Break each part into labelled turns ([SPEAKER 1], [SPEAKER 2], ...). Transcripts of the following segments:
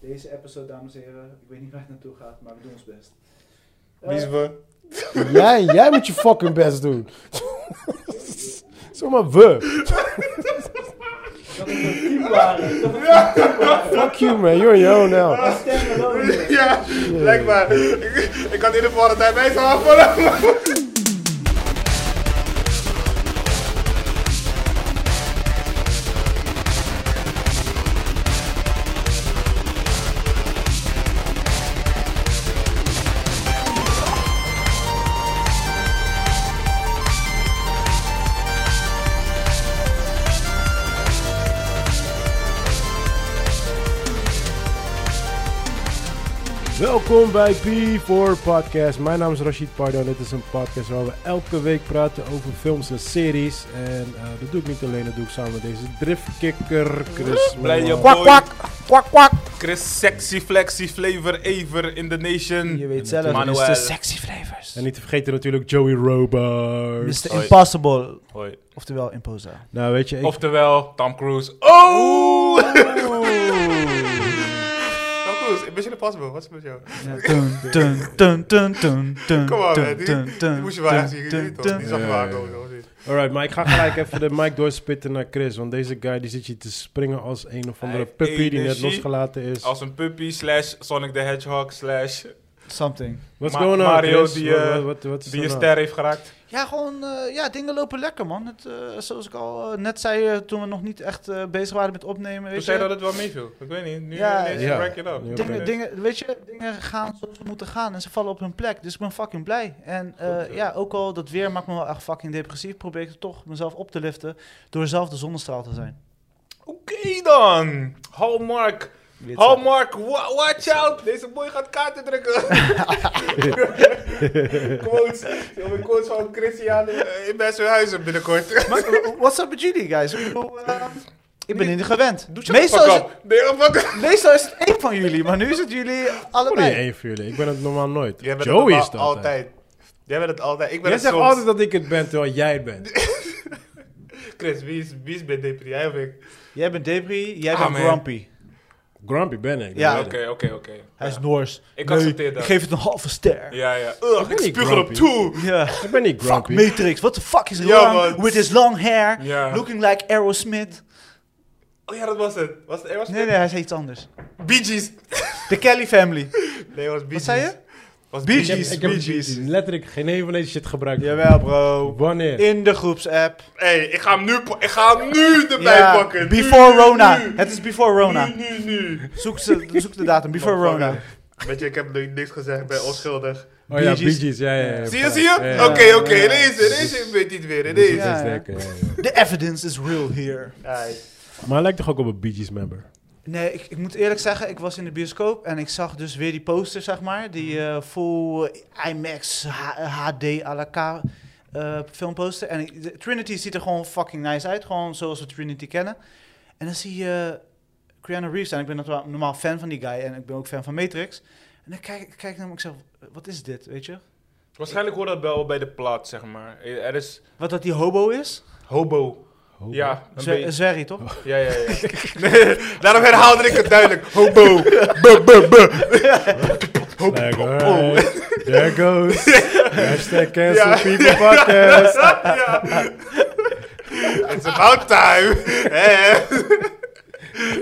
[SPEAKER 1] Deze episode, dames en heren, ik weet niet waar het naartoe gaat, maar we doen ons best. Eh,
[SPEAKER 2] Wie is we?
[SPEAKER 3] Jij, jij moet je fucking best doen. Zomaar we.
[SPEAKER 1] dat is een team waren. Dat is
[SPEAKER 3] Fuck you man, you're yo now.
[SPEAKER 1] een stem wel niet.
[SPEAKER 2] Ja, blijkbaar. Ik, ik had in de vorige tijd mee gaan afvallen.
[SPEAKER 3] Welkom bij P4 Podcast. Mijn naam is Rashid Pardo en dit is een podcast waar we elke week praten over films en series. En eh, dat doe ik niet alleen, dat doe ik samen met deze driftkikker Chris.
[SPEAKER 2] Blij je
[SPEAKER 3] Melman.
[SPEAKER 2] boy.
[SPEAKER 3] kwak, kwak.
[SPEAKER 2] Chris, sexy, flexy, flavor, ever in the nation.
[SPEAKER 1] Je weet zelf,
[SPEAKER 2] Manuel.
[SPEAKER 1] Mr. Sexy Flavors.
[SPEAKER 3] En niet te vergeten natuurlijk Joey Roberts.
[SPEAKER 1] Mr.
[SPEAKER 2] Hoi.
[SPEAKER 1] Impossible,
[SPEAKER 2] Hoi.
[SPEAKER 1] oftewel Imposa.
[SPEAKER 3] Nou weet je, ik...
[SPEAKER 2] Oftewel, Tom Cruise. Oh! Tom Cruise, Mission Impossible, wat is het met jou?
[SPEAKER 1] Dun, dun, dun, dun, dun, dun,
[SPEAKER 2] Kom op,
[SPEAKER 1] dun,
[SPEAKER 2] man, die-
[SPEAKER 1] dun,
[SPEAKER 2] Die
[SPEAKER 1] dun,
[SPEAKER 2] moest je wel
[SPEAKER 1] dun,
[SPEAKER 2] echt zien,
[SPEAKER 1] dun,
[SPEAKER 2] die toch?
[SPEAKER 1] dun.
[SPEAKER 2] Die zag je
[SPEAKER 3] Ja,
[SPEAKER 2] wel
[SPEAKER 3] ja,
[SPEAKER 2] aankomen, toch?
[SPEAKER 3] Alright, maar ik ga gelijk even de mic doorspitten naar Chris. Want deze guy die zit je te springen als een of andere
[SPEAKER 2] Hij heeft
[SPEAKER 3] puppy die net
[SPEAKER 2] energie.
[SPEAKER 3] losgelaten is.
[SPEAKER 2] Als een puppy slash Sonic the Hedgehog slash
[SPEAKER 1] Something.
[SPEAKER 3] What's
[SPEAKER 2] Ma-
[SPEAKER 3] going on,
[SPEAKER 2] Mario
[SPEAKER 3] Chris?
[SPEAKER 2] die,
[SPEAKER 3] Wat-
[SPEAKER 2] eh,
[SPEAKER 3] wat- wat- wat is
[SPEAKER 2] die een
[SPEAKER 3] er nou?
[SPEAKER 2] ster heeft geraakt.
[SPEAKER 1] Ja, gewoon, eh, ja, dingen lopen lekker, man. Het, eh, zoals ik al eh, net zei, eh, toen we nog niet echt eh, bezig waren met opnemen, weet
[SPEAKER 2] Toen
[SPEAKER 1] je.
[SPEAKER 2] zei dat het wel meeviel. Ik weet niet, nu
[SPEAKER 1] Ja,
[SPEAKER 2] ineens
[SPEAKER 3] ja.
[SPEAKER 2] break it up.
[SPEAKER 3] Ja.
[SPEAKER 1] Dingen,
[SPEAKER 3] Oké.
[SPEAKER 1] dingen, weet je, dingen gaan zoals ze moeten gaan en ze vallen op hun plek. Dus ik ben fucking blij. En eh,
[SPEAKER 2] Goed zo.
[SPEAKER 1] ja, ook al dat weer maakt me wel echt fucking depressief, probeer ik toch mezelf op te liften door zelf de zonnestraal te zijn.
[SPEAKER 2] Oké dan, Hallmark.
[SPEAKER 1] Oh,
[SPEAKER 2] Hallmark, Oh, wa- watch out. Deze boy gaat kaarten drukken. quotes. Ik heb een quotes van Christian eh, in bij zijn huizen binnenkort.
[SPEAKER 1] Maar eh, what's up met jullie, guys? Ik bedoel, eh, ik ben hier niet gewend.
[SPEAKER 2] Doe je
[SPEAKER 1] Meestal is, het,
[SPEAKER 2] Nee, oh, fuck up.
[SPEAKER 1] meestal is het één van jullie, maar nu is het jullie
[SPEAKER 3] Oh, nee,
[SPEAKER 1] allebei.
[SPEAKER 3] één voor jullie. Ik ben het normaal nooit.
[SPEAKER 2] Jij bent het
[SPEAKER 3] Joey
[SPEAKER 2] al-
[SPEAKER 3] is dat altijd.
[SPEAKER 2] altijd. Jij bent het altijd. Ik ben
[SPEAKER 3] Jij
[SPEAKER 2] het
[SPEAKER 3] zegt
[SPEAKER 2] soms.
[SPEAKER 3] altijd dat ik het ben, terwijl jij het bent.
[SPEAKER 2] Chris, wie is, wie is Ben Depri? Jij of ik?
[SPEAKER 1] Jij bent debris, jij
[SPEAKER 2] Ah,
[SPEAKER 1] bent
[SPEAKER 2] man.
[SPEAKER 1] grumpy.
[SPEAKER 3] Grumpy ben ik. dat
[SPEAKER 1] Ja.
[SPEAKER 3] weet ik.
[SPEAKER 2] Oké, oké, oké.
[SPEAKER 1] Hij is Noors.
[SPEAKER 2] Ik
[SPEAKER 1] Nee,
[SPEAKER 2] accepteer dat.
[SPEAKER 1] Ik geef het een halve ster.
[SPEAKER 2] Ja, ja.
[SPEAKER 3] Ik
[SPEAKER 2] Ugh,
[SPEAKER 3] ben
[SPEAKER 2] ik
[SPEAKER 3] niet
[SPEAKER 2] spuug erop
[SPEAKER 3] grumpy.
[SPEAKER 2] toe.
[SPEAKER 1] Ja.
[SPEAKER 3] Ik ben niet
[SPEAKER 1] Fuck
[SPEAKER 3] grumpy.
[SPEAKER 1] Matrix, what the fuck is
[SPEAKER 2] Ja,
[SPEAKER 1] wrong
[SPEAKER 2] man.
[SPEAKER 1] with his long hair?
[SPEAKER 2] Ja.
[SPEAKER 1] Looking like Aerosmith.
[SPEAKER 2] Oh ja, dat was het. Was het, er was
[SPEAKER 1] Nee, nee, hij zei iets anders.
[SPEAKER 2] Bee Gees.
[SPEAKER 1] De Kelly Family.
[SPEAKER 2] Nee, was Bee
[SPEAKER 1] Wat zei
[SPEAKER 2] Gees.
[SPEAKER 1] je?
[SPEAKER 2] Was
[SPEAKER 1] Bee
[SPEAKER 2] Bee
[SPEAKER 3] Ik heb,
[SPEAKER 2] Gees.
[SPEAKER 3] ik heb
[SPEAKER 2] Bee Gees.
[SPEAKER 3] letterlijk geen een van deze shit gebruikt.
[SPEAKER 1] Jawel, bro.
[SPEAKER 3] Wanneer?
[SPEAKER 1] In de groepsapp.
[SPEAKER 2] hey, ik ga hem nu, pa- ik ga hem nu erbij
[SPEAKER 1] Ja,
[SPEAKER 2] pakken. Nu,
[SPEAKER 1] Before
[SPEAKER 2] nu,
[SPEAKER 1] Rona.
[SPEAKER 2] Nu,
[SPEAKER 1] Het is before Rona.
[SPEAKER 2] nu, nu.
[SPEAKER 1] Zoek, ze, zoek de datum. Before
[SPEAKER 2] Motherfucker.
[SPEAKER 1] Rona.
[SPEAKER 2] Weet je, ik heb nu niks gezegd, ben onschuldig.
[SPEAKER 3] Oh ja,
[SPEAKER 1] Bee Gees.
[SPEAKER 3] Bee Gees. Ja, ja, ja.
[SPEAKER 2] Zie je, zie je?
[SPEAKER 3] Ja. Dus-
[SPEAKER 2] Oké, oké, ineens, ineens weet je het weer,
[SPEAKER 3] Dit is-
[SPEAKER 2] ineens.
[SPEAKER 3] dit is
[SPEAKER 1] Ja, ja.
[SPEAKER 3] lekker, ja, ja.
[SPEAKER 1] The evidence is real here.
[SPEAKER 2] Ai.
[SPEAKER 3] Maar hij lijkt toch ook op een Bee Gees member?
[SPEAKER 1] Nee, ik, ik moet eerlijk zeggen, ik was in de bioscoop en ik zag dus weer die poster, zeg maar. Die eh, full eh, IMAX H- HD à la K eh, filmposter. En ik- de- Trinity ziet er gewoon fucking nice uit. Gewoon zoals we Trinity kennen. En dan zie je eh, Keanu Reeves en ik ben normaal- normaal fan van die guy. En ik ben ook fan van Matrix. En dan kijk, kijk ik naar hem en ik zeg, wat is dit, weet je?
[SPEAKER 2] Waarschijnlijk hoort dat wel bij de plaat, zeg maar. Er is
[SPEAKER 1] Wat dat die hobo is?
[SPEAKER 2] hobo.
[SPEAKER 3] Hobo.
[SPEAKER 2] Ja, een Oh,
[SPEAKER 1] Zwer-
[SPEAKER 2] beetje.
[SPEAKER 1] Zwerry, toch?
[SPEAKER 2] Ja, ja, ja. Nee, daarom herhaalde ik het duidelijk. Hobo.
[SPEAKER 3] Like, alright, there goes. Hashtag cancel
[SPEAKER 2] Oh. Ja.
[SPEAKER 3] people podcast.
[SPEAKER 2] ja. It's about time. Hè?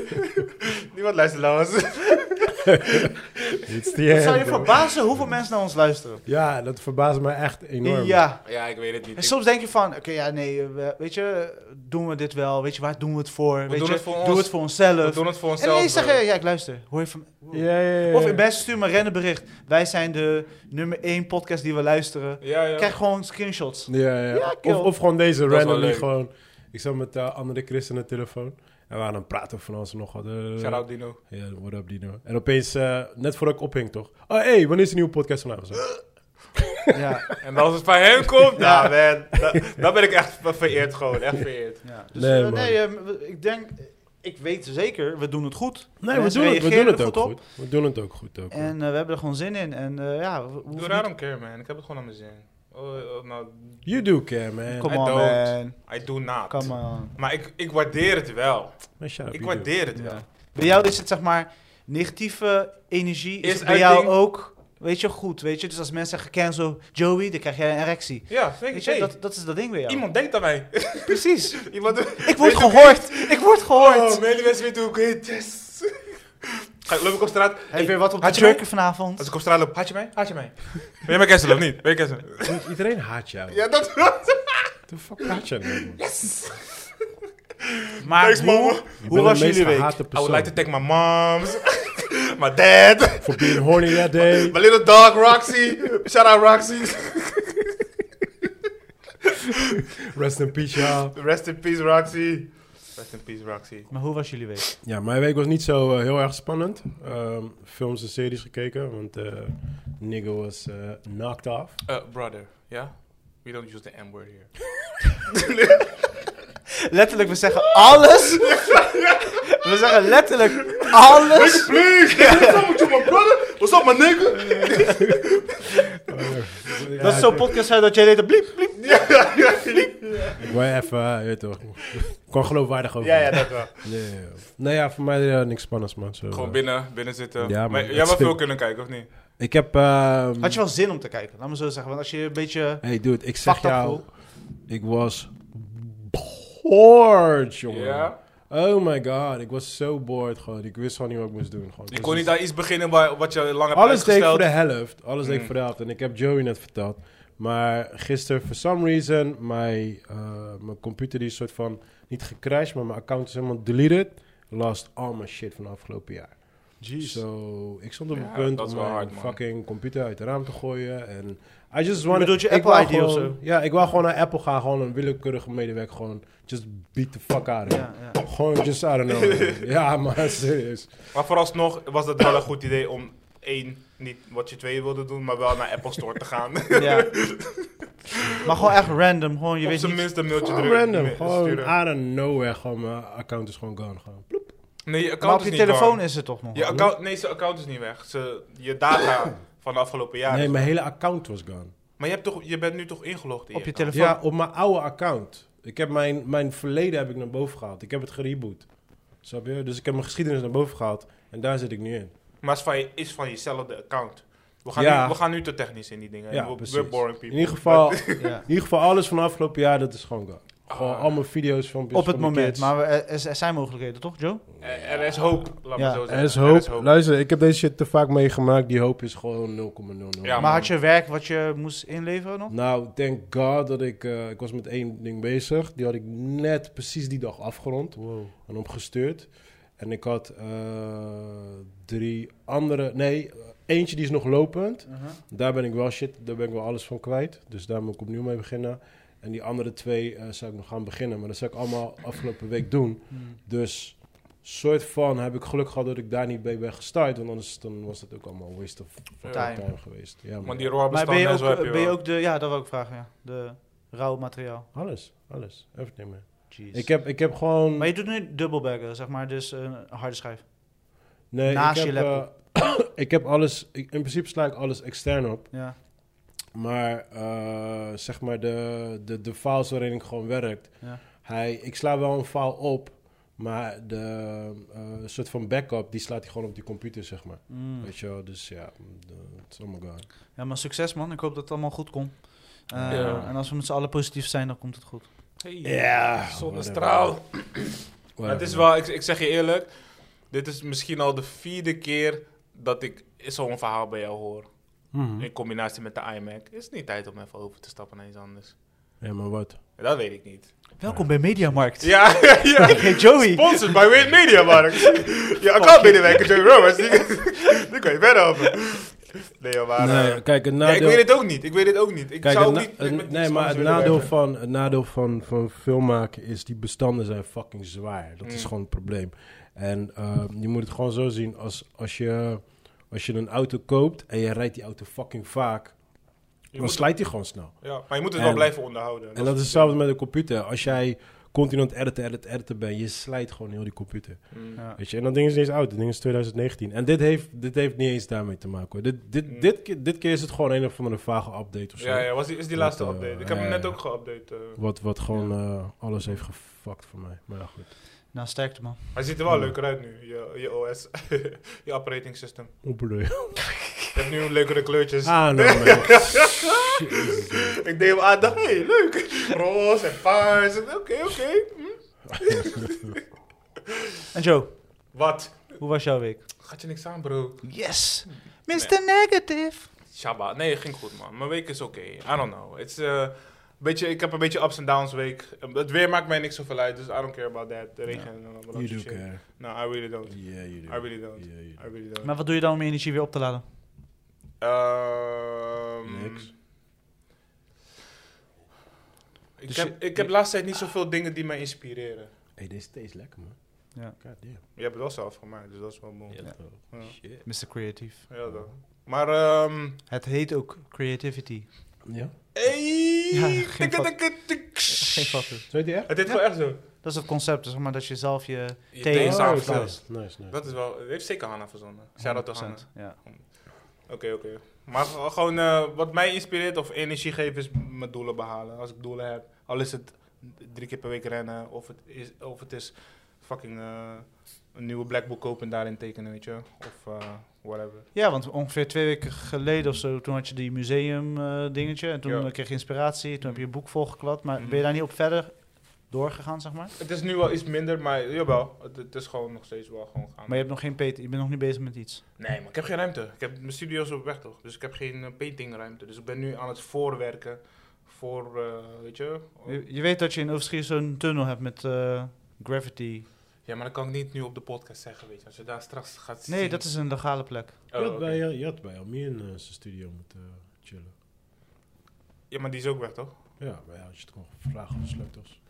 [SPEAKER 2] Niemand luistert naar ons.
[SPEAKER 3] It's the
[SPEAKER 1] Het zou je
[SPEAKER 3] end. bro.
[SPEAKER 1] verbazen hoeveel mensen naar ons luisteren.
[SPEAKER 3] Ja, dat verbaast me echt enorm.
[SPEAKER 1] Ja.
[SPEAKER 2] Ja, ik weet het niet.
[SPEAKER 1] En soms denk je van, oké, ja, nee, eh, we- weet je, eh, doen we dit wel? Weet je, waar doen we het voor? weet
[SPEAKER 2] doen
[SPEAKER 1] je,
[SPEAKER 2] het voor
[SPEAKER 1] Doe
[SPEAKER 2] ons.
[SPEAKER 1] het voor onszelf.
[SPEAKER 2] we doen het voor
[SPEAKER 1] en
[SPEAKER 2] onszelf. eh.
[SPEAKER 1] nee, zeg
[SPEAKER 2] bro.
[SPEAKER 1] je, ja, ik luister. Hoor je van,
[SPEAKER 3] Ja, ja, ja.
[SPEAKER 1] Of in beste stuur me een rennen bericht. Wij zijn de nummer één podcast die we luisteren.
[SPEAKER 2] Ja, ja.
[SPEAKER 1] Krijg gewoon screenshots.
[SPEAKER 3] Ja, ja.
[SPEAKER 1] Ja, kill.
[SPEAKER 3] of, of gewoon deze
[SPEAKER 2] is wel
[SPEAKER 3] randomly
[SPEAKER 2] leuk.
[SPEAKER 3] gewoon. Ik zat met eh, andere Chris aan de telefoon. En we waren aan het praten van alles en nog wat. Eh,
[SPEAKER 2] Shout-out Dino.
[SPEAKER 3] Ja, what up Dino. En opeens, eh, net voordat ik ophing toch. Oh, hé, hey, wanneer is de nieuwe podcast vanavond? Zo.
[SPEAKER 1] ja,
[SPEAKER 2] En als het van hem komt,
[SPEAKER 1] Ja.
[SPEAKER 2] nou man, da- dan ben ik echt ve- vereerd gewoon, echt vereerd.
[SPEAKER 1] ja. Dus
[SPEAKER 3] Nee,
[SPEAKER 1] eh,
[SPEAKER 3] man.
[SPEAKER 1] nee, eh, we- ik denk, ik weet zeker, we doen het goed.
[SPEAKER 3] Nee, we
[SPEAKER 1] Mensen
[SPEAKER 3] doen, het, we doen
[SPEAKER 1] reageren
[SPEAKER 3] het
[SPEAKER 1] er
[SPEAKER 3] ook
[SPEAKER 1] goed
[SPEAKER 3] goed. We doen het ook goed. Ook,
[SPEAKER 1] En
[SPEAKER 3] hoor.
[SPEAKER 1] eh, we hebben er gewoon zin in. En eh, ja, we- we hoeven
[SPEAKER 2] Doe
[SPEAKER 1] niet-
[SPEAKER 2] daar een keer man, ik heb het gewoon aan mijn zin. Oh, oh, nou,
[SPEAKER 3] you do care, man.
[SPEAKER 1] Come
[SPEAKER 2] I
[SPEAKER 1] on,
[SPEAKER 2] don't.
[SPEAKER 1] man.
[SPEAKER 2] I do not.
[SPEAKER 1] Come on.
[SPEAKER 2] Maar ik, ik waardeer het wel.
[SPEAKER 3] Man, shut up,
[SPEAKER 2] Ik
[SPEAKER 3] you do.
[SPEAKER 2] waardeer het wel.
[SPEAKER 1] Bij jou is het zeg maar, negatieve energie is,
[SPEAKER 2] Is
[SPEAKER 1] bij
[SPEAKER 2] uiting-
[SPEAKER 1] jou ook, weet je, goed. Weet je? Dus als mensen zeggen cancel Joey, dan krijg jij een erectie.
[SPEAKER 2] Ja, denk
[SPEAKER 1] Weet
[SPEAKER 2] ik.
[SPEAKER 1] je,
[SPEAKER 2] hey,
[SPEAKER 1] dat, dat is dat ding bij jou.
[SPEAKER 2] Iemand denkt aan mij.
[SPEAKER 1] Precies.
[SPEAKER 2] Iemand
[SPEAKER 1] Ik word gehoord. Ik word gehoord.
[SPEAKER 2] Oh, mijn mensen weten hoe ik heet. Yes. Ga- Loop ik op straat.
[SPEAKER 1] Heb je wat op
[SPEAKER 2] had
[SPEAKER 1] de
[SPEAKER 2] je mij?
[SPEAKER 1] jerken vanavond?
[SPEAKER 2] Als ik op straat loop, haat je mij? Haat je mij? Wil je mij cancelen of niet? Wil je cancelen?
[SPEAKER 3] Want Iedereen haat jou.
[SPEAKER 2] Ja, dat was
[SPEAKER 3] De fuck haat jij nou, man?
[SPEAKER 1] Maar
[SPEAKER 2] Thanks, mama.
[SPEAKER 1] hoe, hoe was jullie week?
[SPEAKER 3] gehate
[SPEAKER 2] I would
[SPEAKER 3] persoon.
[SPEAKER 2] like to thank my moms, my dad,
[SPEAKER 3] For being horny that day.
[SPEAKER 2] my little dog Roxy. Shout out Roxy.
[SPEAKER 3] Rest in peace, ja.
[SPEAKER 2] Rest in peace Roxy. Rest in peace Roxy.
[SPEAKER 1] Maar hoe was jullie week?
[SPEAKER 3] Ja, mijn week was niet zo eh, heel erg spannend. Ehm, films en series gekeken, want eh nigga was eh, knocked off.
[SPEAKER 2] Uh, brother, yeah? We don't use the M word here.
[SPEAKER 1] Letterlijk, we zeggen alles. We zeggen letterlijk alles.
[SPEAKER 2] Please! What's up with you, my brother? What's up, my nigga?
[SPEAKER 1] Dat is zo'n podcast zijn dat jij deed. Bliep, bliep.
[SPEAKER 3] Ik wou even, eh, je weet toch. Kwam geloofwaardig over.
[SPEAKER 2] Ja, ja, dat wel.
[SPEAKER 3] Ja, ja, ja. Nou ja, voor mij eh, niks spannends, man. Zo,
[SPEAKER 2] Gewoon
[SPEAKER 3] eh.
[SPEAKER 2] binnen, binnen zitten.
[SPEAKER 3] Ja, man.
[SPEAKER 2] maar, jij wel veel kunnen kijken, of niet?
[SPEAKER 3] Ik heb... ehm,
[SPEAKER 1] Had je wel zin om te kijken? Laat me zo zeggen. Want als je een beetje...
[SPEAKER 3] Hey dude, ik zeg
[SPEAKER 1] Fucked up
[SPEAKER 3] jou, ik was bored, jongen.
[SPEAKER 2] Ja.
[SPEAKER 3] Oh my god, ik was zo bored gewoon. Ik wist gewoon niet wat ik moest doen. Gewoon.
[SPEAKER 2] Je kon niet aan iets beginnen waar, wat je lang hebt
[SPEAKER 3] Alles deed ik voor
[SPEAKER 2] uitgesteld.
[SPEAKER 3] de helft. Alles deed ik
[SPEAKER 2] Mm.
[SPEAKER 3] voor de helft. En ik heb Joey net verteld. Maar gisteren, for some reason, mijn, eh, mijn computer die is soort van niet gecrashed, maar mijn account is helemaal deleted. Lost al mijn shit van afgelopen jaar.
[SPEAKER 1] Jeez.
[SPEAKER 3] So, ik stond op het
[SPEAKER 2] Ja,
[SPEAKER 3] punt
[SPEAKER 2] dat
[SPEAKER 3] om
[SPEAKER 2] is
[SPEAKER 3] mijn
[SPEAKER 2] wel hard, man.
[SPEAKER 3] fucking computer uit het raam te gooien. En I just wanted...
[SPEAKER 1] bedoelt je
[SPEAKER 3] ik
[SPEAKER 1] Apple
[SPEAKER 3] wou
[SPEAKER 1] ID of
[SPEAKER 3] gewoon-
[SPEAKER 1] zo?
[SPEAKER 3] Ja, ik wou gewoon naar Apple gaan. Gewoon een willekeurige medewerker. Gewoon just beat the fuck out of him.
[SPEAKER 1] Ja, ja.
[SPEAKER 3] Gewoon just, I don't know. ja, maar serieus.
[SPEAKER 2] Maar vooralsnog was het wel een goed idee om één, niet wat je twee wilde doen, maar wel naar Apple Store te gaan.
[SPEAKER 1] Ja. Maar gewoon echt random. Gewoon, je
[SPEAKER 2] Op
[SPEAKER 1] weet
[SPEAKER 2] zijn
[SPEAKER 1] niet...
[SPEAKER 2] minst een mailtje
[SPEAKER 3] Gewoon
[SPEAKER 2] drukken.
[SPEAKER 3] random.
[SPEAKER 2] Nee,
[SPEAKER 3] Gewoon
[SPEAKER 2] sturen.
[SPEAKER 3] out of nowhere. Gewoon mijn account is gewoon gone. Gewoon. Ploep.
[SPEAKER 2] Nee, je
[SPEAKER 1] Maar
[SPEAKER 2] account
[SPEAKER 1] op je
[SPEAKER 2] is niet
[SPEAKER 1] telefoon
[SPEAKER 2] gone.
[SPEAKER 1] is het toch nog?
[SPEAKER 2] Je account, nee, zijn account is niet weg. Ze, je data van de afgelopen jaren.
[SPEAKER 3] Nee,
[SPEAKER 2] is-
[SPEAKER 3] mijn hele account was gone.
[SPEAKER 2] Maar je, hebt toch, je bent nu toch ingelogd in
[SPEAKER 1] Op je
[SPEAKER 2] account?
[SPEAKER 1] telefoon.
[SPEAKER 3] Ja, op mijn oude account. Ik heb mijn, mijn verleden heb ik naar boven gehaald. Ik heb het gereboot. Snap je? Dus ik heb mijn geschiedenis naar boven gehaald. En daar zit ik nu in.
[SPEAKER 2] Maar is van, je, is van jezelf de account. We gaan,
[SPEAKER 3] Ja.
[SPEAKER 2] nu, we gaan nu te technisch in die dingen.
[SPEAKER 3] Ja,
[SPEAKER 2] we,
[SPEAKER 3] precies.
[SPEAKER 2] we're boring people.
[SPEAKER 3] In ieder geval,
[SPEAKER 1] Ja.
[SPEAKER 3] In ieder geval alles van afgelopen jaar, dat is gewoon gone. Gewoon
[SPEAKER 2] Ah.
[SPEAKER 3] al mijn video's, filmpjes
[SPEAKER 1] Op het
[SPEAKER 3] van mijn
[SPEAKER 1] moment.
[SPEAKER 3] kids.
[SPEAKER 1] Maar we- er- er, er zijn mogelijkheden, toch, Joe?
[SPEAKER 2] Er, er is hoop, laat
[SPEAKER 1] Ja,
[SPEAKER 2] me zo zeggen.
[SPEAKER 3] Er is hoop. Luister, ik heb deze shit te vaak meegemaakt. Die hoop is gewoon 0,00.
[SPEAKER 2] Ja,
[SPEAKER 1] maar
[SPEAKER 2] man.
[SPEAKER 1] had je werk wat je moest inleveren nog?
[SPEAKER 3] Nou, thank God dat ik... eh, ik was met één ding bezig. Die had ik net precies die dag afgerond
[SPEAKER 1] Wow.
[SPEAKER 3] en opgestuurd. En ik had eh, drie andere... Nee, eentje die is nog lopend.
[SPEAKER 1] Uh-huh.
[SPEAKER 3] Daar ben ik wel shit, daar ben ik wel alles van kwijt. Dus daar moet ik opnieuw mee beginnen. En die andere twee eh, zou ik nog gaan beginnen. Maar dat zou ik allemaal afgelopen week doen.
[SPEAKER 1] Hmm.
[SPEAKER 3] Dus soort van heb ik geluk gehad dat ik daar niet mee ben gestart. Want anders dan was dat ook allemaal waste of
[SPEAKER 2] Ja.
[SPEAKER 1] Time.
[SPEAKER 3] time, geweest. Ja, man.
[SPEAKER 2] Want die raw
[SPEAKER 1] Maar ben je,
[SPEAKER 2] bestanden en
[SPEAKER 1] ook,
[SPEAKER 2] zo heb je
[SPEAKER 1] ben je
[SPEAKER 2] wel.
[SPEAKER 1] ook de... Ja, dat wil ik vragen, ja. De rauw materiaal.
[SPEAKER 3] Alles, alles. Everything man.
[SPEAKER 1] Jeez.
[SPEAKER 3] Ik heb, ik heb gewoon...
[SPEAKER 1] Maar je doet nu dubbelbaggen, zeg maar. Dus een harde schijf.
[SPEAKER 3] nee,
[SPEAKER 1] naast
[SPEAKER 3] ik
[SPEAKER 1] je
[SPEAKER 3] heb, eh, ik heb alles... Ik, in principe sla ik alles extern op.
[SPEAKER 1] Ja.
[SPEAKER 3] Maar eh, zeg maar de, de, de files waarin ik gewoon werk.
[SPEAKER 1] Ja.
[SPEAKER 3] Hij, ik sla wel een file op, maar de eh, soort van backup, die slaat hij gewoon op die computer, zeg maar.
[SPEAKER 2] Hm.
[SPEAKER 1] Mm.
[SPEAKER 3] Weet je wel, dus ja, de- het is allemaal gone.
[SPEAKER 1] Ja, maar succes man. Ik hoop dat het allemaal goed komt. Eh,
[SPEAKER 2] Ja.
[SPEAKER 1] En als we met z'n allen positief zijn, dan komt het goed.
[SPEAKER 2] Hey,
[SPEAKER 3] Ja,
[SPEAKER 2] Zonnestraal. Maar
[SPEAKER 3] Whatever,
[SPEAKER 2] het is
[SPEAKER 3] man.
[SPEAKER 2] wel, ik, ik zeg je eerlijk, dit is misschien al de vierde keer dat ik zo'n verhaal bij jou hoor.
[SPEAKER 3] Mhm.
[SPEAKER 2] In combinatie met de iMac. Is het niet tijd om even over te stappen naar iets anders?
[SPEAKER 3] Ja, maar wat?
[SPEAKER 2] Dat weet ik niet.
[SPEAKER 1] Welkom bij Mediamarkt.
[SPEAKER 2] Ja, ja.
[SPEAKER 1] Ik heet Joey.
[SPEAKER 2] Sponsored by Wit Media, Mark. Ja, ik kan binnenwerken, Joey Roberts. Die, die kan je verder over. Nee, joh, maar... eh,
[SPEAKER 3] nee, kijk, het
[SPEAKER 2] ja, ik
[SPEAKER 3] nadeel...
[SPEAKER 2] weet het ook niet. Ik weet het ook niet. Ik
[SPEAKER 3] Kijk,
[SPEAKER 2] zou ook
[SPEAKER 3] het na-
[SPEAKER 2] niet...
[SPEAKER 3] het-
[SPEAKER 2] met- met
[SPEAKER 3] nee,
[SPEAKER 2] iets
[SPEAKER 3] maar het
[SPEAKER 2] anders willen
[SPEAKER 3] nadeel,
[SPEAKER 2] werken.
[SPEAKER 3] van, het nadeel van, van film maken is die bestanden zijn fucking zwaar. Dat is
[SPEAKER 2] Mm.
[SPEAKER 3] gewoon het probleem. En eh, je moet het gewoon zo zien. Als, als, je, als je een auto koopt en je rijdt die auto fucking vaak,
[SPEAKER 2] Je
[SPEAKER 3] dan
[SPEAKER 2] moet-
[SPEAKER 3] slijt die gewoon snel.
[SPEAKER 2] Ja, maar je moet het
[SPEAKER 3] En-
[SPEAKER 2] wel blijven onderhouden.
[SPEAKER 3] En dat is hetzelfde met een computer. Als jij continu aan het editen, editen, editen bent, je slijt gewoon heel die computer.
[SPEAKER 2] Mm.
[SPEAKER 1] Ja.
[SPEAKER 3] Weet je? En dat ding is niet eens oud, dat ding is 2019. En dit heeft, dit heeft niet eens daarmee te maken hoor. Dit, dit,
[SPEAKER 2] Mm.
[SPEAKER 3] dit, keer- dit keer is het gewoon een of andere vage update of zo.
[SPEAKER 2] Ja, ja, was die, is die
[SPEAKER 3] Dat,
[SPEAKER 2] laatste
[SPEAKER 3] eh,
[SPEAKER 2] update. Ik heb
[SPEAKER 3] ja,
[SPEAKER 2] hem net
[SPEAKER 3] ja.
[SPEAKER 2] ook geüpdate. eh.
[SPEAKER 3] Wat, wat gewoon eh, alles heeft gefuckt voor mij. Maar ja, goed.
[SPEAKER 1] Nou, sterkte man.
[SPEAKER 2] Hij ziet
[SPEAKER 3] Mm.
[SPEAKER 2] er wel leuker uit nu, je, je OS, je operating system.
[SPEAKER 3] Hoe bedoel je?
[SPEAKER 2] Je hebt nu leukere kleurtjes.
[SPEAKER 3] Ah, no, man.
[SPEAKER 2] Ik deed hem aan, dacht, hey, leuk. Roze en paars. en Oké, oké.
[SPEAKER 1] En Joe,
[SPEAKER 2] Wat?
[SPEAKER 1] hoe was jouw week?
[SPEAKER 2] Gaat je niks aan, bro?
[SPEAKER 1] Yes! Mr. Negative!
[SPEAKER 2] Shabba. Nee, ging goed, man. Mijn week is oké. I don't know. It's, eh, beetje, ik heb een beetje ups en downs week. Eh, Het weer maakt mij niks zoveel uit, dus I don't care about that. De regen en allemaal
[SPEAKER 3] You
[SPEAKER 2] dat
[SPEAKER 3] do
[SPEAKER 2] soort shit.
[SPEAKER 3] care.
[SPEAKER 2] No, I really don't.
[SPEAKER 3] Yeah, you do.
[SPEAKER 2] I really don't.
[SPEAKER 3] Yeah, you
[SPEAKER 2] I really don't.
[SPEAKER 1] Maar wat doe je dan om je energie weer op te laden?
[SPEAKER 2] Ehm,
[SPEAKER 3] Niks.
[SPEAKER 2] Ik,
[SPEAKER 1] Dus
[SPEAKER 2] heb,
[SPEAKER 1] je-
[SPEAKER 2] ik heb laatst tijd niet zoveel dingen die mij inspireren.
[SPEAKER 3] Hey, deze thee is lekker, man.
[SPEAKER 1] Ja.
[SPEAKER 3] God damn.
[SPEAKER 2] Je hebt het wel zelf gemaakt, dus dat is wel mooi. Ja,
[SPEAKER 3] Ja.
[SPEAKER 2] Ja.
[SPEAKER 3] Shit.
[SPEAKER 1] Mr. Creative.
[SPEAKER 2] dan. Maar, ehm
[SPEAKER 1] Het heet ook creativity.
[SPEAKER 3] Ja?
[SPEAKER 2] Hey!
[SPEAKER 1] Ja, geen
[SPEAKER 2] tikke,
[SPEAKER 1] vak-
[SPEAKER 2] tikke, tik.
[SPEAKER 1] Geen dus. fucker.
[SPEAKER 3] Zou je die echt?
[SPEAKER 2] Het is wel echt zo.
[SPEAKER 1] Dat is het concept, zeg maar, dat je zelf je... Thee
[SPEAKER 2] Je thee
[SPEAKER 1] is
[SPEAKER 2] is
[SPEAKER 1] aan-
[SPEAKER 3] nice,
[SPEAKER 2] aangevuld.
[SPEAKER 3] nice, Oh, nice.
[SPEAKER 2] Dat is wel, dat heeft zeker Hanna verzonnen. Shout out to Hanna.
[SPEAKER 1] 100%, Ja.
[SPEAKER 2] Oké, oké. Maar g- gewoon eh, wat mij inspireert of energie geeft is mijn doelen behalen. Als ik doelen heb, al is het drie keer per week rennen of het is, of het is fucking eh, een nieuwe black book kopen en daarin tekenen, weet je. wel. Of eh, whatever.
[SPEAKER 1] ja, want ongeveer twee weken geleden of zo, toen had je die museum eh, dingetje. En toen
[SPEAKER 2] Ja.
[SPEAKER 1] eh, kreeg je inspiratie, toen heb je je boek volgeklad. Maar
[SPEAKER 2] Mhm.
[SPEAKER 1] ben je daar niet op verder doorgegaan, zeg maar?
[SPEAKER 2] Het is nu wel iets minder, maar jawel. Het, het is gewoon nog steeds wel gewoon gaan.
[SPEAKER 1] Maar je hebt nog geen pet, je bent nog niet bezig met iets.
[SPEAKER 2] Nee, maar ik heb geen ruimte. Ik heb mijn studio is op weg toch, dus ik heb geen eh, paintingruimte. Dus ik ben nu aan het voorwerken voor, eh, weet je.
[SPEAKER 1] Je, je weet dat je in Overschier zo'n tunnel hebt met eh, gravity.
[SPEAKER 2] Ja, maar dat kan ik niet nu op de podcast zeggen, weet je. Als je daar straks gaat zien.
[SPEAKER 1] Nee, dat is een legale plek.
[SPEAKER 2] Oh,
[SPEAKER 3] je, had
[SPEAKER 2] oké.
[SPEAKER 3] bij, eh, je had bij Almir in eh, zijn studio moeten eh, chillen.
[SPEAKER 2] Ja, maar die is ook weg toch?
[SPEAKER 3] Ja, maar ja, als je het kon vragen om sleutels.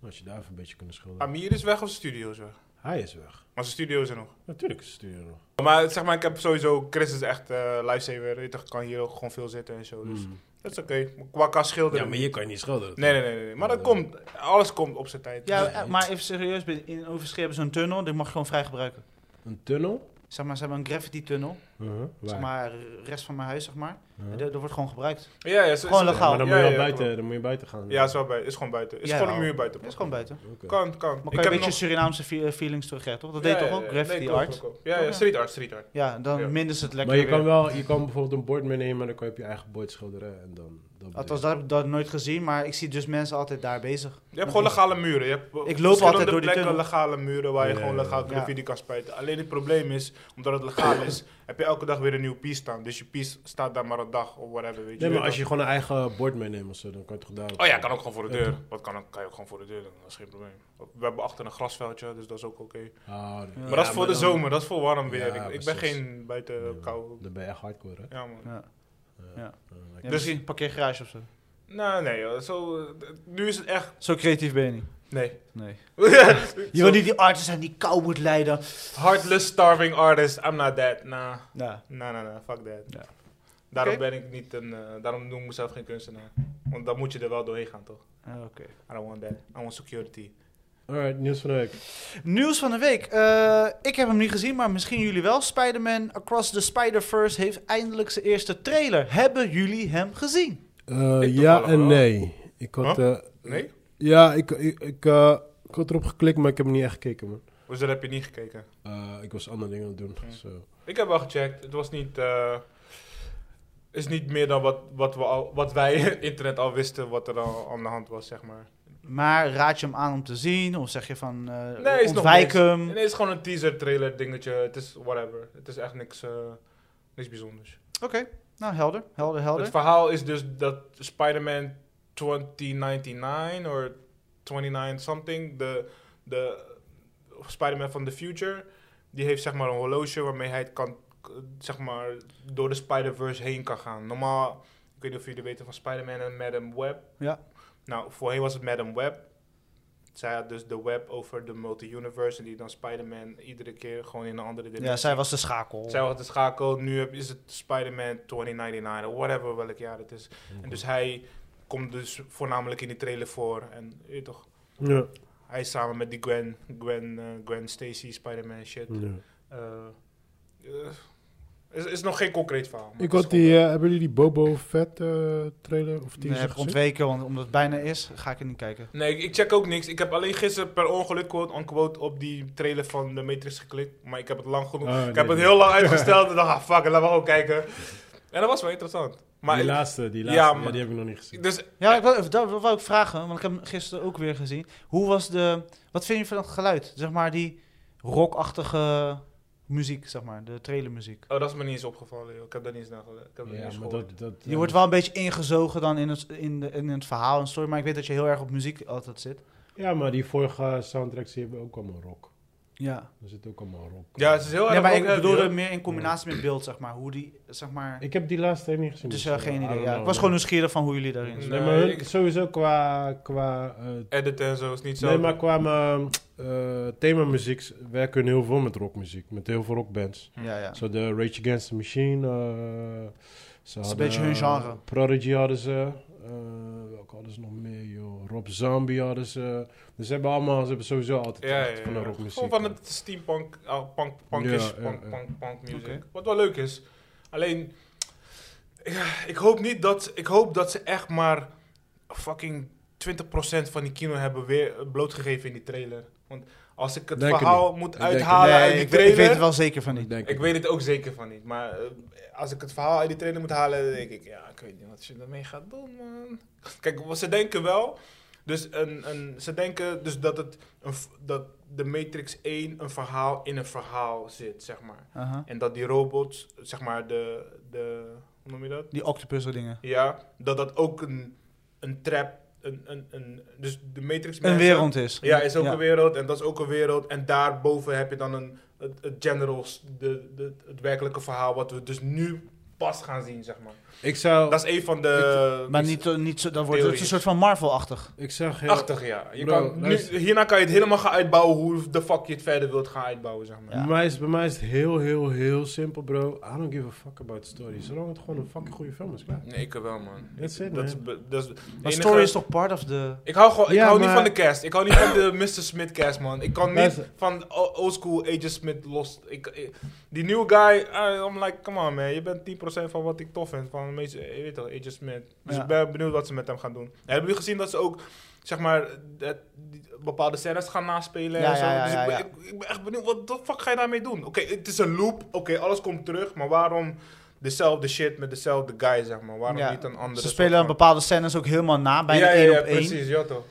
[SPEAKER 3] Dan had je daar even een beetje kunnen schilderen.
[SPEAKER 2] Amir is weg of zijn studio is weg?
[SPEAKER 3] Hij is weg.
[SPEAKER 2] Maar zijn studio is er nog.
[SPEAKER 3] Natuurlijk is zijn studio nog.
[SPEAKER 2] Maar zeg maar, ik heb sowieso. Chris is echt eh lifesaver. weet je, Ik kan hier ook gewoon veel zitten en zo. Dus dat is oké. Qua kan schilderen.
[SPEAKER 3] Hmm. Mm. Ja, maar je kan niet schilderen.
[SPEAKER 2] Nee, nee, nee, nee, nee. Maar dat
[SPEAKER 3] Eh.
[SPEAKER 2] komt. Alles komt op zijn tijd.
[SPEAKER 1] Ja,
[SPEAKER 3] Ja,
[SPEAKER 1] eh, maar even serieus, bij- in Overschier hebben ze een tunnel, die mag je gewoon vrij gebruiken.
[SPEAKER 3] Een tunnel?
[SPEAKER 1] Zeg maar, ze hebben een gravity tunnel,
[SPEAKER 3] Uh-huh.
[SPEAKER 1] zeg maar, rest van mijn huis, zeg maar.
[SPEAKER 3] Uh-huh.
[SPEAKER 1] En dat- dat wordt gewoon gebruikt.
[SPEAKER 2] Ja, ja, is-
[SPEAKER 1] Gewoon
[SPEAKER 2] is-
[SPEAKER 1] legaal.
[SPEAKER 3] Maar dan,
[SPEAKER 2] Ja,
[SPEAKER 3] moet je
[SPEAKER 2] ja,
[SPEAKER 3] wel buiten,
[SPEAKER 2] klopt.
[SPEAKER 3] dan moet je buiten gaan.
[SPEAKER 2] Ja, is wel buiten. Is gewoon buiten. Is
[SPEAKER 1] Ja,
[SPEAKER 2] gewoon een
[SPEAKER 1] ja.
[SPEAKER 2] muur buiten.
[SPEAKER 1] Dat is gewoon buiten.
[SPEAKER 3] Oké.
[SPEAKER 2] Kan, kan.
[SPEAKER 1] Maar kan je een beetje Surinaamse fe- eh, feelings terugkrijgen, toch? Dat deed toch ook graffiti art?
[SPEAKER 2] Ja,
[SPEAKER 1] Toch,
[SPEAKER 2] ja,
[SPEAKER 1] ja.
[SPEAKER 2] street art, street art.
[SPEAKER 1] Ja, dan
[SPEAKER 2] Ja.
[SPEAKER 1] minder ze het lekker
[SPEAKER 3] Maar je kan
[SPEAKER 1] weer.
[SPEAKER 3] wel je kan bijvoorbeeld een bord meenemen en dan kan je op je eigen bord schilderen. En dan, dat
[SPEAKER 1] Althans, dat heb ik dat nooit gezien, maar ik zie dus mensen altijd daar bezig.
[SPEAKER 2] Je hebt gewoon legale muren. Je hebt eh,
[SPEAKER 1] loop altijd
[SPEAKER 2] verschillende
[SPEAKER 1] door die
[SPEAKER 2] plekken
[SPEAKER 1] tunnel.
[SPEAKER 2] legale muren waar je
[SPEAKER 3] Ja,
[SPEAKER 2] gewoon
[SPEAKER 3] ja,
[SPEAKER 2] legaal
[SPEAKER 1] ja.
[SPEAKER 2] graffiti kan spuiten. Alleen het probleem is, omdat het legaal is, heb je elke dag weer een nieuw piece staan. Dus je piece staat daar maar een dag of whatever, weet je.
[SPEAKER 3] Nee, maar
[SPEAKER 2] Weet
[SPEAKER 3] als je gewoon een eigen bord meeneemt of zo, dan kan je het toch
[SPEAKER 2] Oh
[SPEAKER 3] daar.
[SPEAKER 2] ja, kan ook gewoon voor de deur. Wat kan, ook- kan je ook gewoon voor de deur doen, dat is geen probleem. We hebben achter een grasveldje, dus dat is ook oké.
[SPEAKER 3] Ah, nee.
[SPEAKER 1] Maar
[SPEAKER 2] maar dat is voor de
[SPEAKER 3] dan-
[SPEAKER 2] zomer, dat is voor warm weer.
[SPEAKER 3] Ja,
[SPEAKER 2] ik, ik ben
[SPEAKER 3] precies.
[SPEAKER 2] geen buiten
[SPEAKER 3] Nee, man.
[SPEAKER 2] kou.
[SPEAKER 3] Dan ben je echt hardcore, hè?
[SPEAKER 2] Ja, man.
[SPEAKER 1] Ja.
[SPEAKER 3] Ja,
[SPEAKER 1] Ja,
[SPEAKER 3] lekker.
[SPEAKER 2] Dus-
[SPEAKER 1] misschien een parkeergarage of zo.
[SPEAKER 2] Nou, nee, joh, zo, eh, nu is het echt.
[SPEAKER 1] Zo creatief ben je niet.
[SPEAKER 2] Nee.
[SPEAKER 1] Nee. Je
[SPEAKER 2] Zo,
[SPEAKER 1] wil niet die artist zijn die kou moet leiden.
[SPEAKER 2] Heartless starving artist, I'm not that. Nah.
[SPEAKER 1] Ja.
[SPEAKER 2] Nee, nee, nee, fuck that.
[SPEAKER 1] Ja.
[SPEAKER 2] Daarom
[SPEAKER 1] Oké.
[SPEAKER 2] ben ik niet een, eh, daarom noem ik mezelf geen kunstenaar. Want dan moet je er wel doorheen gaan, toch?
[SPEAKER 1] Ah, Oké.
[SPEAKER 2] I don't want that. I want security.
[SPEAKER 3] Alright, nieuws van de week.
[SPEAKER 1] Nieuws van de week. Eh, ik heb hem niet gezien, maar misschien jullie wel. Spider-Man Across the Spider-Verse heeft eindelijk zijn eerste trailer. Hebben jullie hem gezien?
[SPEAKER 3] Eh,
[SPEAKER 2] Ik
[SPEAKER 3] ja
[SPEAKER 2] toevallig
[SPEAKER 3] en
[SPEAKER 2] wel.
[SPEAKER 3] nee. Ik had, eh,
[SPEAKER 2] Nee?
[SPEAKER 3] ja, ik, ik, ik, eh, ik had erop geklikt, maar ik heb hem niet echt gekeken, man.
[SPEAKER 2] Dus dat heb je niet gekeken.
[SPEAKER 3] Eh, ik was andere dingen aan het doen.
[SPEAKER 2] Ja.
[SPEAKER 3] zo.
[SPEAKER 2] Ik heb wel gecheckt. Het was niet. eh, is niet meer dan wat, wat, we al, wat wij internet al wisten, wat er al aan de hand was, zeg maar.
[SPEAKER 1] Maar raad je hem aan om te zien? Of zeg je van, eh
[SPEAKER 2] is nog
[SPEAKER 1] ontwijk
[SPEAKER 2] niks.
[SPEAKER 1] hem?
[SPEAKER 2] Nee, het is gewoon een teaser trailer dingetje. Het is whatever. Het is echt niks, eh, niks bijzonders.
[SPEAKER 1] Oké, nou helder, helder, helder.
[SPEAKER 2] Het verhaal is dus dat Spider-Man 2099 of 29 something, de, de Spider-Man van the future, die heeft zeg maar een horloge waarmee hij het kan, k- zeg maar, door de Spider-Verse heen kan gaan. Normaal, ik weet niet of jullie weten van Spider-Man en Madam Web.
[SPEAKER 1] Ja.
[SPEAKER 2] Nou, voorheen was het Madam Web. Zij had dus de web over de multi-universe en die dan Spider-Man iedere keer gewoon in een andere dimensie.
[SPEAKER 1] Ja, zij was de schakel.
[SPEAKER 2] Zij was de schakel. Nu heb- is het Spider-Man 2099 of whatever welk jaar het is. En dus
[SPEAKER 3] Mhm.
[SPEAKER 2] hij komt dus voornamelijk in die trailer voor. En je weet toch,
[SPEAKER 3] Ja.
[SPEAKER 2] hij is samen met die Gwen,
[SPEAKER 3] Mhm.
[SPEAKER 2] Gwen, eh, Gwen Stacy, Spider-Man shit.
[SPEAKER 3] Ja.
[SPEAKER 2] Eh, eh, is, is nog geen concreet verhaal. maar het
[SPEAKER 3] Ik
[SPEAKER 2] is
[SPEAKER 3] had die,
[SPEAKER 2] gewoon-
[SPEAKER 3] eh, hebben jullie die Bobo Fett eh, trailer of
[SPEAKER 1] Die
[SPEAKER 3] teaser
[SPEAKER 1] heb ik
[SPEAKER 3] gezien?
[SPEAKER 1] ontweken, want omdat het bijna is, ga ik er niet kijken.
[SPEAKER 2] Nee, ik, ik check ook niks. Ik heb alleen gisteren per ongeluk quote-unquote op die trailer van de Matrix geklikt. Maar ik heb het lang genoeg...
[SPEAKER 3] Ah,
[SPEAKER 2] ik
[SPEAKER 3] nee,
[SPEAKER 2] heb het
[SPEAKER 3] nee.
[SPEAKER 2] heel lang uitgesteld en dacht, ah, fuck, it, laten we ook kijken. En dat was wel interessant. Maar
[SPEAKER 3] die
[SPEAKER 2] ik-
[SPEAKER 3] laatste, die
[SPEAKER 2] Ja,
[SPEAKER 3] laatste. Ja,
[SPEAKER 2] maar-
[SPEAKER 3] die heb ik nog niet gezien.
[SPEAKER 2] dus
[SPEAKER 1] Ja, ik wou, dat wou ik vragen, want ik heb hem gisteren ook weer gezien. Hoe was de... Wat vind je van het geluid? Zeg maar die rockachtige muziek, zeg maar. De trailermuziek.
[SPEAKER 2] Oh, dat is me niet eens opgevallen, joh. Ik heb daar niet eens naar gele- Ik heb dat niet
[SPEAKER 3] Ja,
[SPEAKER 2] eens
[SPEAKER 3] maar
[SPEAKER 2] gehoord.
[SPEAKER 3] dat, dat, eh,
[SPEAKER 1] Je wordt wel een beetje ingezogen dan in het, in de, in het verhaal en story. Maar ik weet dat je heel erg op muziek altijd zit.
[SPEAKER 3] ja, maar die vorige soundtracks die hebben ook allemaal rock.
[SPEAKER 1] Ja.
[SPEAKER 3] Er zit ook allemaal rock.
[SPEAKER 2] Ja, het is heel erg... eh,
[SPEAKER 1] Ja, maar ik
[SPEAKER 2] rock-heavy,
[SPEAKER 1] bedoelde
[SPEAKER 2] hoor.
[SPEAKER 1] meer in combinatie met beeld, zeg maar. Hoe die, zeg maar...
[SPEAKER 3] Ik heb die laatste niet gezien.
[SPEAKER 1] Dus eh, geen
[SPEAKER 3] I
[SPEAKER 1] idee.
[SPEAKER 3] don't
[SPEAKER 1] Ja.
[SPEAKER 3] know,
[SPEAKER 1] Ik was
[SPEAKER 3] man.
[SPEAKER 1] gewoon nieuwsgierig van hoe jullie daarin
[SPEAKER 2] Nee,
[SPEAKER 1] zijn.
[SPEAKER 3] Nee, maar hun-
[SPEAKER 2] ik-
[SPEAKER 3] sowieso qua, qua eh,
[SPEAKER 2] Edit en zo is niet zo.
[SPEAKER 3] Nee, maar qua eh, eh, themamuziek werken hun heel veel met rockmuziek. Met heel veel rockbands.
[SPEAKER 1] Ja, ja.
[SPEAKER 3] Zo de Rage Against the Machine. eh, ze
[SPEAKER 1] een
[SPEAKER 3] hadden,
[SPEAKER 1] beetje hun genre.
[SPEAKER 3] Prodigy hadden ze. eh welke hadden ze nog meer, joh? Rob Zombie hadden ze. Dus ze hebben allemaal, ze hebben sowieso altijd
[SPEAKER 2] Ja,
[SPEAKER 3] echt
[SPEAKER 2] ja,
[SPEAKER 3] van de
[SPEAKER 2] ja.
[SPEAKER 3] rockmuziek. eh.
[SPEAKER 2] Gewoon van het steampunk, ah, punk, punkish,
[SPEAKER 3] Ja, ja,
[SPEAKER 2] punk,
[SPEAKER 3] ja.
[SPEAKER 2] punk, punk music.
[SPEAKER 1] Oké.
[SPEAKER 2] Wat wel leuk is. Alleen, ik, ik hoop niet dat, ik hoop dat ze echt maar fucking 20% van die kino hebben weer eh, blootgegeven in die trailer. Want als ik het
[SPEAKER 3] Denk het
[SPEAKER 2] verhaal moet
[SPEAKER 3] denk het
[SPEAKER 2] uithalen uit
[SPEAKER 1] Nee,
[SPEAKER 2] die
[SPEAKER 1] ik, weet- ik
[SPEAKER 2] trailer...
[SPEAKER 1] weet het wel zeker van niet.
[SPEAKER 3] denk
[SPEAKER 2] Ik weet het ook zeker van niet, maar eh, als ik het verhaal uit die trainer moet halen, dan denk ik, ja, ik weet niet wat je ermee gaat doen, man. Kijk, wat ze denken wel, dus een, een, ze denken dus dat, het een v- dat de Matrix 1 een verhaal in een verhaal zit, zeg maar.
[SPEAKER 1] Aha.
[SPEAKER 2] En dat die robots, zeg maar, de, de hoe noem je dat?
[SPEAKER 1] Die octopus dingen.
[SPEAKER 2] Ja, dat dat ook een, een trap, een, een, een, dus de Matrix
[SPEAKER 1] Een
[SPEAKER 2] mensen-
[SPEAKER 1] wereld is.
[SPEAKER 2] ja, is ook
[SPEAKER 1] Ja.
[SPEAKER 2] een wereld en dat is ook een wereld. En daarboven heb je dan een, het, het generals, de, de, het werkelijke verhaal, wat we dus nu pas gaan zien, zeg maar.
[SPEAKER 3] Ik zou...
[SPEAKER 2] Dat is een van de...
[SPEAKER 1] Maar niet, eh, niet zo, dan wordt het
[SPEAKER 2] Theorie.
[SPEAKER 1] een soort van Marvel-achtig.
[SPEAKER 3] Ik zag heel...
[SPEAKER 2] 80 jaar. Je
[SPEAKER 3] Bro,
[SPEAKER 2] kan, nu,
[SPEAKER 3] luister.
[SPEAKER 2] hierna kan je het helemaal gaan uitbouwen hoe de fuck je het verder wilt gaan uitbouwen, zeg maar.
[SPEAKER 1] Ja.
[SPEAKER 3] Bij, mij is, bij mij is het heel, heel, heel simpel, bro. I don't give a fuck about stories. Zolang het gewoon een fucking goede film is, klaar.
[SPEAKER 2] Nee, ik wel, man.
[SPEAKER 3] That's
[SPEAKER 2] Dat
[SPEAKER 3] it, man.
[SPEAKER 2] is, be- dat is de
[SPEAKER 1] Maar
[SPEAKER 2] enige-
[SPEAKER 1] story is toch part of the...
[SPEAKER 2] Ik hou, gewoon, ik
[SPEAKER 3] Ja,
[SPEAKER 2] hou niet
[SPEAKER 3] maar-
[SPEAKER 2] van de cast. Ik hou niet van de Mr. Smith cast, man. Ik kan niet
[SPEAKER 3] Luister.
[SPEAKER 2] van o- oldschool Agent Smith los. Ik, ik- die nieuwe guy, ah, I'm like, come on man. Je bent 10% van wat ik tof vind. Van de meeste, je weet toch, Agent Smith. Dus
[SPEAKER 1] Ja.
[SPEAKER 2] ik ben benieuwd wat ze met hem gaan doen. En hebben jullie gezien dat ze ook, zeg maar, dat, die bepaalde scènes gaan naspelen
[SPEAKER 1] Ja,
[SPEAKER 2] en zo?
[SPEAKER 1] ja, ja,
[SPEAKER 2] dus
[SPEAKER 1] ja,
[SPEAKER 2] ik, ben,
[SPEAKER 1] ja.
[SPEAKER 2] Ik, ik ben echt benieuwd, wat de fuck ga je daarmee doen? Oké, het is een loop. Oké, alles komt terug. Maar waarom dezelfde shit met dezelfde guy, zeg maar? Waarom
[SPEAKER 1] Ja.
[SPEAKER 2] niet een andere
[SPEAKER 1] Ze
[SPEAKER 2] soort
[SPEAKER 1] spelen
[SPEAKER 2] van-
[SPEAKER 1] bepaalde scènes ook helemaal na, bijna
[SPEAKER 2] ja, ja,
[SPEAKER 1] één
[SPEAKER 2] ja,
[SPEAKER 1] op één.
[SPEAKER 2] precies, ja toch.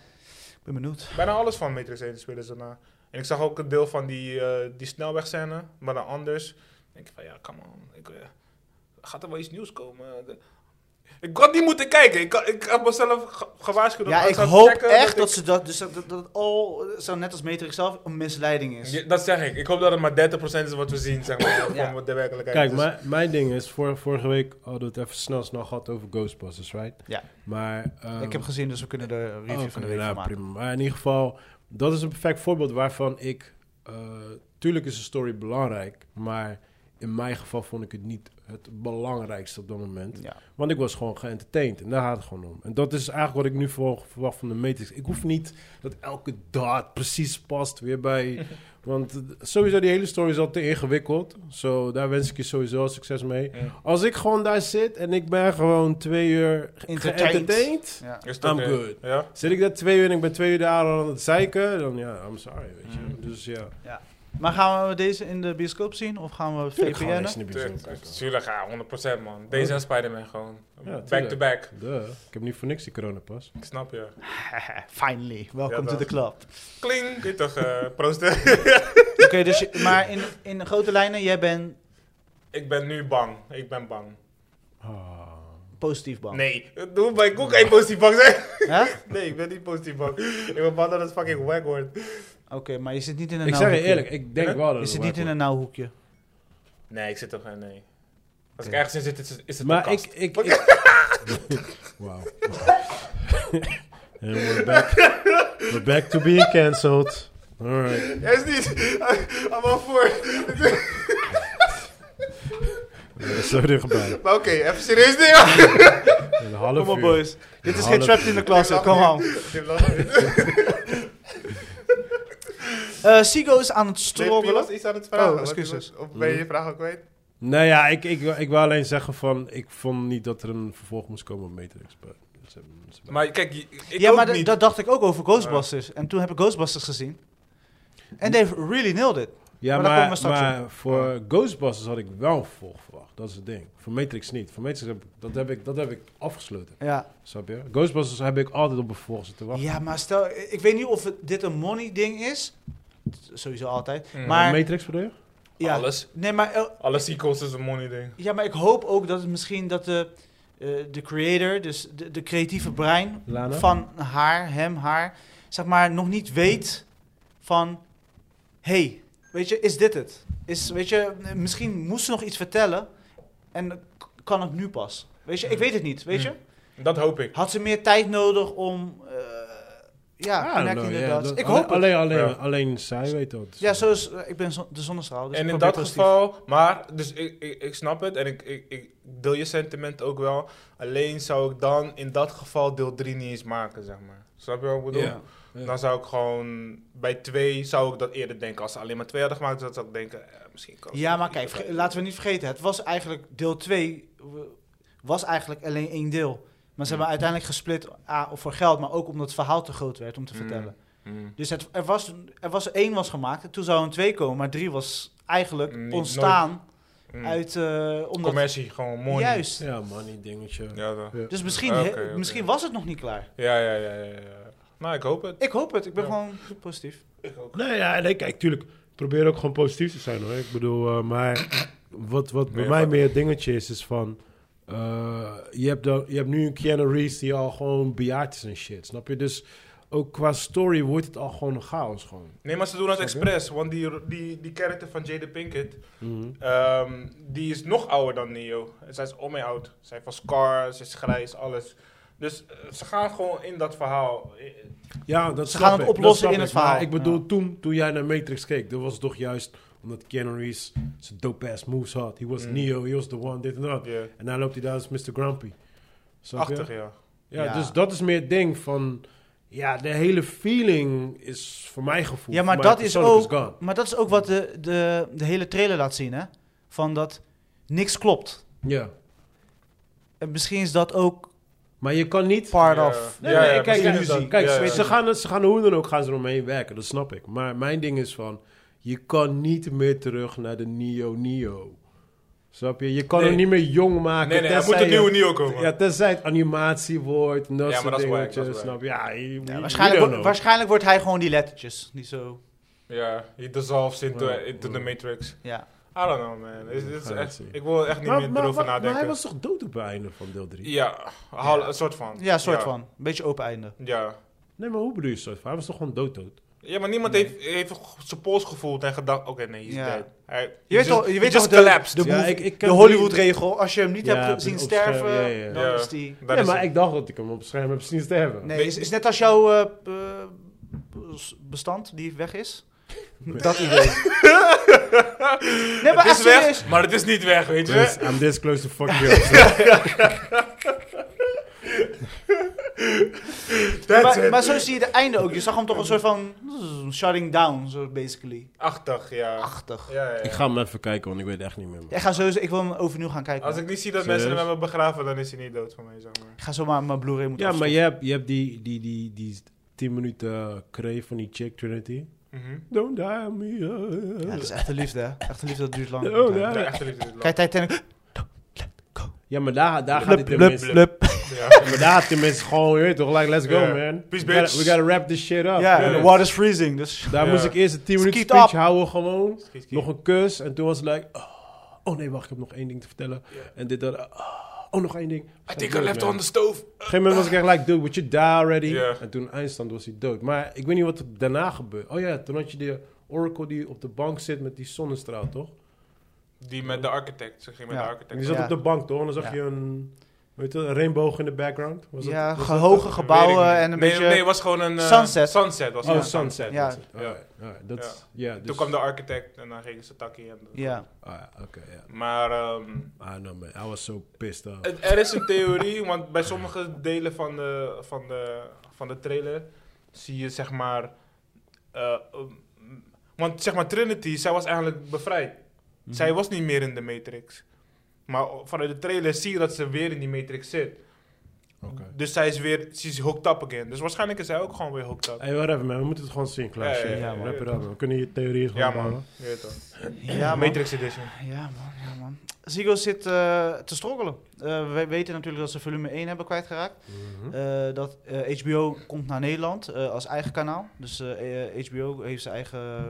[SPEAKER 1] Ik ben benieuwd.
[SPEAKER 2] Bijna alles van Matrix 1 spelen ze na. En ik zag ook een deel van die, eh, die snelwegscène, maar dan anders. Ik denk ik van ja, come on. Ik, eh, gaat er wel iets nieuws komen? De- ik had niet moeten kijken. Ik, had- ik had mezelf ge- gewaarschuwd. dat
[SPEAKER 1] Ja,
[SPEAKER 2] als
[SPEAKER 1] ik
[SPEAKER 2] zou
[SPEAKER 1] hoop
[SPEAKER 2] checken,
[SPEAKER 1] echt dat,
[SPEAKER 2] ik-
[SPEAKER 1] ze dat, dus dat, dat, dat al, zo net als Matrix zelf, een misleiding is.
[SPEAKER 2] Ja, dat zeg ik. Ik hoop dat het maar 30% is wat we zien, zeg maar.
[SPEAKER 1] Ja.
[SPEAKER 2] Van wat de werkelijkheid Dus-
[SPEAKER 3] Kijk,
[SPEAKER 2] is.
[SPEAKER 3] mijn, mijn ding is, vor, vorige week hadden we het even snel, snel gehad over Ghostbusters, right?
[SPEAKER 1] Ja.
[SPEAKER 3] Maar, ehm,
[SPEAKER 1] Ik heb gezien, dus we kunnen de review
[SPEAKER 3] oké,
[SPEAKER 1] van de week
[SPEAKER 3] nou,
[SPEAKER 1] van maken.
[SPEAKER 3] prima. Maar in ieder geval, dat is een perfect voorbeeld waarvan ik... eh, tuurlijk is een story belangrijk, maar in mijn geval vond ik het niet het belangrijkste op dat moment.
[SPEAKER 1] Ja.
[SPEAKER 3] Want ik was gewoon geëntertained en daar gaat het gewoon om. En dat is eigenlijk wat ik nu voor- verwacht van de Matrix. Ik hoef niet dat elke daad precies past weer bij... Want eh, sowieso, die hele story is al te ingewikkeld. Zo, daar wens ik je sowieso al succes mee.
[SPEAKER 2] Ja.
[SPEAKER 3] Als ik gewoon daar zit en ik ben gewoon twee uur
[SPEAKER 1] Entertained.
[SPEAKER 3] geëntertained...
[SPEAKER 1] Ja.
[SPEAKER 2] Is dat
[SPEAKER 3] I'm
[SPEAKER 2] eh,
[SPEAKER 3] good.
[SPEAKER 2] Ja?
[SPEAKER 3] Zit ik daar twee uur en ik ben twee uur daar aan het zeiken, dan ja, I'm sorry, weet je.
[SPEAKER 2] Mm.
[SPEAKER 3] Dus ja,
[SPEAKER 1] Maar gaan we deze in de bioscoop zien of gaan we
[SPEAKER 3] tuurlijk gaan we
[SPEAKER 1] VPN'en?
[SPEAKER 3] niks in de bioscoop kijken.
[SPEAKER 2] Tuurlijk, ja, 100% man. Deze en Spider-Man gewoon.
[SPEAKER 3] tuurlijk.
[SPEAKER 2] back to back.
[SPEAKER 3] Duh, ik heb niet voor niks die coronapas.
[SPEAKER 2] Ik snap je.
[SPEAKER 1] Finally, welcome
[SPEAKER 2] Ja,
[SPEAKER 1] to
[SPEAKER 2] dan.
[SPEAKER 1] the club.
[SPEAKER 2] Kling. Weet toch, eh proosten.
[SPEAKER 1] Oké, dus je- maar in, in de grote lijnen, jij bent
[SPEAKER 2] ik ben nu bang. Ik ben bang.
[SPEAKER 3] Ah.
[SPEAKER 1] positief bang.
[SPEAKER 2] Nee, doe bij Koek geen positief bang zijn.
[SPEAKER 1] Hè? Oké,
[SPEAKER 2] Nee, ik ben niet positief bang. Ik ben bang dat het fucking wack wordt.
[SPEAKER 1] maar je zit niet in een
[SPEAKER 3] Ik
[SPEAKER 1] nauw
[SPEAKER 3] zeg je
[SPEAKER 1] hoekje.
[SPEAKER 3] eerlijk, ik denk
[SPEAKER 2] Huh?
[SPEAKER 3] wel dat
[SPEAKER 1] Je
[SPEAKER 3] het
[SPEAKER 1] zit
[SPEAKER 3] waar
[SPEAKER 1] niet in
[SPEAKER 3] komt.
[SPEAKER 1] een nauw hoekje.
[SPEAKER 2] Nee, ik zit toch geen nee. Als ik
[SPEAKER 3] Oké.
[SPEAKER 2] ergens in zit, is het, is het een
[SPEAKER 3] Maar ik...
[SPEAKER 2] kast.
[SPEAKER 3] ik, ik Wauw. And we're back. We're back to being cancelled. Alright.
[SPEAKER 2] Hij is niet. Allemaal voor.
[SPEAKER 3] Dat is zo dichtbij.
[SPEAKER 2] Maar oké, even serieus dingen.
[SPEAKER 3] Een half
[SPEAKER 1] Kom op,
[SPEAKER 3] uur.
[SPEAKER 1] boys. Dit is geen
[SPEAKER 3] Half-
[SPEAKER 1] Trapped in the Closet, kom on. Eh Sigo Oh. is aan het
[SPEAKER 2] Sigo
[SPEAKER 1] strobbelen.
[SPEAKER 2] was iets aan het vragen.
[SPEAKER 1] Oh,
[SPEAKER 2] Wat-
[SPEAKER 1] excuses.
[SPEAKER 2] Of ben je je vraag al kwijt?
[SPEAKER 3] Nou ja, ik, ik, ik wil alleen zeggen van... Ik vond niet dat er een vervolg moest komen op Matrix. Maar, ze hebben- ze hebben-
[SPEAKER 2] Maar kijk, ik ik
[SPEAKER 1] ja,
[SPEAKER 2] ook
[SPEAKER 1] maar d-
[SPEAKER 2] niet.
[SPEAKER 1] dat dacht ik ook over Ghostbusters. En toen heb ik Ghostbusters gezien. En they've really nailed it.
[SPEAKER 3] ja,
[SPEAKER 1] maar daar
[SPEAKER 3] maar,
[SPEAKER 1] komen we straks
[SPEAKER 3] maar voor Ghostbusters had ik wel een vervolg verwacht. Dat is het ding. Voor Matrix niet. Voor Matrix heb ik, dat, heb ik, dat heb ik afgesloten.
[SPEAKER 1] Ja,
[SPEAKER 3] Snap je? Ghostbusters heb ik altijd op een vervolg zitten wachten.
[SPEAKER 1] ja maar stel, ik weet niet of het, dit een money ding is. Sowieso altijd.
[SPEAKER 2] Mm.
[SPEAKER 1] Maar
[SPEAKER 3] Matrix bedoel je?
[SPEAKER 1] ja,
[SPEAKER 2] Alles.
[SPEAKER 1] nee, maar eh,
[SPEAKER 2] Alle sequels is een money ding.
[SPEAKER 1] Ja, maar ik hoop ook dat het misschien dat de, eh, de creator, dus de, de creatieve brein
[SPEAKER 3] Lana?
[SPEAKER 1] van haar, hem, haar, zeg maar, nog niet weet van, hey, weet je, is dit het? Is, weet je, misschien moest ze nog iets vertellen en k- kan het nu pas. Weet je, ik weet het niet, weet je?
[SPEAKER 2] Dat hoop ik.
[SPEAKER 1] Had ze meer tijd nodig om, eh, ja,
[SPEAKER 3] Ah,
[SPEAKER 1] connecting
[SPEAKER 3] nou,
[SPEAKER 1] the
[SPEAKER 3] ja,
[SPEAKER 1] dots?
[SPEAKER 3] dat-
[SPEAKER 1] Ik
[SPEAKER 3] alleen-
[SPEAKER 1] hoop het.
[SPEAKER 3] alleen, alleen,
[SPEAKER 2] Ja.
[SPEAKER 3] alleen zij weet dat.
[SPEAKER 1] Ja, zo is, eh, ik ben zo- de zonnestraal, dus
[SPEAKER 2] en
[SPEAKER 1] ik
[SPEAKER 2] in
[SPEAKER 1] probeer
[SPEAKER 2] dat
[SPEAKER 1] positief.
[SPEAKER 2] geval, maar, dus ik, ik, ik snap het en ik, ik, ik deel je sentiment ook wel. Alleen zou ik dan in dat geval deel 3 niet eens maken, zeg maar. Snap je wat ik bedoel?
[SPEAKER 3] Ja. Ja.
[SPEAKER 2] Dan zou ik gewoon, bij 2 zou ik dat eerder denken. Als ze alleen maar 2 hadden gemaakt, dan zou ik denken, eh, misschien kan
[SPEAKER 1] Ja, maar kijk, verge- laten we niet vergeten. Het was eigenlijk deel 2 was eigenlijk alleen één deel. Maar ze
[SPEAKER 2] Mm.
[SPEAKER 1] hebben uiteindelijk gesplit A, voor geld, maar ook omdat het verhaal te groot werd om te
[SPEAKER 2] Mm.
[SPEAKER 1] vertellen.
[SPEAKER 2] Hmm.
[SPEAKER 1] Dus het, er, was, er was één was gemaakt, en toen zou een twee komen, maar drie was eigenlijk
[SPEAKER 2] Niet-
[SPEAKER 1] ontstaan
[SPEAKER 2] Hmm.
[SPEAKER 1] uit eh omdat
[SPEAKER 2] Commercie, gewoon money.
[SPEAKER 1] juist.
[SPEAKER 3] Ja, money dingetje.
[SPEAKER 2] Ja, dat-
[SPEAKER 1] Dus misschien,
[SPEAKER 2] Oké,
[SPEAKER 1] he-
[SPEAKER 2] oké.
[SPEAKER 1] misschien was het nog niet klaar.
[SPEAKER 2] ja, ja, ja, ja, ja. Nou, ik hoop het.
[SPEAKER 1] Ik hoop het. Ik ben
[SPEAKER 2] Ja.
[SPEAKER 1] gewoon positief.
[SPEAKER 3] Nee, ja, nee, kijk, tuurlijk. Ik probeer ook gewoon positief te zijn hoor. Ik bedoel, eh, maar wat, wat bij
[SPEAKER 2] Nee,
[SPEAKER 3] mij
[SPEAKER 2] wat-
[SPEAKER 3] meer het dingetje is, is van. eh, je, hebt dan, je hebt nu een Keanu Reeves die al gewoon bejaard is en shit, snap je? Dus ook qua story wordt het al gewoon een chaos gewoon.
[SPEAKER 2] Nee, maar ze doen dat
[SPEAKER 3] Snap je?
[SPEAKER 2] expres, want die, die, die character van Jada Pinkett, Ehm, die is nog ouder dan Neo. Zij is om mij oud. Zij heeft van Scar, ze is grijs, alles. Dus eh, ze gaan gewoon in dat verhaal. Eh,
[SPEAKER 3] Ja, dat
[SPEAKER 1] Ze
[SPEAKER 3] snap
[SPEAKER 1] gaan het
[SPEAKER 3] ik, dat
[SPEAKER 1] oplossen
[SPEAKER 3] snap
[SPEAKER 1] in
[SPEAKER 3] ik.
[SPEAKER 1] het verhaal.
[SPEAKER 3] Maar ik bedoel,
[SPEAKER 1] Ja.
[SPEAKER 3] toen, toen jij naar Matrix keek, dat was toch juist omdat Keanu Reeves zijn dope-ass moves had. He was
[SPEAKER 2] Mm.
[SPEAKER 3] Neo, he was the one, dit en dat.
[SPEAKER 2] ja,
[SPEAKER 3] En dan loopt hij daar als Mr. Grumpy. Snap je?
[SPEAKER 2] Achtig, ja.
[SPEAKER 3] Ja,
[SPEAKER 1] Ja.
[SPEAKER 3] dus dat is meer het ding van... Ja, de hele feeling is voor mijn gevoel...
[SPEAKER 1] Ja, maar
[SPEAKER 3] voor mij
[SPEAKER 1] dat is
[SPEAKER 3] persoonlijk
[SPEAKER 1] ook-
[SPEAKER 3] gone.
[SPEAKER 1] Maar dat is ook wat de, de, de hele trailer laat zien, hè? Van dat niks klopt.
[SPEAKER 3] Ja,
[SPEAKER 1] En misschien is dat ook
[SPEAKER 3] maar je kan niet...
[SPEAKER 1] part
[SPEAKER 2] Ja.
[SPEAKER 1] of.
[SPEAKER 3] Nee,
[SPEAKER 2] Ja,
[SPEAKER 3] nee,
[SPEAKER 2] ja,
[SPEAKER 3] kijk,
[SPEAKER 2] precies.
[SPEAKER 3] kijk,
[SPEAKER 2] Illusie.
[SPEAKER 3] kijk
[SPEAKER 2] Ja,
[SPEAKER 3] ze-
[SPEAKER 2] ja.
[SPEAKER 3] Ze, gaan, ze gaan hoe dan ook gaan ze eromheen werken, dat snap ik. Maar mijn ding is van... Je kan niet meer terug naar de Neo-Neo. Snap je? Je kan
[SPEAKER 2] Nee.
[SPEAKER 3] hem niet meer jong maken.
[SPEAKER 2] Nee, nee, er
[SPEAKER 3] tenzij
[SPEAKER 2] moet een
[SPEAKER 3] Ah, je-
[SPEAKER 2] nieuwe Neo komen.
[SPEAKER 3] Ja, tenzij het animatie wordt en dat
[SPEAKER 2] Ja, maar
[SPEAKER 3] soort
[SPEAKER 2] dat is wack,
[SPEAKER 3] dingetjes,
[SPEAKER 2] dat is wack.
[SPEAKER 3] snap je? Ja, je-
[SPEAKER 1] Ja,
[SPEAKER 3] je-
[SPEAKER 1] waarschijnlijk, wo-
[SPEAKER 3] you don't know.
[SPEAKER 1] waarschijnlijk wordt hij gewoon die lettertjes. Die zo.
[SPEAKER 2] Ja, he dissolves into,
[SPEAKER 3] Ja.
[SPEAKER 2] into the Matrix.
[SPEAKER 1] Ja.
[SPEAKER 2] I don't know, man. Is- is
[SPEAKER 3] Gaan we
[SPEAKER 2] echt-
[SPEAKER 3] het zien.
[SPEAKER 2] ik wil er echt niet
[SPEAKER 3] Maar-
[SPEAKER 2] meer
[SPEAKER 3] maar-
[SPEAKER 2] erover
[SPEAKER 3] maar-
[SPEAKER 2] nadenken.
[SPEAKER 3] Maar hij was toch dood op het einde van deel 3?
[SPEAKER 2] Ja, hal- een soort van.
[SPEAKER 1] ja, soort van. Een beetje open einde.
[SPEAKER 2] Ja.
[SPEAKER 3] Nee, maar hoe bedoel je zo? Hij was toch gewoon dood dood?
[SPEAKER 2] Ja, maar niemand heeft, heeft zijn pols gevoeld en gedacht, oké, nee, hij is
[SPEAKER 1] Ja.
[SPEAKER 2] dead. Hij, he
[SPEAKER 1] Je weet
[SPEAKER 2] just-
[SPEAKER 1] toch, je
[SPEAKER 2] he
[SPEAKER 1] weet toch
[SPEAKER 2] just
[SPEAKER 1] de,
[SPEAKER 2] collapsed.
[SPEAKER 1] de,
[SPEAKER 3] Ja,
[SPEAKER 1] movie-
[SPEAKER 3] ik- ik
[SPEAKER 1] de
[SPEAKER 3] ken
[SPEAKER 1] Hollywood-regel. Als je hem niet
[SPEAKER 3] Ja,
[SPEAKER 1] hebt
[SPEAKER 3] precies,
[SPEAKER 1] zien
[SPEAKER 3] op scherm,
[SPEAKER 1] sterven,
[SPEAKER 3] ja, ja, ja.
[SPEAKER 1] dan
[SPEAKER 2] Ja.
[SPEAKER 1] is die.
[SPEAKER 2] Daar
[SPEAKER 3] Nee,
[SPEAKER 2] is
[SPEAKER 3] maar
[SPEAKER 2] hij.
[SPEAKER 3] ik dacht dat ik hem op het scherm heb zien sterven.
[SPEAKER 1] Nee, is, is net als jouw eh, eh, bes- bestand die weg is. Dat idee. nee, maar
[SPEAKER 2] het
[SPEAKER 1] echt
[SPEAKER 2] is weg,
[SPEAKER 1] serieus.
[SPEAKER 2] maar het is niet weg, weet je.
[SPEAKER 3] This- I'm this close to fuck you. up.
[SPEAKER 1] Maar, maar zo zie je de einde ook. Je zag hem toch een soort van mm, shutting down, zo basically.
[SPEAKER 2] Achtig, ja.
[SPEAKER 1] Achtig.
[SPEAKER 2] Ja, ja, ja.
[SPEAKER 3] ik ga hem even kijken, want ik weet echt niet meer. man.
[SPEAKER 1] Ik ga sowieso, ik wil hem overnieuw gaan kijken.
[SPEAKER 2] Als ik niet zie dat
[SPEAKER 3] Serieus?
[SPEAKER 2] mensen hem hebben begraven, dan is hij niet dood voor mij, zeg maar.
[SPEAKER 1] Ik ga zomaar mijn Blu-ray moeten
[SPEAKER 3] Ja, maar
[SPEAKER 1] afstoppen.
[SPEAKER 3] je hebt, je hebt die, die, die, die 10 minuten kreeg van die chick Trinity.
[SPEAKER 2] Mhm.
[SPEAKER 3] Don't die on me. uh, uh,
[SPEAKER 1] Ja,
[SPEAKER 3] uh.
[SPEAKER 1] dat is echt de liefde, hè? Echt de liefde, dat duurt lang.
[SPEAKER 3] Oh, ja.
[SPEAKER 2] De echte liefde is lang.
[SPEAKER 1] Kijk, Titanic. Ah,
[SPEAKER 3] Ja, maar daar, daar gaat
[SPEAKER 1] Blup,
[SPEAKER 3] het
[SPEAKER 1] blup,
[SPEAKER 3] tenminste.
[SPEAKER 1] blup.
[SPEAKER 2] Ja.
[SPEAKER 3] Maar daar had hij tenminste gewoon, je weet toch, like, let's go,
[SPEAKER 2] Ja.
[SPEAKER 3] man.
[SPEAKER 2] Peace,
[SPEAKER 3] We gotta-
[SPEAKER 2] bitch.
[SPEAKER 3] We gotta wrap this shit up.
[SPEAKER 1] Ja, en
[SPEAKER 2] Ja.
[SPEAKER 1] the water's freezing, dus...
[SPEAKER 3] Daar
[SPEAKER 2] Ja.
[SPEAKER 3] moest ik eerst een 10 minuten
[SPEAKER 1] Skeet
[SPEAKER 3] speech
[SPEAKER 1] up.
[SPEAKER 3] houden gewoon.
[SPEAKER 2] Schiet, schiet.
[SPEAKER 3] Nog een kus. En toen was het like... Oh, oh nee, wacht. Ik heb nog één ding te vertellen. En dit, dat. Oh, oh, nog één ding.
[SPEAKER 2] I think I left on the stove.
[SPEAKER 3] Op een gegeven moment was ik echt like... Dude, would you die already?
[SPEAKER 2] Ja.
[SPEAKER 3] En toen eindstand was hij dood. Maar ik weet niet wat er daarna gebeurde. Oh ja, toen had je die Oracle die op de bank zit met die zonnestraal, toch?
[SPEAKER 2] Die met de architect. Ze ging met
[SPEAKER 1] Ja.
[SPEAKER 2] de
[SPEAKER 3] En die
[SPEAKER 2] architect.
[SPEAKER 3] zat
[SPEAKER 1] Ja.
[SPEAKER 3] op de bank, toch? En dan zag
[SPEAKER 1] Ja.
[SPEAKER 3] je een... Weet je, een regenboog in de background. Was dat-
[SPEAKER 1] Ja,
[SPEAKER 3] was
[SPEAKER 1] ge-
[SPEAKER 3] dat-
[SPEAKER 1] hoge gebouwen
[SPEAKER 2] Weet ik niet.
[SPEAKER 1] en een
[SPEAKER 2] nee,
[SPEAKER 1] beetje...
[SPEAKER 2] Nee, het was gewoon een... eh,
[SPEAKER 1] Sunset.
[SPEAKER 2] Sunset was
[SPEAKER 3] Oh,
[SPEAKER 2] het.
[SPEAKER 3] sunset.
[SPEAKER 1] Ja.
[SPEAKER 3] was het. Alright, alright, dat is- ja, dus-
[SPEAKER 2] Toen kwam de architect en dan gingen ze takkie. En
[SPEAKER 1] Ja.
[SPEAKER 3] Ah, Oké, ja.
[SPEAKER 2] Maar ehm,
[SPEAKER 3] I know, Ah, man. I was so pissed off.
[SPEAKER 2] het- er is een theorie, want bij sommige delen van de, van de, van de trailer zie je zeg maar... eh, um, want zeg maar Trinity, zij was eigenlijk bevrijd.
[SPEAKER 3] Mhm.
[SPEAKER 2] Zij was niet meer in de Matrix. Maar vanuit de trailer zie je dat ze weer in die Matrix zit.
[SPEAKER 3] Oké.
[SPEAKER 2] Dus zij is weer, ze is hooked up again. Dus waarschijnlijk is zij ook gewoon weer hooked up.
[SPEAKER 3] Hey, wacht even, man. We moeten het gewoon zien, klaar.
[SPEAKER 2] Ja,
[SPEAKER 3] shit.
[SPEAKER 2] ja, ja, man.
[SPEAKER 3] Wrap it up, man. We kunnen hier theorieën gewoon
[SPEAKER 2] Ja man,
[SPEAKER 3] bouwen.
[SPEAKER 2] je weet toch.
[SPEAKER 1] Ja, man.
[SPEAKER 2] Matrix Edition.
[SPEAKER 1] Ja, man. Ja, man. Ziggo zit eh, te struggelen. Eh, we weten natuurlijk dat ze volume 1 hebben kwijtgeraakt.
[SPEAKER 2] Hm?
[SPEAKER 3] Mhm.
[SPEAKER 1] Eh, dat eh, HBO komt naar Nederland eh, als eigen kanaal. Dus eh, eh, HBO heeft zijn eigen, eh,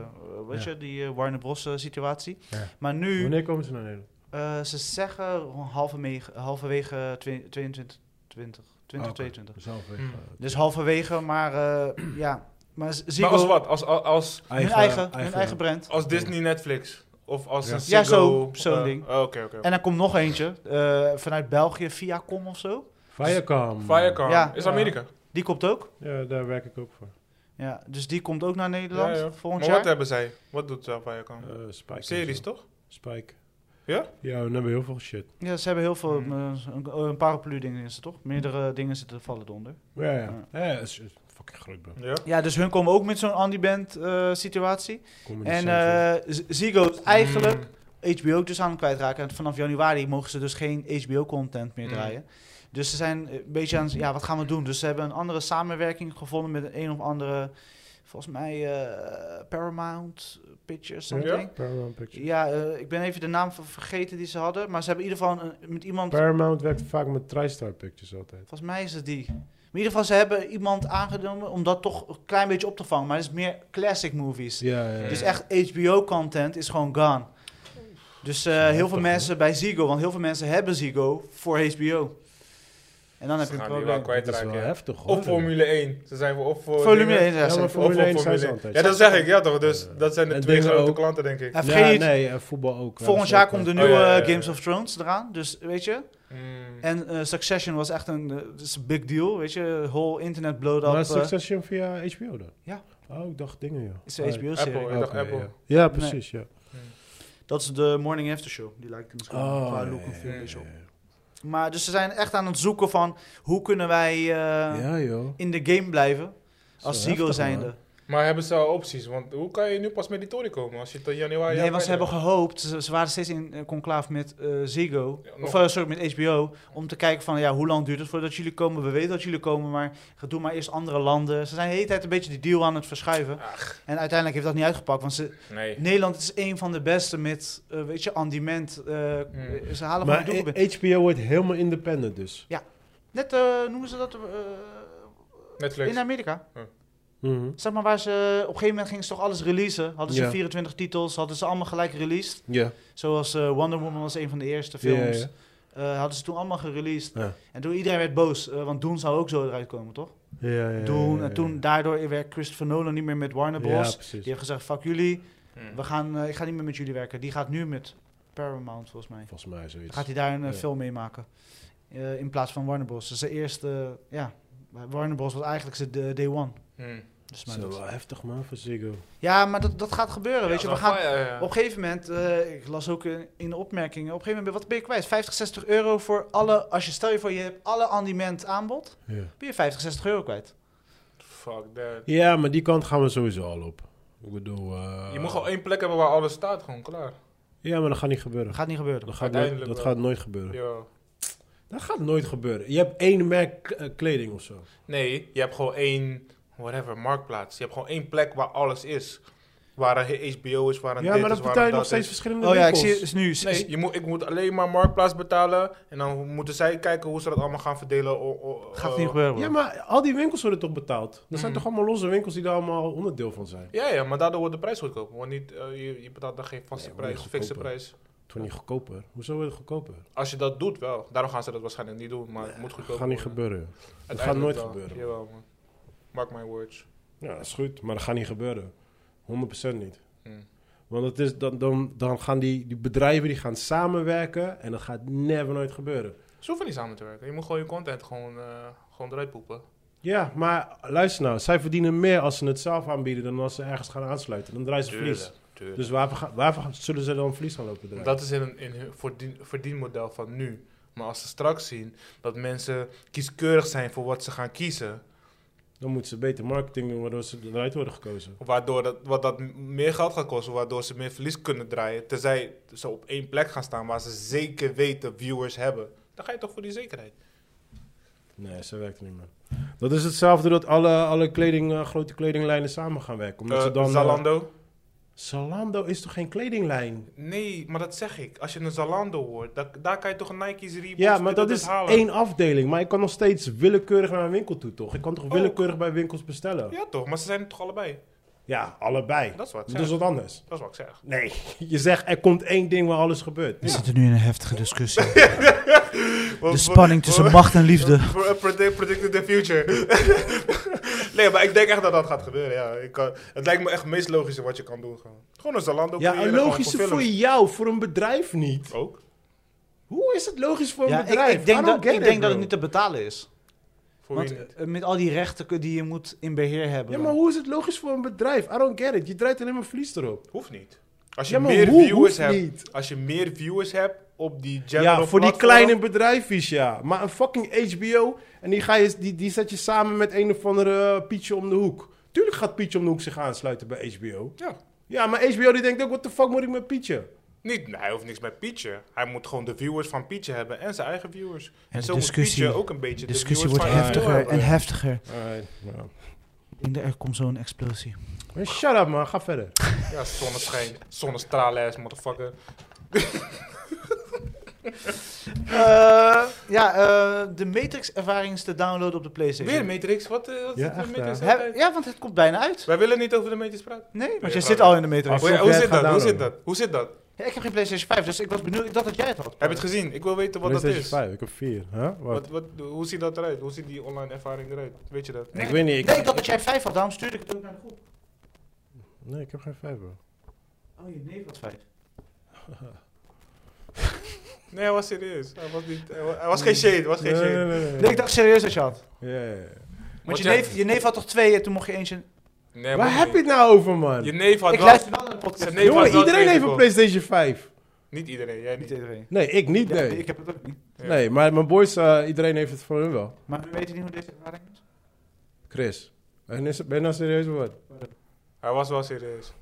[SPEAKER 1] weet
[SPEAKER 3] Ja.
[SPEAKER 1] je, die eh, Warner Bros. eh, situatie.
[SPEAKER 3] Ja.
[SPEAKER 1] Maar nu,
[SPEAKER 3] Wanneer komen ze naar Nederland?
[SPEAKER 1] eh, ze zeggen halverwege, halverwege 22, 20, 2022.
[SPEAKER 3] Zelf
[SPEAKER 2] Hmm.
[SPEAKER 1] Dus halverwege, maar eh, ja. Maar Z-
[SPEAKER 2] Maar
[SPEAKER 1] Ziggo,
[SPEAKER 2] als wat? Als, als, als,
[SPEAKER 1] hun eigen, hun eigen brand.
[SPEAKER 2] als Disney Netflix? Of als
[SPEAKER 3] Ja.
[SPEAKER 2] een
[SPEAKER 1] Ja,
[SPEAKER 2] Ziggo?
[SPEAKER 1] zo- zo'n
[SPEAKER 2] eh,
[SPEAKER 1] ding.
[SPEAKER 2] oh, Oké, oké.
[SPEAKER 1] En er komt nog eentje eh, vanuit België, Viacom of zo.
[SPEAKER 3] Viacom.
[SPEAKER 2] Viacom
[SPEAKER 1] Ja.
[SPEAKER 2] is
[SPEAKER 3] Ja.
[SPEAKER 2] Amerika.
[SPEAKER 1] Die komt ook.
[SPEAKER 3] Ja, daar werk ik ook voor.
[SPEAKER 1] Ja, dus die komt ook naar Nederland
[SPEAKER 2] Ja, ja.
[SPEAKER 1] volgend
[SPEAKER 2] Maar wat
[SPEAKER 1] jaar.
[SPEAKER 2] hebben zij? Wat doet eh, Viacom?
[SPEAKER 3] Eh, Spike. en
[SPEAKER 2] Series
[SPEAKER 3] zo.
[SPEAKER 2] toch?
[SPEAKER 3] Spike.
[SPEAKER 2] Ja?
[SPEAKER 3] Ja, we hebben heel veel shit.
[SPEAKER 1] Ja, ze hebben heel veel,
[SPEAKER 2] Hmm.
[SPEAKER 1] eh, een, een paraplu dingen is er toch? Meerdere dingen zitten vallen eronder.
[SPEAKER 3] Ja, ja. Ja, het is is fucking groot, bro.
[SPEAKER 2] Ja.
[SPEAKER 1] Ja, dus hun komen ook met zo'n Andy-band eh, situatie.
[SPEAKER 3] Comedy
[SPEAKER 1] En
[SPEAKER 3] Central.
[SPEAKER 1] eh, Z- Ziggo is eigenlijk
[SPEAKER 2] Hmm.
[SPEAKER 1] HBO dus aan het kwijtraken. En vanaf januari mogen ze dus geen HBO-content meer
[SPEAKER 2] Hmm.
[SPEAKER 1] draaien. Dus ze zijn een beetje aan, het- ja, wat gaan we doen? Dus ze hebben een andere samenwerking gevonden met een, een of andere, volgens mij eh, Paramount Pictures,
[SPEAKER 3] Ja?
[SPEAKER 1] something.
[SPEAKER 3] Paramount Pictures.
[SPEAKER 1] Ja, eh, ik ben even de naam van vergeten die ze hadden. Maar ze hebben in ieder geval een- met iemand.
[SPEAKER 3] Paramount werkt vaak met TriStar Pictures altijd.
[SPEAKER 1] Volgens mij is het die. Maar in ieder geval, ze hebben iemand aangenomen om dat toch een klein beetje op te vangen. Maar het is meer classic movies.
[SPEAKER 3] Ja, ja. ja.
[SPEAKER 1] Dus echt HBO-content is gewoon gone. Dus eh, heel
[SPEAKER 3] Heftig,
[SPEAKER 1] veel
[SPEAKER 3] hoor.
[SPEAKER 1] mensen bij Ziggo, want heel veel mensen hebben Ziggo voor HBO. En dan heb
[SPEAKER 2] Ze
[SPEAKER 1] je een
[SPEAKER 2] gaan die
[SPEAKER 1] probleem.
[SPEAKER 2] wel
[SPEAKER 3] Dat is wel
[SPEAKER 2] kwijtraken. ja.
[SPEAKER 3] heftig, hoor.
[SPEAKER 2] Of Formule 1. Ze zijn voor of voor
[SPEAKER 1] Volume
[SPEAKER 2] Oh, dingen-
[SPEAKER 1] 1
[SPEAKER 3] Ja,
[SPEAKER 1] ja,
[SPEAKER 3] maar
[SPEAKER 1] zeker.
[SPEAKER 2] Of voor
[SPEAKER 3] Formule 1 zijn ze
[SPEAKER 2] 1.
[SPEAKER 3] altijd.
[SPEAKER 2] Ja, dat zeg ik, ja toch. Dus
[SPEAKER 3] Ja.
[SPEAKER 2] dat zijn de
[SPEAKER 3] En
[SPEAKER 2] twee
[SPEAKER 3] dingen
[SPEAKER 2] grote
[SPEAKER 3] ook.
[SPEAKER 2] klanten, denk ik.
[SPEAKER 1] Ja,
[SPEAKER 3] Ja,
[SPEAKER 1] vergeet niet,
[SPEAKER 3] nee, eh, voetbal ook. Ja,
[SPEAKER 1] volgend
[SPEAKER 3] dat is
[SPEAKER 1] jaar
[SPEAKER 3] ook,
[SPEAKER 1] komt
[SPEAKER 3] eh,
[SPEAKER 1] de
[SPEAKER 2] Oh,
[SPEAKER 1] nieuwe
[SPEAKER 2] ja, ja, ja.
[SPEAKER 1] Games of Thrones eraan. Dus weet je.
[SPEAKER 2] Mm.
[SPEAKER 1] En eh, Succession was echt een eh, is een big deal. Weet je, whole internet blowed up.
[SPEAKER 3] Maar
[SPEAKER 1] eh,
[SPEAKER 3] Succession via HBO dan?
[SPEAKER 1] Ja.
[SPEAKER 3] Oh, ik dacht dingen, joh.
[SPEAKER 1] eh, is een HBO-serie.
[SPEAKER 2] Apple,
[SPEAKER 3] Ah,
[SPEAKER 2] ik dacht
[SPEAKER 3] oké,
[SPEAKER 2] Apple.
[SPEAKER 3] ja. Ja, precies, ja.
[SPEAKER 1] Dat is de Morning After Show. Die lijkt misschien qua
[SPEAKER 3] Oh, ja,
[SPEAKER 1] look en feel
[SPEAKER 3] ja,
[SPEAKER 1] een beetje op.
[SPEAKER 3] ja,
[SPEAKER 1] Maar dus ze zijn echt aan het zoeken van hoe kunnen wij eh,
[SPEAKER 3] Ja, joh.
[SPEAKER 1] in de game blijven als
[SPEAKER 3] Zo
[SPEAKER 1] Ziggo
[SPEAKER 3] heftig,
[SPEAKER 1] zijnde.
[SPEAKER 3] man.
[SPEAKER 2] Maar hebben ze al opties? Want hoe kan je nu pas met die tory komen als je tot januari...
[SPEAKER 1] Nee, want ze hebben
[SPEAKER 2] januari-
[SPEAKER 1] gehoopt, ze, ze waren steeds in eh, conclaaf met eh Ziggo,
[SPEAKER 2] Ja, nog.
[SPEAKER 1] of eh, sorry, met HBO, om te kijken van ja, hoe lang duurt het voordat jullie komen? We weten dat jullie komen, maar doe maar eerst andere landen. Ze zijn de hele tijd een beetje die deal aan het verschuiven. En uiteindelijk heeft dat niet uitgepakt, want ze,
[SPEAKER 2] Nee.
[SPEAKER 1] Nederland is een van de beste met, eh, weet je, on-demand. eh,
[SPEAKER 2] Hmm.
[SPEAKER 1] Ze halen gewoon
[SPEAKER 3] Maar
[SPEAKER 1] doelpunt.
[SPEAKER 3] eh, HBO wordt helemaal independent dus.
[SPEAKER 1] Net eh, noemen ze dat eh,
[SPEAKER 2] Netflix.
[SPEAKER 1] in Amerika.
[SPEAKER 3] Mhm.
[SPEAKER 1] Zeg maar waar ze op een gegeven moment gingen ze toch alles releasen. Hadden ze
[SPEAKER 3] Ja.
[SPEAKER 1] 24 titels, hadden ze allemaal gelijk released.
[SPEAKER 3] Ja.
[SPEAKER 1] Zoals eh, Wonder Woman was een van de eerste films. Eh, hadden ze toen allemaal gereleased.
[SPEAKER 3] Ja.
[SPEAKER 1] En toen iedereen werd boos, eh, want Doen zou ook zo eruit komen, toch?
[SPEAKER 3] Ja, ja, ja,
[SPEAKER 1] Doen,
[SPEAKER 3] ja,
[SPEAKER 1] en toen daardoor werkt Christopher Nolan niet meer met
[SPEAKER 3] ja,
[SPEAKER 1] Warner Bros.
[SPEAKER 3] Ja, precies.
[SPEAKER 1] Die heeft gezegd, fuck jullie,
[SPEAKER 2] Hmm.
[SPEAKER 1] we gaan, eh, ik ga niet meer met jullie werken. Die gaat nu met Paramount, volgens mij.
[SPEAKER 3] Volgens mij
[SPEAKER 1] Dan
[SPEAKER 3] zoiets.
[SPEAKER 1] gaat hij daar een eh,
[SPEAKER 3] Dus Ja.
[SPEAKER 1] film mee maken. Eh, in plaats van Warner Bros. Dus de eerste, ja, Warner Bros. was eigenlijk zijn de- day one.
[SPEAKER 2] Hmm.
[SPEAKER 1] Dus maar
[SPEAKER 3] Zo, eh.
[SPEAKER 1] dat-
[SPEAKER 3] wel heftig man, voor Ziggo.
[SPEAKER 1] Ja, maar dat, dat gaat gebeuren, weet je.
[SPEAKER 2] Ja,
[SPEAKER 1] We
[SPEAKER 2] dan
[SPEAKER 1] gaan,
[SPEAKER 2] ga je- ja.
[SPEAKER 1] op een gegeven moment, eh, ik las ook in, in de opmerkingen, op een gegeven moment, wat ben je kwijt? 50, 60 euro voor alle, als je stel je voor je hebt alle on-demand aanbod,
[SPEAKER 3] Ja.
[SPEAKER 1] ben je 50, 60 euro kwijt.
[SPEAKER 2] Fuck that.
[SPEAKER 3] ja, maar die kant gaan we sowieso al op. Ik bedoel... eh,
[SPEAKER 2] Je moet gewoon één plek hebben waar alles staat, gewoon klaar.
[SPEAKER 3] Ja, maar dat gaat niet gebeuren.
[SPEAKER 1] Dat gaat niet gebeuren.
[SPEAKER 3] Dat gaat, nooit,
[SPEAKER 2] Uiteindelijk
[SPEAKER 3] dat
[SPEAKER 2] wel.
[SPEAKER 3] gaat nooit gebeuren.
[SPEAKER 2] Ja.
[SPEAKER 3] Dat gaat nooit gebeuren. Je hebt één merk eh, kleding of zo.
[SPEAKER 2] Nee, je hebt gewoon één, whatever, marktplaats. Je hebt gewoon één plek waar alles is. Waar een HBO is, waar een
[SPEAKER 3] Ja,
[SPEAKER 2] dit
[SPEAKER 3] maar
[SPEAKER 2] is,
[SPEAKER 3] dat
[SPEAKER 2] waar
[SPEAKER 3] betaal je
[SPEAKER 2] een
[SPEAKER 3] nog
[SPEAKER 2] dat
[SPEAKER 3] steeds
[SPEAKER 2] is.
[SPEAKER 3] verschillende
[SPEAKER 1] Oh ja, ik
[SPEAKER 3] winkels.
[SPEAKER 1] zie is nu.
[SPEAKER 2] Nee, je moet, ik moet alleen maar marktplaats betalen. En dan moeten zij kijken hoe ze dat allemaal gaan verdelen. o- o-
[SPEAKER 1] gaat
[SPEAKER 2] eh,
[SPEAKER 1] het niet gebeuren.
[SPEAKER 3] Oh. Ja,
[SPEAKER 1] bro.
[SPEAKER 3] maar al die winkels worden toch betaald? Er zijn
[SPEAKER 1] Hmm.
[SPEAKER 2] Mhm.
[SPEAKER 3] toch allemaal losse winkels die daar allemaal onderdeel van zijn?
[SPEAKER 2] Ja, ja, maar daardoor wordt de prijs goedkoper. Want niet, eh, je, je betaalt dan geen vaste
[SPEAKER 3] Nee, wordt
[SPEAKER 2] prijs,
[SPEAKER 3] niet
[SPEAKER 2] fixe
[SPEAKER 3] goedkoper.
[SPEAKER 2] prijs.
[SPEAKER 3] Toen niet goedkoper. Hoezo wordt het goedkoper?
[SPEAKER 2] Als je dat doet, wel. Daarom gaan ze dat waarschijnlijk niet doen. Maar het moet
[SPEAKER 3] Dat
[SPEAKER 2] goedkoper
[SPEAKER 3] gaat niet
[SPEAKER 2] worden.
[SPEAKER 3] gebeuren. Dat gaat
[SPEAKER 2] Uiteindelijk
[SPEAKER 3] nooit
[SPEAKER 2] wel.
[SPEAKER 3] gebeuren.
[SPEAKER 2] Jawel, man. Mark my words.
[SPEAKER 3] Ja, dat is goed, maar dat gaat niet gebeuren. 100% niet.
[SPEAKER 2] Hmm.
[SPEAKER 3] Want het is, dan, dan, dan gaan die, die bedrijven die gaan samenwerken en dat gaat never nooit gebeuren.
[SPEAKER 2] Ze hoeven niet samen te werken. Je moet gewoon je content gewoon, eh, gewoon eruit poepen.
[SPEAKER 3] Ja, maar luister nou, zij verdienen meer als ze het zelf aanbieden dan als ze ergens gaan aansluiten. Dan draaien ze verlies.
[SPEAKER 2] Tuurlijk.
[SPEAKER 3] Dus waarvoor, gaan- waarvoor gaan- zullen ze dan verlies gaan lopen draaien?
[SPEAKER 2] Dat is in een in hun voordien, verdienmodel van nu. Maar als ze straks zien dat mensen kieskeurig zijn voor wat ze gaan kiezen,
[SPEAKER 3] Dan moeten ze beter marketing doen, waardoor ze eruit worden gekozen.
[SPEAKER 2] Waardoor dat, wat dat meer geld gaat kosten, waardoor ze meer verlies kunnen draaien. Tenzij ze op één plek gaan staan waar ze zeker weten viewers hebben. Dan ga je toch voor die zekerheid.
[SPEAKER 3] Nee, zo werkt het niet meer. Dat is hetzelfde dat alle, alle kleding, eh, grote kledinglijnen samen gaan werken. Omdat ze
[SPEAKER 2] Eh,
[SPEAKER 3] dan, eh,
[SPEAKER 2] Zalando?
[SPEAKER 3] Zalando is toch geen kledinglijn?
[SPEAKER 2] Nee, maar dat zeg ik. Als je een Zalando hoort, da- daar kan je toch een Nike's Reeboks
[SPEAKER 3] Ja,
[SPEAKER 2] dit
[SPEAKER 3] maar dat is
[SPEAKER 2] halen.
[SPEAKER 3] één afdeling. Maar ik kan nog steeds willekeurig naar een winkel toe, toch? Ik kan toch
[SPEAKER 2] Ook.
[SPEAKER 3] willekeurig bij winkels bestellen? Ja,
[SPEAKER 2] Oh. Ja toch, maar ze zijn het toch allebei?
[SPEAKER 3] allebei.
[SPEAKER 2] Dat is wat ik
[SPEAKER 3] Dat
[SPEAKER 2] zeg.
[SPEAKER 3] is wat anders.
[SPEAKER 2] Dat is wat ik zeg.
[SPEAKER 3] Nee, je zegt er komt één ding waar alles gebeurt.
[SPEAKER 1] We zitten nu in een heftige discussie. De spanning tussen macht en liefde.
[SPEAKER 2] Pro- Predict, predicted the future. nee, maar ik denk echt dat dat gaat gebeuren. Ja. Ik kan, het lijkt me echt het meest logische wat je kan doen. Gewoon, gewoon een Zalando.
[SPEAKER 3] Ja,
[SPEAKER 2] creëren,
[SPEAKER 3] een
[SPEAKER 2] gewoon
[SPEAKER 3] logische
[SPEAKER 2] films.
[SPEAKER 3] voor jou, voor een bedrijf niet.
[SPEAKER 2] Ook.
[SPEAKER 3] Hoe is het logisch voor een
[SPEAKER 1] Ja, ik,
[SPEAKER 3] bedrijf?
[SPEAKER 1] ik denk,
[SPEAKER 3] I don't
[SPEAKER 1] dat,
[SPEAKER 3] get
[SPEAKER 1] ik
[SPEAKER 3] it,
[SPEAKER 1] denk dat
[SPEAKER 3] bro.
[SPEAKER 1] het niet te betalen is.
[SPEAKER 2] Voor
[SPEAKER 1] Want
[SPEAKER 2] wie niet?
[SPEAKER 1] eh, met al die rechten kun- die je moet in beheer hebben.
[SPEAKER 3] Ja,
[SPEAKER 1] dan.
[SPEAKER 3] maar hoe is het logisch voor een bedrijf? I don't get it. Je draait alleen maar verlies erop.
[SPEAKER 2] Hoeft niet. Als je
[SPEAKER 3] Ja, maar
[SPEAKER 2] meer
[SPEAKER 3] hoe
[SPEAKER 2] viewers
[SPEAKER 3] hoeft
[SPEAKER 2] hebt,
[SPEAKER 3] niet?
[SPEAKER 2] als je meer viewers hebt op die general
[SPEAKER 3] Ja, voor die
[SPEAKER 2] platform,
[SPEAKER 3] kleine bedrijfjes, ja. Maar een fucking HBO, en die, ga je, die, die zet je samen met een of andere eh, Pietje om de hoek. Tuurlijk gaat Pietje om de hoek zich aansluiten bij HBO.
[SPEAKER 2] Ja.
[SPEAKER 3] Ja, maar HBO die denkt ook, what the fuck moet ik met Pietje?
[SPEAKER 2] Niet, nee, hij hoeft niks met Pietje. Hij moet gewoon de viewers van Pietje hebben en zijn eigen viewers. En,
[SPEAKER 1] de
[SPEAKER 2] zo
[SPEAKER 1] discussie-
[SPEAKER 2] moet Pietje ook een beetje
[SPEAKER 1] de
[SPEAKER 2] de
[SPEAKER 1] discussie
[SPEAKER 2] viewers
[SPEAKER 1] wordt
[SPEAKER 2] van
[SPEAKER 3] HBO
[SPEAKER 1] heftiger
[SPEAKER 2] hebben.
[SPEAKER 1] en heftiger.
[SPEAKER 3] Alright, nou.
[SPEAKER 1] Ik denk dat er komt zo'n explosie.
[SPEAKER 3] Maar Shut up man, ga verder.
[SPEAKER 2] Ja, zonneschijn. Zonnestralen ass, motherfucker.
[SPEAKER 1] Eh, ja, eh, de Matrix-ervaring is te downloaden op de PlayStation.
[SPEAKER 2] Weer Matrix? Wat, eh, wat
[SPEAKER 3] Ja,
[SPEAKER 2] zit er
[SPEAKER 3] echt,
[SPEAKER 2] met Matrix?
[SPEAKER 3] hè?
[SPEAKER 1] Heb- ja, want het komt bijna uit.
[SPEAKER 2] Wij willen niet over de Matrix praten.
[SPEAKER 1] Nee, want
[SPEAKER 2] Ja, Oh,
[SPEAKER 1] je zit
[SPEAKER 2] vraag.
[SPEAKER 1] al in de Matrix.
[SPEAKER 3] Alsof
[SPEAKER 2] Hoe, hoe
[SPEAKER 3] jij het
[SPEAKER 2] zit
[SPEAKER 3] gaat
[SPEAKER 2] dat? Hoe zit
[SPEAKER 3] downloaden.
[SPEAKER 2] dat? Hoe zit dat?
[SPEAKER 1] Ja, ik heb geen PlayStation 5, dus ik was benieuwd. Ik dacht dat jij het had.
[SPEAKER 2] Heb je het gezien? Ik wil weten wat dat
[SPEAKER 3] PlayStation
[SPEAKER 2] is.
[SPEAKER 3] 5, ik heb 4. Huh? Wat?
[SPEAKER 2] Wat, wat, hoe ziet dat eruit? Hoe ziet die online ervaring eruit? Weet je dat?
[SPEAKER 3] Ik weet niet, ik-
[SPEAKER 1] Nee, ik dacht dat jij 5 had, daarom stuurde ik het ook naar de groep.
[SPEAKER 3] Nee, ik heb geen 5 bro.
[SPEAKER 1] Oh, je neef had 5.
[SPEAKER 2] Nee, hij was serieus. Hij was, niet, hij wa- hij was geen shade. hij was geen shade.
[SPEAKER 1] Nee, ik dacht serieus dat je had.
[SPEAKER 3] Ja, ja, ja.
[SPEAKER 1] Want
[SPEAKER 2] Wat
[SPEAKER 1] je
[SPEAKER 2] jij-
[SPEAKER 1] neef, je neef had toch twee en toen mocht je eentje...
[SPEAKER 2] Nee,
[SPEAKER 3] Waar
[SPEAKER 2] maar
[SPEAKER 3] heb
[SPEAKER 2] niet.
[SPEAKER 3] je het nou over man?
[SPEAKER 2] Je neef had
[SPEAKER 1] Ik
[SPEAKER 2] wel-
[SPEAKER 1] luister wel naar de podcast.
[SPEAKER 2] Zijn neef had
[SPEAKER 3] Jongen,
[SPEAKER 2] wel
[SPEAKER 3] iedereen
[SPEAKER 2] twee
[SPEAKER 3] heeft een
[SPEAKER 2] gekocht.
[SPEAKER 3] PlayStation 5.
[SPEAKER 2] Niet iedereen, jij
[SPEAKER 1] Niet
[SPEAKER 2] niet.
[SPEAKER 1] iedereen.
[SPEAKER 3] Nee, ik niet,
[SPEAKER 1] Ja,
[SPEAKER 3] nee.
[SPEAKER 1] Ik heb het ook niet.
[SPEAKER 2] Ja.
[SPEAKER 3] Nee, maar mijn boys, eh, iedereen heeft het voor hun wel.
[SPEAKER 1] Maar we weten niet hoe deze ervaring is.
[SPEAKER 3] Chris. En is, ben je nou serieus of wat?
[SPEAKER 2] Hij was wel serieus.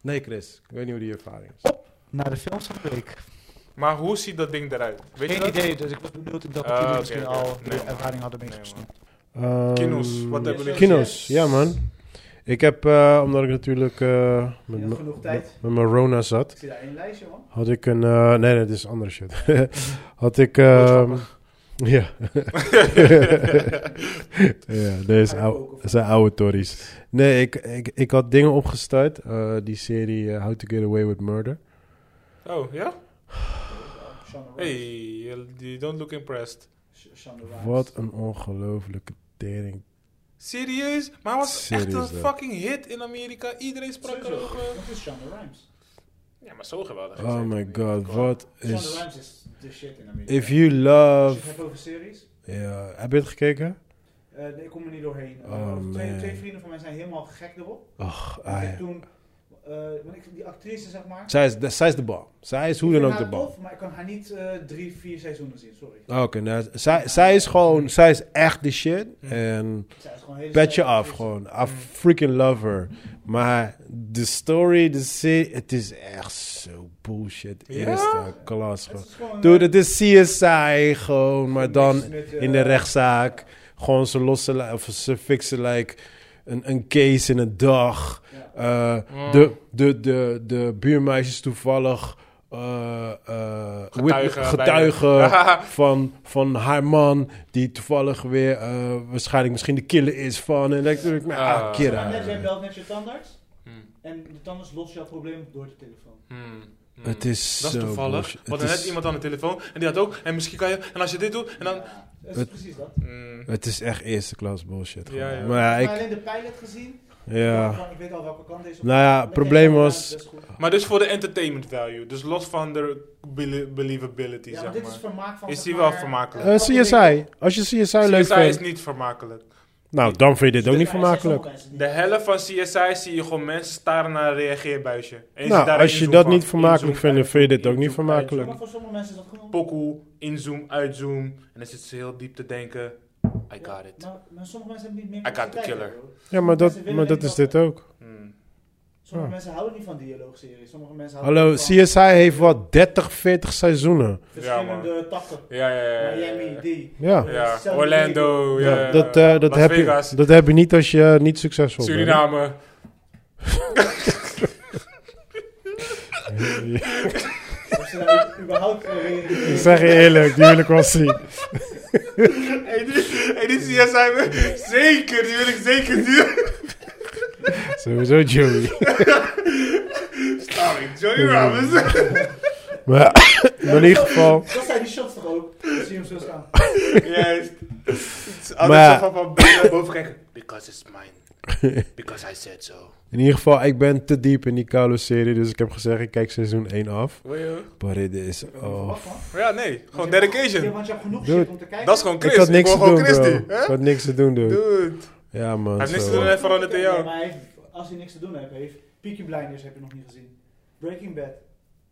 [SPEAKER 3] Nee, Chris. Ik weet niet hoe die ervaring is.
[SPEAKER 1] Naar de films van de week.
[SPEAKER 2] Maar hoe ziet dat ding eruit? Weet je
[SPEAKER 1] Geen
[SPEAKER 2] dat?
[SPEAKER 1] idee, dus ik was benieuwd of dat
[SPEAKER 2] Ah,
[SPEAKER 1] jullie
[SPEAKER 2] oké,
[SPEAKER 1] misschien
[SPEAKER 2] oké.
[SPEAKER 1] al
[SPEAKER 2] Nee,
[SPEAKER 1] de
[SPEAKER 2] man.
[SPEAKER 1] ervaring hadden
[SPEAKER 2] Nee, man.
[SPEAKER 1] meegesnoept. Dus-
[SPEAKER 2] Kino's, wat hebben jullie
[SPEAKER 3] Ehm, Kino's, ja man. Ik heb, eh, omdat ik natuurlijk eh, met,
[SPEAKER 1] Je had genoeg
[SPEAKER 3] m-
[SPEAKER 1] tijd.
[SPEAKER 3] met mijn Rona zat,
[SPEAKER 1] Ik zie daar één lijstje, man.
[SPEAKER 3] had ik een... eh, nee, nee, dit is andere shit. had ik...
[SPEAKER 2] Dat
[SPEAKER 3] ehm
[SPEAKER 2] is
[SPEAKER 3] ja. ja, deze oude, dat zijn oude Tories. Nee, ik, ik, ik had dingen opgestart. eh, die serie eh, How to Get Away with Murder.
[SPEAKER 2] Oh, ja? Hey, you you don't look impressed.
[SPEAKER 3] Wat een ongelofelijke tering.
[SPEAKER 2] Serieus? Maar hij was echt
[SPEAKER 3] Serieus,
[SPEAKER 2] een
[SPEAKER 3] hè?
[SPEAKER 2] fucking hit in Amerika. Iedereen sprak
[SPEAKER 1] Sowieso.
[SPEAKER 2] erover.
[SPEAKER 1] is Shonda Rhimes.
[SPEAKER 2] Ja, maar zo geweldig. is
[SPEAKER 3] Oh
[SPEAKER 2] het
[SPEAKER 3] my
[SPEAKER 2] niet.
[SPEAKER 3] god, wat
[SPEAKER 1] Shonda
[SPEAKER 3] is...
[SPEAKER 1] Rhimes is de shit in Amerika.
[SPEAKER 3] If you
[SPEAKER 1] Als je het
[SPEAKER 3] love...
[SPEAKER 1] hebt over series,
[SPEAKER 3] Ja, heb je het gekeken?
[SPEAKER 1] eh, nee, ik kom er niet doorheen. Eh,
[SPEAKER 3] Oh,
[SPEAKER 1] twee,
[SPEAKER 3] man. Ah,
[SPEAKER 1] twee vrienden van mij zijn helemaal gek erop.
[SPEAKER 3] Och,
[SPEAKER 1] Ik heb
[SPEAKER 3] ai.
[SPEAKER 1] toen, eh, want ik, die actrice zeg maar.
[SPEAKER 3] Zij is, de- zij is de bal. Zij is hoe
[SPEAKER 1] ik
[SPEAKER 3] dan
[SPEAKER 1] vind
[SPEAKER 3] ook de
[SPEAKER 1] haar
[SPEAKER 3] bal.
[SPEAKER 1] tof, maar ik kan haar niet eh, drie, vier seizoenen zien, sorry.
[SPEAKER 3] Oké, nou, zij, zij is gewoon... Zij is echt de shit.
[SPEAKER 2] Hm.
[SPEAKER 3] En
[SPEAKER 1] Zij is gewoon een hele
[SPEAKER 3] pet je
[SPEAKER 1] sterke
[SPEAKER 3] af
[SPEAKER 1] actrice.
[SPEAKER 3] gewoon. I freaking love her. Maar de story, de serie... Het is echt zo bullshit.
[SPEAKER 2] Ja?
[SPEAKER 3] Eerste klas gewoon.
[SPEAKER 1] Het is gewoon,
[SPEAKER 3] Dude,
[SPEAKER 1] eh,
[SPEAKER 3] het is CSI gewoon, maar dan
[SPEAKER 1] niks met, eh,
[SPEAKER 3] in de rechtszaak. Gewoon ze lossen, li- of ze fixen like een, een case in een dag.
[SPEAKER 1] Ja.
[SPEAKER 3] Eh,
[SPEAKER 2] Mm.
[SPEAKER 3] de, de, de, de buurmeisjes toevallig eh, eh, wit-
[SPEAKER 2] Getuigen bij-
[SPEAKER 3] getuigen van, van haar man, die toevallig weer eh, waarschijnlijk misschien de killer is van. En dan denk ik, nou,
[SPEAKER 2] Ah.
[SPEAKER 3] ah, kid out.
[SPEAKER 1] Net, jij belt net je tandarts
[SPEAKER 2] Hmm,
[SPEAKER 1] en de tandarts lost jouw probleem door de telefoon.
[SPEAKER 2] hmm, hmm.
[SPEAKER 3] Het is
[SPEAKER 2] Dat is
[SPEAKER 3] zo
[SPEAKER 2] toevallig.
[SPEAKER 3] bullshit.
[SPEAKER 2] We
[SPEAKER 3] Het
[SPEAKER 2] hadden net
[SPEAKER 3] is,
[SPEAKER 2] iemand aan de telefoon en die had ook. En misschien kan je. En als je dit doet en dan.
[SPEAKER 1] Ja, dat is
[SPEAKER 3] Het-
[SPEAKER 1] precies dat.
[SPEAKER 2] Hmm.
[SPEAKER 3] het is echt eerste klas bullshit.
[SPEAKER 2] Ja,
[SPEAKER 3] gewoon.
[SPEAKER 2] ja.
[SPEAKER 3] Maar
[SPEAKER 1] Ik heb
[SPEAKER 3] ja, ik...
[SPEAKER 1] alleen de pilot gezien.
[SPEAKER 3] Ja.
[SPEAKER 1] Gewoon, Ik weet al welke kant deze op
[SPEAKER 3] Nou ja, het probleem was...
[SPEAKER 2] Maar dus voor de entertainment value. Dus los van de beli- believability,
[SPEAKER 1] Ja, maar
[SPEAKER 2] zeg
[SPEAKER 1] dit
[SPEAKER 2] maar.
[SPEAKER 1] is vermaak van.
[SPEAKER 2] Is
[SPEAKER 1] zeg
[SPEAKER 2] die
[SPEAKER 1] maar,
[SPEAKER 2] wel vermakelijk?
[SPEAKER 3] eh,
[SPEAKER 1] eh,
[SPEAKER 3] CSI. Als je CSI leuk
[SPEAKER 2] CSI is
[SPEAKER 3] vindt...
[SPEAKER 2] niet vermakelijk.
[SPEAKER 3] Nou, dan vind je dit ook niet
[SPEAKER 1] Ja, er zijn sommige
[SPEAKER 3] vermakelijk.
[SPEAKER 1] mensen die-
[SPEAKER 2] De helft van CSI zie je gewoon mensen staren naar een reageerbuisje. En je zit
[SPEAKER 3] Nou,
[SPEAKER 2] daar
[SPEAKER 3] als je
[SPEAKER 2] inzoom
[SPEAKER 3] dat
[SPEAKER 2] van.
[SPEAKER 3] niet vermakelijk
[SPEAKER 2] Inzoom,
[SPEAKER 3] vindt, dan vind je dit
[SPEAKER 2] uitzoom,
[SPEAKER 3] ook niet
[SPEAKER 2] inzoom,
[SPEAKER 3] vermakelijk.
[SPEAKER 1] Maar voor sommige mensen is dat genoeg.
[SPEAKER 2] uitzoom. Pokoe, inzoom, uitzoom. En dan zit ze heel diep te denken.
[SPEAKER 4] I got it.
[SPEAKER 1] Maar, maar sommige mensen hebben niet meer
[SPEAKER 4] I got the
[SPEAKER 1] mentaliteit,
[SPEAKER 4] killer.
[SPEAKER 1] bro.
[SPEAKER 3] Ja, maar
[SPEAKER 1] Ze
[SPEAKER 3] dat,
[SPEAKER 1] willen
[SPEAKER 3] maar dat
[SPEAKER 1] niet
[SPEAKER 3] is dit ook.
[SPEAKER 2] Hmm.
[SPEAKER 1] Sommige
[SPEAKER 3] Ja.
[SPEAKER 1] mensen houden niet van dialoogseries. Sommige mensen houden
[SPEAKER 3] Ah. Hallo,
[SPEAKER 1] niet van
[SPEAKER 3] CSI heeft wat 30, 40 seizoenen.
[SPEAKER 1] verschillende takken.
[SPEAKER 4] Ja, ja, ja, ja. ja.
[SPEAKER 1] Miami, die. Eh,
[SPEAKER 3] Ja,
[SPEAKER 4] Ja,
[SPEAKER 1] San
[SPEAKER 4] Orlando, ja,
[SPEAKER 3] ja dat, eh, dat,
[SPEAKER 4] Las
[SPEAKER 3] heb
[SPEAKER 4] Vegas,
[SPEAKER 3] je, dat heb je niet als je eh, niet succesvol bent.
[SPEAKER 4] Suriname.
[SPEAKER 1] Of ze daar überhaupt eh,
[SPEAKER 3] Ik zeg je eerlijk, die wil ik wel zien.
[SPEAKER 2] Hey, die, hey, die CSI, zeker, die wil ik zeker zien.
[SPEAKER 3] Sowieso Joey.
[SPEAKER 2] Sorry,
[SPEAKER 3] Oh.
[SPEAKER 2] Joey Robbins.
[SPEAKER 3] Maar ja, maar in ieder geval.
[SPEAKER 1] Dat zijn die shots toch ook? Dan zie je hem zo staan.
[SPEAKER 2] Juist.
[SPEAKER 3] Maar-
[SPEAKER 2] Altijd zo van van boven naar boven kijken.
[SPEAKER 4] Because it's mine. Because I said so.
[SPEAKER 3] In ieder geval, ik ben te diep in die koude serie. Dus ik heb gezegd, ik kijk seizoen 1 af.
[SPEAKER 4] Wil je?
[SPEAKER 3] Maar dit is... Oh.
[SPEAKER 1] Wacht, man.
[SPEAKER 2] Ja, nee, gewoon
[SPEAKER 1] Ja,
[SPEAKER 2] dedication.
[SPEAKER 1] want je hebt genoeg
[SPEAKER 3] Dude.
[SPEAKER 1] shit om te kijken.
[SPEAKER 2] Dat is gewoon
[SPEAKER 3] Ik
[SPEAKER 2] Chris.
[SPEAKER 3] had niks
[SPEAKER 2] ik
[SPEAKER 3] te
[SPEAKER 2] wil gewoon
[SPEAKER 3] doen,
[SPEAKER 2] Chris
[SPEAKER 3] bro.
[SPEAKER 2] nu.
[SPEAKER 3] Ik
[SPEAKER 2] hè?
[SPEAKER 3] had niks te doen, dude.
[SPEAKER 2] Dude.
[SPEAKER 3] Ja,
[SPEAKER 2] Hij
[SPEAKER 3] man.
[SPEAKER 2] heeft niks te
[SPEAKER 3] zo.
[SPEAKER 2] doen, hè? verandert in jou.
[SPEAKER 1] Ja, maar hij heeft- als hij niks te doen heeft, heeft Peaky Blinders heb je nog niet gezien. Breaking Bad.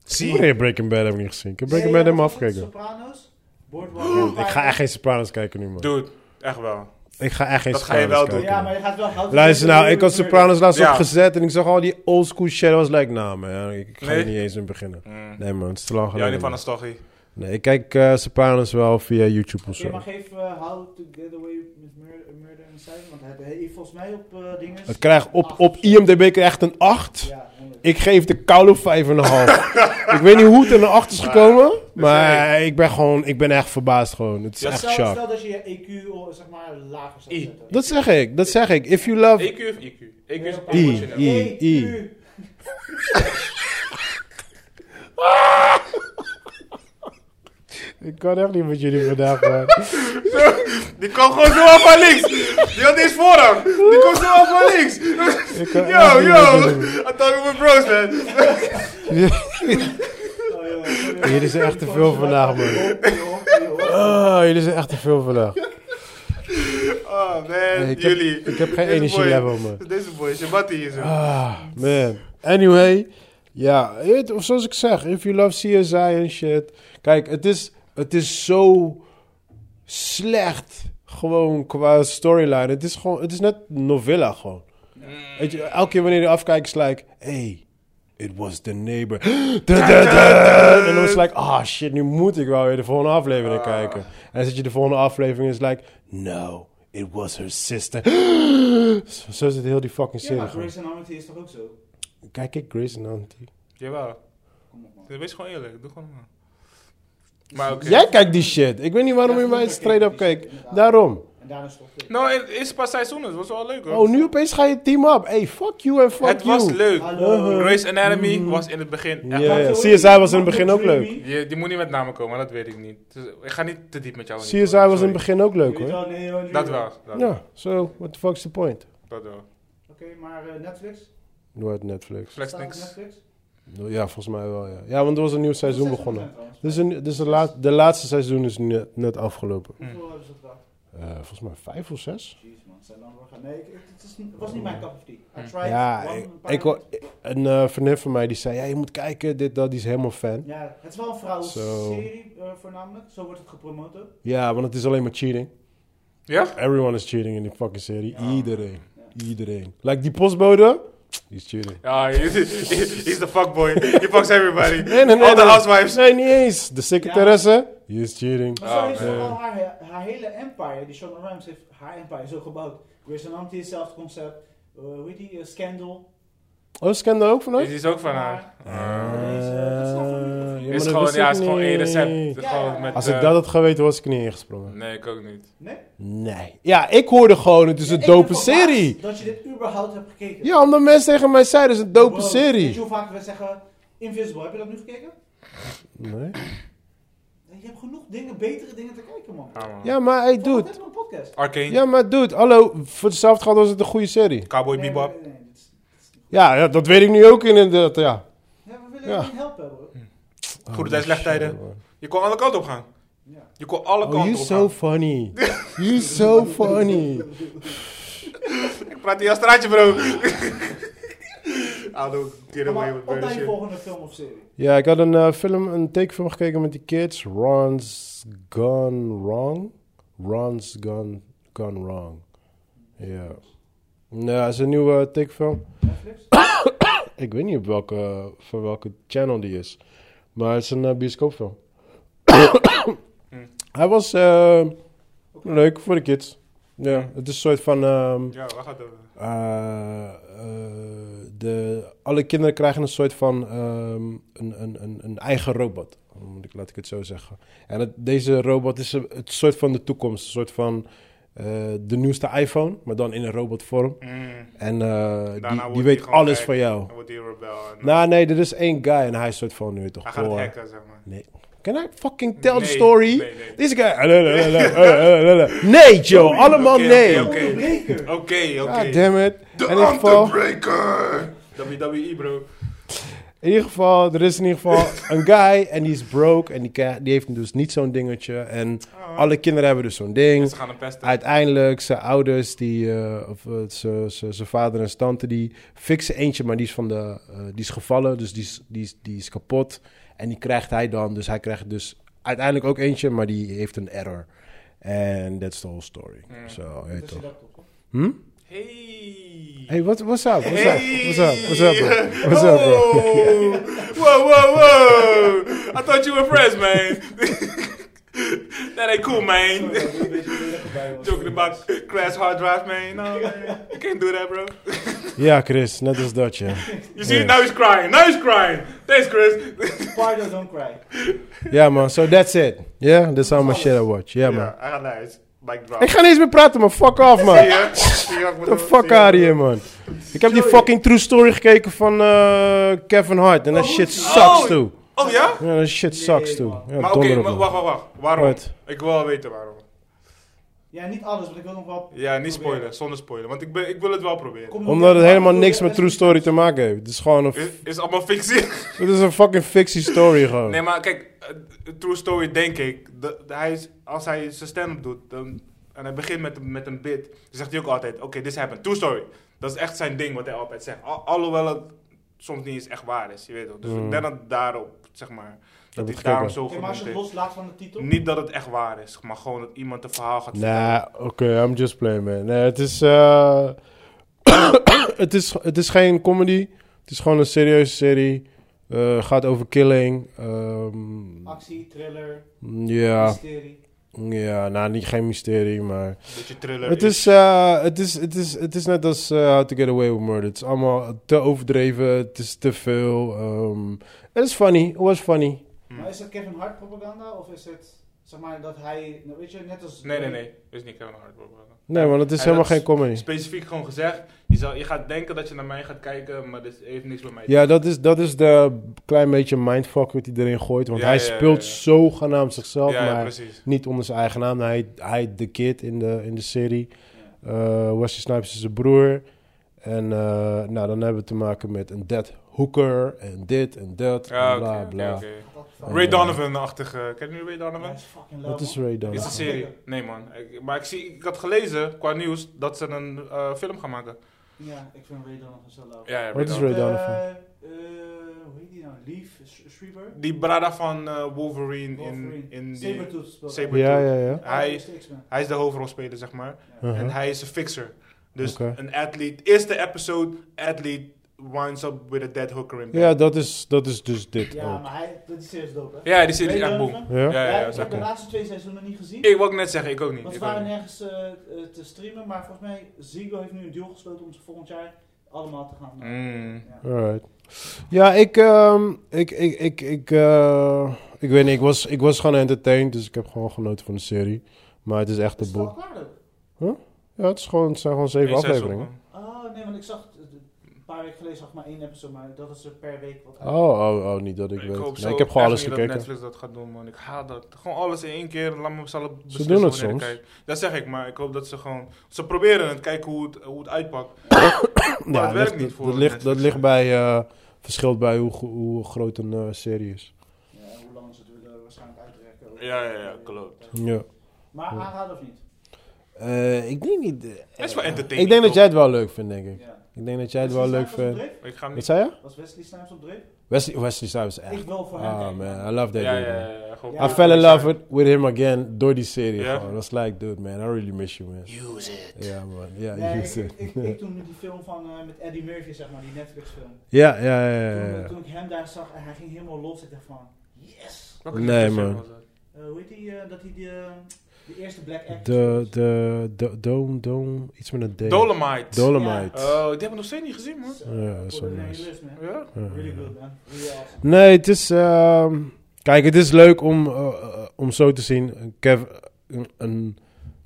[SPEAKER 2] Zie.
[SPEAKER 3] Nee, Breaking Bad heb ik niet gezien. Ik heb Breaking
[SPEAKER 1] Nee,
[SPEAKER 3] Bad
[SPEAKER 1] ja,
[SPEAKER 3] helemaal
[SPEAKER 1] wat was het?
[SPEAKER 3] afgekeken.
[SPEAKER 1] Sopranos. Boardwalk.
[SPEAKER 3] Ik ga echt geen Sopranos kijken nu, man.
[SPEAKER 2] Dude, echt wel.
[SPEAKER 3] Ik ga echt geen
[SPEAKER 2] Dat ga je
[SPEAKER 3] Sopranos
[SPEAKER 2] wel doen.
[SPEAKER 3] kijken.
[SPEAKER 1] Ja, maar je gaat wel houden.
[SPEAKER 3] Luister nou, ik had Sopranos laatst
[SPEAKER 2] Ja.
[SPEAKER 3] opgezet en ik zag al die oldschool shit. I was like, nou man, ik ga er
[SPEAKER 2] Nee.
[SPEAKER 3] niet eens in beginnen.
[SPEAKER 2] Mm.
[SPEAKER 3] Nee man, het is te lang
[SPEAKER 2] Jij
[SPEAKER 3] geleden.
[SPEAKER 2] niet van
[SPEAKER 3] man.
[SPEAKER 2] nostalgie.
[SPEAKER 3] Nee, ik kijk eh Sopranos wel via YouTube of
[SPEAKER 1] Oké,
[SPEAKER 3] zo.
[SPEAKER 1] maar geef eh, How to Get Away with Murder, murder and Silence. Want hij heeft volgens mij op eh dingen.
[SPEAKER 3] Het krijgt op, op IMDB krijgt een 8.
[SPEAKER 1] Ja, honderd.
[SPEAKER 3] Ik geef de koude 5,5. ik weet niet hoe het er een 8 is gekomen, maar ik ben gewoon, ik ben echt verbaasd gewoon. Het is
[SPEAKER 2] Ja,
[SPEAKER 3] echt
[SPEAKER 1] stel,
[SPEAKER 3] shock.
[SPEAKER 1] stel dat je je EQ al, zeg maar lager zou
[SPEAKER 2] I.
[SPEAKER 1] zetten.
[SPEAKER 3] Dat zeg ik, dat zeg ik. If you love...
[SPEAKER 2] EQ E of IQ? EQ is
[SPEAKER 1] I,
[SPEAKER 2] emotioneel.
[SPEAKER 3] I. I.
[SPEAKER 1] EQ.
[SPEAKER 3] Ik kan echt niet met jullie vandaag, man.
[SPEAKER 2] Die kwam gewoon zo af van links. Die had eens voorrang. Die kwam zo af van links.
[SPEAKER 3] Ik kan echt
[SPEAKER 2] Yo,
[SPEAKER 3] niet
[SPEAKER 2] yo.
[SPEAKER 3] met jullie.
[SPEAKER 2] I'm talking about bros, man.
[SPEAKER 1] Oh, joh, sorry.
[SPEAKER 3] Hier is echt te veel vandaag, man. Ah, jullie zijn echt te veel vandaag.
[SPEAKER 2] Oh, man.
[SPEAKER 3] Nee, ik, heb,
[SPEAKER 2] Jullie.
[SPEAKER 3] ik heb
[SPEAKER 2] Deze
[SPEAKER 3] geen
[SPEAKER 2] boy.
[SPEAKER 3] energielevel, man.
[SPEAKER 2] Deze boy, Shabati hier zo.
[SPEAKER 3] Ah, man. Anyway. Ja, het- of zoals ik zeg, if you love CSI en shit. Kijk, het is, het is zo slecht gewoon qua storyline. Het is, gewoon, het is net novella gewoon.
[SPEAKER 1] Mm.
[SPEAKER 3] Weet je, elke keer wanneer je afkijkt is like, hey, it was the neighbor. Da, da, da, da. En dan is like, ah shit, nu moet ik wel weer de volgende aflevering
[SPEAKER 1] Ah.
[SPEAKER 3] kijken. En dan zit je de volgende aflevering en is like, no, it was her sister. Zo- Zo zit heel die fucking
[SPEAKER 1] Ja,
[SPEAKER 3] serie.
[SPEAKER 1] maar
[SPEAKER 3] gewoon.
[SPEAKER 1] Grace Anatomy is toch ook zo?
[SPEAKER 3] Kijk ik Grace en Auntie.
[SPEAKER 2] Jawel.
[SPEAKER 1] Kom op, man.
[SPEAKER 2] Wees gewoon eerlijk. Doe gewoon normaal. Maar oké.
[SPEAKER 3] Jij kijkt die shit. Ik weet niet waarom je mij straight up kijkt. Daarom.
[SPEAKER 1] En daarna stopt het.
[SPEAKER 2] Nou, het is pas seizoen. Het was wel leuk, hoor.
[SPEAKER 3] Oh, nu opeens ga je team up. Hey, fuck you en fuck
[SPEAKER 2] Het
[SPEAKER 3] you. Ah.
[SPEAKER 2] was leuk.
[SPEAKER 1] Hallo.
[SPEAKER 2] Grace Anatomy was in het begin echt
[SPEAKER 3] Ja, ja.
[SPEAKER 1] Maar
[SPEAKER 3] CSI was in het begin ook leuk.
[SPEAKER 1] Dreamy.
[SPEAKER 2] Je, die moet niet met namen komen, dat weet ik niet. Dus ik ga niet te diep met jou. in die
[SPEAKER 3] CSI
[SPEAKER 2] story,
[SPEAKER 3] was in het
[SPEAKER 2] sorry.
[SPEAKER 3] begin ook
[SPEAKER 1] Je
[SPEAKER 3] leuk
[SPEAKER 1] weet
[SPEAKER 3] hoor.
[SPEAKER 1] wel, nee, hoor, nu
[SPEAKER 2] Dat
[SPEAKER 1] wel.
[SPEAKER 2] wel. Dat, wel,
[SPEAKER 3] Ja, so, what the fuck's the point?
[SPEAKER 2] dat wel.
[SPEAKER 1] Oké, maar eh, Netflix?
[SPEAKER 3] Door het Netflix.
[SPEAKER 2] Flex
[SPEAKER 1] Staat op
[SPEAKER 2] niks.
[SPEAKER 1] Netflix?
[SPEAKER 3] Ja, volgens mij wel, ja. Ja, want er was een nieuw seizoen
[SPEAKER 1] Hoeveel
[SPEAKER 3] begonnen.
[SPEAKER 1] zijn er
[SPEAKER 3] Dus,
[SPEAKER 1] trouwens?
[SPEAKER 3] een, dus de, laat, de laatste seizoen is net, net afgelopen.
[SPEAKER 1] Hoeveel hebben ze gedaan?
[SPEAKER 3] Eh, volgens mij vijf of zes.
[SPEAKER 1] Jeez man, zijn lang doorgaan. Nee, ik- het, is, het was niet mijn cup of tea. I tried
[SPEAKER 3] Ja,
[SPEAKER 1] one,
[SPEAKER 3] ik,
[SPEAKER 1] een paar
[SPEAKER 3] ik, hoor-
[SPEAKER 1] minuten.
[SPEAKER 3] een eh vriendin van mij die zei, ja, je moet kijken, dit, dat, die is helemaal fan.
[SPEAKER 1] Ja, het is wel een vrouwenserie eh, voornamelijk. Zo wordt het gepromoot ook.
[SPEAKER 3] Ja, want het is alleen maar cheating.
[SPEAKER 2] Ja?
[SPEAKER 3] Everyone is cheating in die fucking serie.
[SPEAKER 2] Ja.
[SPEAKER 3] Iedereen. Iedereen. Like die postbode, die is cheating.
[SPEAKER 2] Ja, he- he- he's the fuckboy. He fucks everybody.
[SPEAKER 3] Nee, nee, nee.
[SPEAKER 2] All the
[SPEAKER 3] nee.
[SPEAKER 2] housewives.
[SPEAKER 3] Nee, niet eens. De secretaresse, die is cheating.
[SPEAKER 1] Maar
[SPEAKER 2] Ah,
[SPEAKER 1] zo heeft ze
[SPEAKER 2] man.
[SPEAKER 1] wel haar, he- haar hele empire, die Shonda Rhimes heeft haar empire zo gebouwd. Grey's Anatomy is hetzelfde concept. Eh, hoe heet die? Eh, Scandal.
[SPEAKER 3] Oh, ze kende ook van
[SPEAKER 2] Die
[SPEAKER 3] ons?
[SPEAKER 2] is ook van haar.
[SPEAKER 1] Eh,
[SPEAKER 3] Ah. ja, maar
[SPEAKER 2] Is
[SPEAKER 3] dat
[SPEAKER 2] gewoon,
[SPEAKER 3] wist
[SPEAKER 2] ja,
[SPEAKER 3] ik
[SPEAKER 2] is gewoon één
[SPEAKER 3] niet.
[SPEAKER 2] recept.
[SPEAKER 1] Ja,
[SPEAKER 2] Gewoon
[SPEAKER 1] ja.
[SPEAKER 2] met,
[SPEAKER 3] Als
[SPEAKER 2] eh,
[SPEAKER 3] ik dat had geweten, was ik er niet ingesprongen.
[SPEAKER 2] Nee, ik ook niet.
[SPEAKER 1] Nee?
[SPEAKER 3] Nee. Ja, ik hoorde gewoon, het is een
[SPEAKER 1] Ik ben
[SPEAKER 3] dope
[SPEAKER 1] verbaasd
[SPEAKER 3] serie.
[SPEAKER 1] Dat je dit überhaupt hebt gekeken.
[SPEAKER 3] Ja, omdat mensen tegen mij zeiden, het is een dope
[SPEAKER 1] Wow, Weet je
[SPEAKER 3] serie.
[SPEAKER 1] hoe vaak we zeggen, Invisible, heb je dat nu gekeken? Eh,
[SPEAKER 3] Nee.
[SPEAKER 1] Je hebt genoeg dingen, betere dingen te kijken man.
[SPEAKER 2] Ja, man.
[SPEAKER 3] Ja, maar
[SPEAKER 1] Doe
[SPEAKER 3] hey,
[SPEAKER 1] het.
[SPEAKER 3] dude.
[SPEAKER 1] Dit is mijn podcast.
[SPEAKER 2] Arcane.
[SPEAKER 3] Ja, maar dude, hallo, voor hetzelfde geld was het een goede serie.
[SPEAKER 2] Cowboy
[SPEAKER 1] Nee,
[SPEAKER 2] Bebop.
[SPEAKER 1] nee, nee, dit is- dit is niet goed.
[SPEAKER 3] Ja, ja, dat weet ik nu ook inderdaad, ja.
[SPEAKER 1] Ja, we willen
[SPEAKER 3] Ja.
[SPEAKER 1] je niet helpen hoor.
[SPEAKER 3] Oh,
[SPEAKER 2] Goede tijd, slechte tijden. Je kon alle kanten op gaan.
[SPEAKER 1] Ja.
[SPEAKER 2] Je kon alle
[SPEAKER 3] Oh,
[SPEAKER 2] kanten
[SPEAKER 3] you
[SPEAKER 2] op
[SPEAKER 3] so
[SPEAKER 2] gaan.
[SPEAKER 3] funny. You so funny.
[SPEAKER 2] Ik praat hier als straatje, bro. I don't get away
[SPEAKER 1] Maar
[SPEAKER 2] with
[SPEAKER 1] op
[SPEAKER 2] better
[SPEAKER 1] naar je
[SPEAKER 2] shit.
[SPEAKER 1] volgende film of serie.
[SPEAKER 3] Ja, ik had een eh, film, een tekenfilm gekeken met die kids. Ron's Gone Wrong. Ron's Gone Gone Wrong. Ja. Nou, is een nieuwe tikfilm. Ik weet niet op welke, van welke channel die is. Maar het is een eh, bioscoopfilm. Hij was eh, leuk voor de kids. Ja, het is een soort van... ehm,
[SPEAKER 2] Ja, waar gaat het over?
[SPEAKER 3] eh, de, alle kinderen krijgen een soort van ehm, een, een, een, een eigen robot. Moet ik, laat ik het zo zeggen. En het- deze robot is een- het soort van de toekomst. Een soort van eh, de nieuwste iPhone, maar dan in een robotvorm.
[SPEAKER 2] Mm.
[SPEAKER 3] En eh,
[SPEAKER 2] Daarna
[SPEAKER 3] die,
[SPEAKER 2] wordt hij
[SPEAKER 3] die weet
[SPEAKER 2] gewoon
[SPEAKER 3] alles
[SPEAKER 2] gek. Oh.
[SPEAKER 3] van jou.
[SPEAKER 2] Dan wordt hij een rebel. En
[SPEAKER 3] Nou nee, er is één guy en hij is soort van nu toch
[SPEAKER 2] hij gaat het
[SPEAKER 3] gewoon-
[SPEAKER 2] hacken, zeg maar.
[SPEAKER 3] Can I fucking tell the
[SPEAKER 2] Nee,
[SPEAKER 3] story?
[SPEAKER 2] Nee, nee.
[SPEAKER 3] Deze guy... Ah, nee, nee, nee, nee, nee, nee, nee. Nee, Joe, allemaal
[SPEAKER 2] Oké,
[SPEAKER 3] nee.
[SPEAKER 2] Oké, oké. Oké,
[SPEAKER 3] God
[SPEAKER 2] oké.
[SPEAKER 3] damn it.
[SPEAKER 2] De
[SPEAKER 3] In ieder geval-
[SPEAKER 2] Underbreaker! WWE, E, bro.
[SPEAKER 3] In ieder geval, er is in ieder geval een guy en die is broke en die, ka- die heeft dus niet zo'n dingetje. En
[SPEAKER 2] Ah.
[SPEAKER 3] alle kinderen hebben dus zo'n ding.
[SPEAKER 2] Ze gaan hem pesten.
[SPEAKER 3] Uiteindelijk, zijn ouders, die, eh, of eh, ze- ze- zijn vader en zijn tante, die fixen eentje, maar die is, van de, eh, die is gevallen, dus die is, die, is, die is kapot. En die krijgt hij dan, dus hij krijgt dus uiteindelijk ook eentje, maar die heeft een error. En that's the whole story.
[SPEAKER 2] Mm.
[SPEAKER 3] Zo, je
[SPEAKER 1] Dus
[SPEAKER 3] weet toch. Hm?
[SPEAKER 2] Hey.
[SPEAKER 3] Hey, what, what's up? What's up?
[SPEAKER 2] Hey.
[SPEAKER 3] What's up? What's up, bro? What's up, bro?
[SPEAKER 2] Oh. Whoa, whoa, whoa! I thought you were friends, man. that ain't cool, man. Joking about crash hard drive, man. No, man. You can't do that, bro.
[SPEAKER 3] Ja, Chris, net als dat, ja.
[SPEAKER 2] You see,
[SPEAKER 3] Yeah.
[SPEAKER 2] now he's crying. Now he's crying. Thanks, Chris.
[SPEAKER 5] Pardo, don't cry.
[SPEAKER 3] Ja man, so that's it. Yeah, that's how much shit I watch. Yeah man.
[SPEAKER 2] Ja, hij gaat nice. Mic drop.
[SPEAKER 3] Ik ga niet eens meer praten man, fuck off man.
[SPEAKER 2] Zie je? Zie je wat ik
[SPEAKER 3] The
[SPEAKER 2] bedoel? Zie
[SPEAKER 3] fuck
[SPEAKER 2] je?
[SPEAKER 3] out here man. Ik heb die fucking true story gekeken van eh, Kevin Hart. En dat shit sucks
[SPEAKER 2] Oh.
[SPEAKER 3] too.
[SPEAKER 2] Oh ja?
[SPEAKER 3] Ja, dat shit sucks too.
[SPEAKER 5] man.
[SPEAKER 3] Ja,
[SPEAKER 2] Maar oké,
[SPEAKER 3] donder op
[SPEAKER 2] maar
[SPEAKER 3] me.
[SPEAKER 2] wacht, wacht, wacht. Waarom?
[SPEAKER 3] Wat?
[SPEAKER 2] Ik wil wel weten waarom.
[SPEAKER 5] Ja, niet alles, want ik wil nog wel...
[SPEAKER 2] Ja,
[SPEAKER 5] Probeer.
[SPEAKER 2] niet spoilen, zonder spoilen. Want ik, ben, ik wil het wel proberen.
[SPEAKER 5] Kom nog
[SPEAKER 3] Omdat het
[SPEAKER 5] even-
[SPEAKER 3] helemaal
[SPEAKER 5] Doe
[SPEAKER 3] niks
[SPEAKER 5] de
[SPEAKER 3] met
[SPEAKER 5] rest
[SPEAKER 3] true
[SPEAKER 5] niet.
[SPEAKER 3] story te maken heeft. Het is gewoon een,
[SPEAKER 2] Is, is allemaal fictie.
[SPEAKER 3] het is een fucking fictie story gewoon.
[SPEAKER 2] Nee, maar kijk, eh, True Story denk ik. de- de- hij is, als hij zijn stand-up doet dan, en hij begint met, een- met een bit, dan zegt hij ook altijd: Oké, this happened. True Story. Dat is echt zijn ding wat hij altijd zegt. Al- alhoewel het soms niet eens echt waar is, je weet toch. Dus
[SPEAKER 3] Mm.
[SPEAKER 2] ik denk dat daarop, zeg maar, dat hij
[SPEAKER 3] begrijp
[SPEAKER 2] daarom
[SPEAKER 3] ik.
[SPEAKER 2] zo
[SPEAKER 5] Oké, maar als
[SPEAKER 2] genoemd
[SPEAKER 5] je het
[SPEAKER 2] heeft.
[SPEAKER 5] loslaat van de titel...
[SPEAKER 2] Niet dat het echt waar is, maar gewoon dat iemand een verhaal gaat
[SPEAKER 3] Nah, oké, I'm just playing man. Nee, het is, eh, het is... Het is geen comedy. Het is gewoon een serieuze serie. Eh, gaat over killing. ehm,
[SPEAKER 5] Actie, thriller,
[SPEAKER 3] Ja,
[SPEAKER 5] mysterie.
[SPEAKER 3] ja, nou niet geen mysterie, maar...
[SPEAKER 2] een beetje thriller.
[SPEAKER 3] Het is, eh, het is, het is, het is net als eh, How to Get Away with Murder. Het is allemaal te overdreven, het is te veel. ehm, Het is funny, het was funny.
[SPEAKER 2] Hmm.
[SPEAKER 5] Maar is het Kevin Hart propaganda of is het, zeg maar, dat hij, nou, weet je, net als...
[SPEAKER 2] Nee, nee, nee. Is niet Kevin Hart. bro.
[SPEAKER 3] Nee, want het is
[SPEAKER 2] Hij
[SPEAKER 3] helemaal
[SPEAKER 2] had
[SPEAKER 3] geen comedy.
[SPEAKER 2] Specifiek gewoon gezegd, je, zal, je gaat denken dat je naar mij gaat kijken, maar dit heeft niks met mij te
[SPEAKER 3] Ja, dat is, dat is de klein beetje mindfuck wat hij erin gooit. Want
[SPEAKER 2] Ja,
[SPEAKER 3] hij
[SPEAKER 2] ja, ja,
[SPEAKER 3] speelt
[SPEAKER 2] ja.
[SPEAKER 3] zogenaamd zichzelf,
[SPEAKER 2] Ja, ja,
[SPEAKER 3] maar
[SPEAKER 2] precies.
[SPEAKER 3] niet onder zijn eigen naam. Hij hij heet The Kid in de, in de serie. Eh Wesley Snipes is zijn broer. En eh, nou, dan hebben we te maken met een dead hooker en dit en dat.
[SPEAKER 2] Ja,
[SPEAKER 3] en bla
[SPEAKER 2] oké,
[SPEAKER 3] bla.
[SPEAKER 2] oké, oké.
[SPEAKER 5] Wat de fuck?
[SPEAKER 2] Ray Donovan-achtige. Ken je Ray
[SPEAKER 5] Hij
[SPEAKER 2] Donovan?
[SPEAKER 5] is fucking low,
[SPEAKER 3] Wat is
[SPEAKER 5] man.
[SPEAKER 3] Ray dan?
[SPEAKER 2] Is de serie? Nee, man. Ik- maar ik, zie, ik had gelezen qua nieuws dat ze een eh, film gaan maken.
[SPEAKER 5] Ja, ik vind Ray Donovan zo low.
[SPEAKER 2] Ja, ja, Ray
[SPEAKER 3] Wat is
[SPEAKER 2] Donovan.
[SPEAKER 3] Ray
[SPEAKER 5] Eh,
[SPEAKER 3] Donovan?
[SPEAKER 5] eh, hoe heet die nou? Leaf Sh- Shriver?
[SPEAKER 2] Die brada van eh, Wolverine, in, in die,
[SPEAKER 5] Sabertooth speelt
[SPEAKER 2] Saber-
[SPEAKER 3] Ja, ja, ja.
[SPEAKER 2] Hij-
[SPEAKER 5] is de X-Men.
[SPEAKER 2] Hij is de hoofdrolspeler, zeg maar.
[SPEAKER 3] Uh-huh.
[SPEAKER 2] En hij is een fixer. Dus
[SPEAKER 3] Oké.
[SPEAKER 2] een atleet. Eerste episode, atleet winds up with a dead hooker in bed.
[SPEAKER 3] Ja, dat is, dat is dus dit
[SPEAKER 5] Ja,
[SPEAKER 3] ook.
[SPEAKER 5] maar hij, dat is serieus dope, hè?
[SPEAKER 2] Ja, die serie is
[SPEAKER 5] Ray
[SPEAKER 2] echt boom.
[SPEAKER 5] Donovan?
[SPEAKER 3] Ja?
[SPEAKER 2] Ja, ja,
[SPEAKER 5] ik
[SPEAKER 2] ja.
[SPEAKER 5] heb
[SPEAKER 2] zeker.
[SPEAKER 5] de laatste twee seizoenen niet gezien.
[SPEAKER 2] Ik wou ik net zeggen, ik ook niet.
[SPEAKER 5] Want
[SPEAKER 2] Ik
[SPEAKER 5] ze
[SPEAKER 2] ook
[SPEAKER 5] waren
[SPEAKER 2] niet.
[SPEAKER 5] nergens eh, eh, te streamen, maar volgens mij, Ziggo heeft nu een deal gesloten om ze volgend jaar allemaal te gaan. maken.
[SPEAKER 2] Mm.
[SPEAKER 5] Ja.
[SPEAKER 3] Alright. Ja, ik, ehm, ik, ik, ik, ik, eh, ik weet niet, ik was, ik was gewoon entertained, dus ik heb gewoon genoten van de serie. Maar het is echt
[SPEAKER 5] Is
[SPEAKER 3] een
[SPEAKER 5] het al
[SPEAKER 3] boek.
[SPEAKER 5] klaar ook?
[SPEAKER 3] Ja, het, is gewoon, het zijn gewoon zeven
[SPEAKER 2] Eén seizoen,
[SPEAKER 3] afleveringen.
[SPEAKER 2] man.
[SPEAKER 5] Oh nee, want ik zag, een paar weken geleden zag ik maar één episode, maar dat is er per week wat uit.
[SPEAKER 3] Oh, oh, oh, niet dat ik, weet.
[SPEAKER 2] hoop
[SPEAKER 3] nee,
[SPEAKER 2] zo
[SPEAKER 3] ik heb gewoon
[SPEAKER 2] echt
[SPEAKER 3] alles
[SPEAKER 2] niet
[SPEAKER 3] gekeken.
[SPEAKER 2] dat Netflix dat gaat doen, man. Ik haat dat. Gewoon alles in één keer. Laat me zelf beslissen
[SPEAKER 3] doen het
[SPEAKER 2] wanneer ik
[SPEAKER 3] soms.
[SPEAKER 2] kijk. Dat zeg ik, maar ik hoop dat ze gewoon... Ze proberen het, kijken hoe het, hoe het uitpakt. Maar
[SPEAKER 3] Ja,
[SPEAKER 2] Oh, het werkt
[SPEAKER 3] ligt-
[SPEAKER 2] niet
[SPEAKER 3] dat-
[SPEAKER 2] voor
[SPEAKER 3] dat ligt, dat
[SPEAKER 2] Netflix.
[SPEAKER 3] ligt bij, eh, verschilt bij hoe, gro- hoe groot een eh, serie is.
[SPEAKER 5] Ja, en hoe lang ze het willen waarschijnlijk uitrekken. ook.
[SPEAKER 2] Ja, ja, ja, klopt.
[SPEAKER 3] Ja.
[SPEAKER 5] Maar aanraden of niet?
[SPEAKER 3] Eh, ik denk niet... eh,
[SPEAKER 2] Het is wel entertaining.
[SPEAKER 3] ik denk dat
[SPEAKER 2] toch?
[SPEAKER 3] jij het wel leuk vindt, denk ik.
[SPEAKER 5] Ja.
[SPEAKER 3] Ik denk dat jij het wel
[SPEAKER 5] Wesley
[SPEAKER 3] leuk
[SPEAKER 5] Snipes op
[SPEAKER 3] vindt.
[SPEAKER 5] Drake?
[SPEAKER 2] Ik ga hem
[SPEAKER 3] Wat
[SPEAKER 2] niet...
[SPEAKER 3] zei je?
[SPEAKER 5] Was Wesley Snipes op Drake?
[SPEAKER 3] Wesley, Wesley Snipes is
[SPEAKER 5] Ik
[SPEAKER 3] echt...
[SPEAKER 5] wil voor hem
[SPEAKER 3] Oh
[SPEAKER 5] kijken.
[SPEAKER 3] man, I love that
[SPEAKER 2] Ja,
[SPEAKER 3] dude,
[SPEAKER 2] ja,
[SPEAKER 3] man.
[SPEAKER 2] ja, ja, gewoon-
[SPEAKER 5] Ja.
[SPEAKER 3] I fell in love with, with him again door die serie.
[SPEAKER 2] Ja?
[SPEAKER 3] gewoon. I was like, dude man, I really miss you man.
[SPEAKER 4] Use it.
[SPEAKER 3] Ja man, ja,
[SPEAKER 5] Nee,
[SPEAKER 3] you
[SPEAKER 5] ik,
[SPEAKER 3] said.
[SPEAKER 5] ik, ik, ik toen met die film van eh, met Eddie Murphy, zeg maar, die Netflix film.
[SPEAKER 3] Ja, ja, ja, ja,
[SPEAKER 5] Toen, eh,
[SPEAKER 3] ja.
[SPEAKER 5] toen ik hem daar zag en hij ging helemaal los, ik dacht van, yes!
[SPEAKER 2] Welke
[SPEAKER 3] Nee,
[SPEAKER 2] Netflix
[SPEAKER 3] man.
[SPEAKER 2] film was dat?
[SPEAKER 5] Eh, hoe heet die, eh, dat hij de, de eerste black actor
[SPEAKER 3] De,
[SPEAKER 5] was?
[SPEAKER 3] de, de, dome, dome, iets met een D.
[SPEAKER 2] Dolomite.
[SPEAKER 3] Dolomite.
[SPEAKER 2] Oh, die hebben we nog steeds niet gezien, man.
[SPEAKER 5] Zo,
[SPEAKER 3] Ja, dat is
[SPEAKER 5] voor
[SPEAKER 3] wel
[SPEAKER 5] de
[SPEAKER 3] nice.
[SPEAKER 5] realist, man.
[SPEAKER 2] Ja.
[SPEAKER 3] Ja,
[SPEAKER 5] Really
[SPEAKER 3] ja.
[SPEAKER 5] good, man. Really awesome.
[SPEAKER 3] Nee, het is. ehm, kijk, het is leuk om, eh, eh, om zo te zien. een Kev, een, een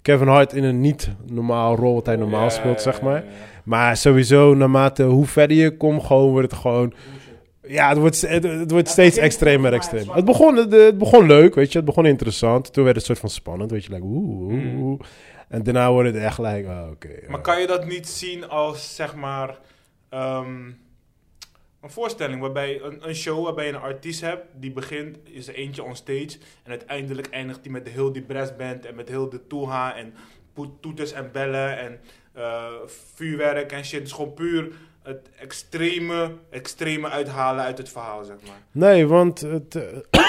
[SPEAKER 3] Kevin Hart in een niet-normaal rol, wat hij normaal
[SPEAKER 2] Ja,
[SPEAKER 3] speelt, zeg maar.
[SPEAKER 2] ja, ja.
[SPEAKER 3] Maar sowieso, naarmate hoe verder je komt, gewoon wordt het gewoon.
[SPEAKER 5] Bullshit.
[SPEAKER 3] Ja, het wordt, st- het, het wordt
[SPEAKER 5] Ja,
[SPEAKER 3] steeds
[SPEAKER 5] het begint
[SPEAKER 3] extremer
[SPEAKER 5] gewoon
[SPEAKER 3] extreem.
[SPEAKER 5] maar
[SPEAKER 3] Het begon, het, het begon leuk, weet je. Het begon interessant. Toen werd het soort van spannend, weet je. Like, oeh, oeh,
[SPEAKER 2] Mm.
[SPEAKER 3] oeh. En daarna wordt het echt like, ah, oké. ja.
[SPEAKER 2] Maar kan je dat niet zien als, zeg maar, ehm, een voorstelling waarbij een, een show waarbij je een artiest hebt, die begint, is er eentje on stage en uiteindelijk eindigt die met heel die brassband en met heel de toeha en po- toeters en bellen en eh, vuurwerk en shit. Dus gewoon puur het extreme, extreme uithalen uit het verhaal, zeg maar.
[SPEAKER 3] Nee, want het, eh,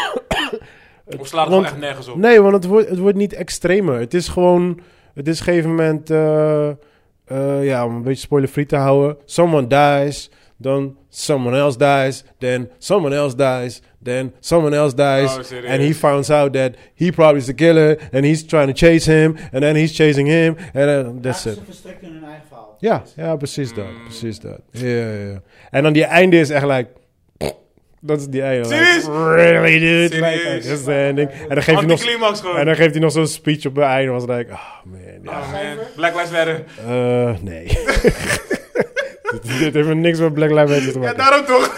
[SPEAKER 2] Of slaat het gewoon
[SPEAKER 3] want-
[SPEAKER 2] echt nergens op?
[SPEAKER 3] Nee, want het wordt, het wordt niet extremer. Het is gewoon... Het is op een gegeven moment... eh, eh, ja, om een beetje spoiler-free te houden. Someone dies. Dan someone else dies. Then someone else dies. Then someone else
[SPEAKER 2] Oh,
[SPEAKER 3] dies.
[SPEAKER 2] serieus?
[SPEAKER 3] and he finds out that he probably is the killer. And he's trying to chase him. And then he's chasing him. And then that's
[SPEAKER 5] Ja,
[SPEAKER 3] it.
[SPEAKER 5] Ze verstrekt in hun eigen verhaal.
[SPEAKER 3] Ja, ja, precies dat.
[SPEAKER 2] Mm.
[SPEAKER 3] Precies dat. Ja, ja, ja. En dan die einde is echt like... Dat is die einde. like,
[SPEAKER 2] Serieus?
[SPEAKER 3] really, dude? Like,
[SPEAKER 2] Serieus?
[SPEAKER 3] like, that's the ending. En dan geeft hij nog...
[SPEAKER 2] Anticlimax gewoon.
[SPEAKER 3] En dan geeft hij nog zo'n speech op het einde. Was like, ah man, ja.
[SPEAKER 2] Oh, man. Black Lives Matter.
[SPEAKER 3] Eh, nee. dit, dit heeft niks met Black Lives Matter
[SPEAKER 2] Ja,
[SPEAKER 3] te maken.
[SPEAKER 2] daarom toch?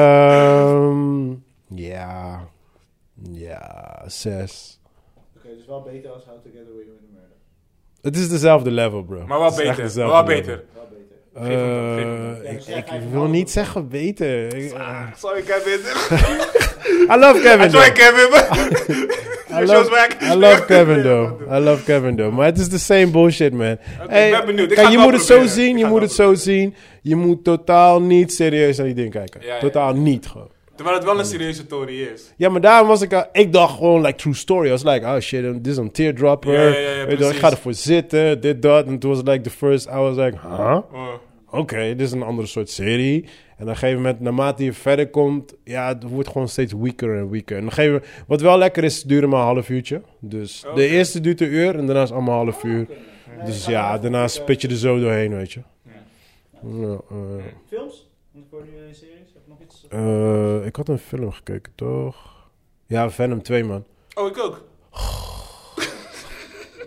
[SPEAKER 3] Ehm, ja. Ja, zes.
[SPEAKER 5] Oké, dus wel beter als How to Get Away with Murder.
[SPEAKER 3] Het is dezelfde level, bro.
[SPEAKER 2] Maar wel
[SPEAKER 3] Het is echt
[SPEAKER 2] beter.
[SPEAKER 3] dezelfde
[SPEAKER 2] Wel
[SPEAKER 3] level.
[SPEAKER 2] beter.
[SPEAKER 5] Wel beter.
[SPEAKER 3] Eh,
[SPEAKER 2] Geef hem, geef hem.
[SPEAKER 3] ik, ik wil niet zeggen beter. Ik- eh,
[SPEAKER 2] Sorry Kevin.
[SPEAKER 3] I love Kevin.
[SPEAKER 2] Sorry
[SPEAKER 3] though.
[SPEAKER 2] Kevin. Shows
[SPEAKER 3] I love,
[SPEAKER 2] back.
[SPEAKER 3] I love Kevin though. I love Kevin though. Maar het is the same bullshit man. Hey,
[SPEAKER 2] ik ben benieuwd. Ik
[SPEAKER 3] Kijk,
[SPEAKER 2] ga
[SPEAKER 3] je
[SPEAKER 2] wel
[SPEAKER 3] moet het zo
[SPEAKER 2] proberen. Ik
[SPEAKER 3] zien, je
[SPEAKER 2] ga
[SPEAKER 3] moet
[SPEAKER 2] wel
[SPEAKER 3] het zo zien. Je moet totaal niet serieus naar die ding kijken.
[SPEAKER 2] Ja, ja, ja.
[SPEAKER 3] totaal niet gewoon.
[SPEAKER 2] Terwijl het wel een serieuze story is.
[SPEAKER 3] Ja, maar daarom was ik, al- ik dacht gewoon like true story. I was like, oh shit, um, dit is een teardropper.
[SPEAKER 2] Ja, ja, ja, ja,
[SPEAKER 3] Weet je wel, ik
[SPEAKER 2] precies.
[SPEAKER 3] ga ervoor zitten, dit, dat. En toen was het like the first, I was like, huh?
[SPEAKER 2] Oh.
[SPEAKER 3] Oké, dit is een andere soort serie. En op een gegeven moment, naarmate je verder komt, ja, het wordt gewoon steeds weaker en weaker. En op een gegeven moment, wat wel lekker is, het duurt maar een half uurtje. Dus
[SPEAKER 2] Oké.
[SPEAKER 3] de eerste duurt een uur en daarna is het allemaal een half uur. Dus ja, daarna
[SPEAKER 5] eh,
[SPEAKER 3] spit je er zo doorheen, weet je.
[SPEAKER 2] Ja.
[SPEAKER 3] Ja, eh.
[SPEAKER 5] Films? Want ik hoor nu een series. Heb je nog iets?
[SPEAKER 3] Eh, ik had een film gekeken, toch? Ja, Venom 2, man.
[SPEAKER 2] oh, ik ook.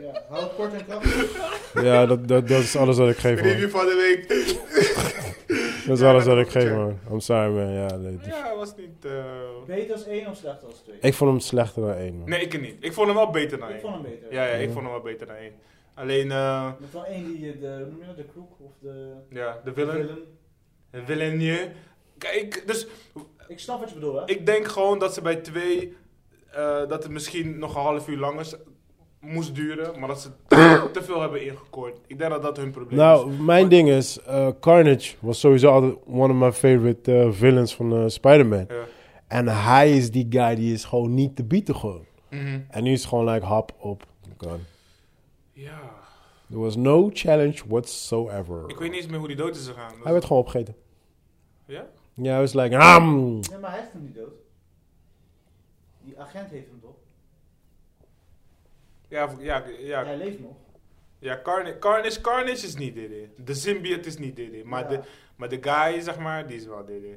[SPEAKER 5] Ja, hou het kort en krachtig.
[SPEAKER 3] Ja, dat, dat, dat is alles wat ik geef, man.
[SPEAKER 2] Review van de week.
[SPEAKER 3] Dat is alles wat ik geef, man. I'm sorry, man. Ja, nee, die-
[SPEAKER 2] Ja, was niet... eh,
[SPEAKER 5] Beter als één of slechter als twee?
[SPEAKER 3] Ik vond hem slechter dan één, man.
[SPEAKER 2] Nee, ik niet. Ik vond hem wel beter dan
[SPEAKER 5] Ik
[SPEAKER 2] één.
[SPEAKER 5] vond hem beter.
[SPEAKER 2] Ja, ja, ik vond hem wel beter dan één. Alleen, eh,
[SPEAKER 5] Met wel één die eh, de, hoe noem je dat, de kroek of de
[SPEAKER 2] ja,
[SPEAKER 5] de
[SPEAKER 2] de villain. De villain hier. Kijk, dus
[SPEAKER 5] Ik snap wat je bedoelt, hè?
[SPEAKER 2] Ik denk gewoon dat ze bij twee, eh, dat het misschien nog een half uur langer s- moest duren, maar dat ze te veel hebben ingekort. Ik denk dat dat hun probleem is.
[SPEAKER 3] Nou, mijn ding is, eh, Carnage was sowieso altijd one of my favorite eh, villains van eh, Spider-Man.
[SPEAKER 2] Ja.
[SPEAKER 3] En hij is die guy die is gewoon niet te bieden gewoon.
[SPEAKER 2] Mhm.
[SPEAKER 3] En nu is het gewoon like hap op. Gone.
[SPEAKER 2] Ja.
[SPEAKER 3] There was no challenge whatsoever.
[SPEAKER 2] Ik weet niet eens meer hoe die dood is gegaan.
[SPEAKER 3] Hij werd gewoon opgegeten.
[SPEAKER 2] Ja?
[SPEAKER 3] Ja, hij was like, ham.
[SPEAKER 5] Nee, maar hij heeft hem niet dood. Die agent heeft hem toch?
[SPEAKER 2] Ja, v- ja, ja,
[SPEAKER 5] Hij leeft nog.
[SPEAKER 2] ja Carnage, Carnage, Carnage is niet DD. De symbiote is niet DD. Maar,
[SPEAKER 5] Ja.
[SPEAKER 2] de, maar de guy, zeg maar, die is wel DD.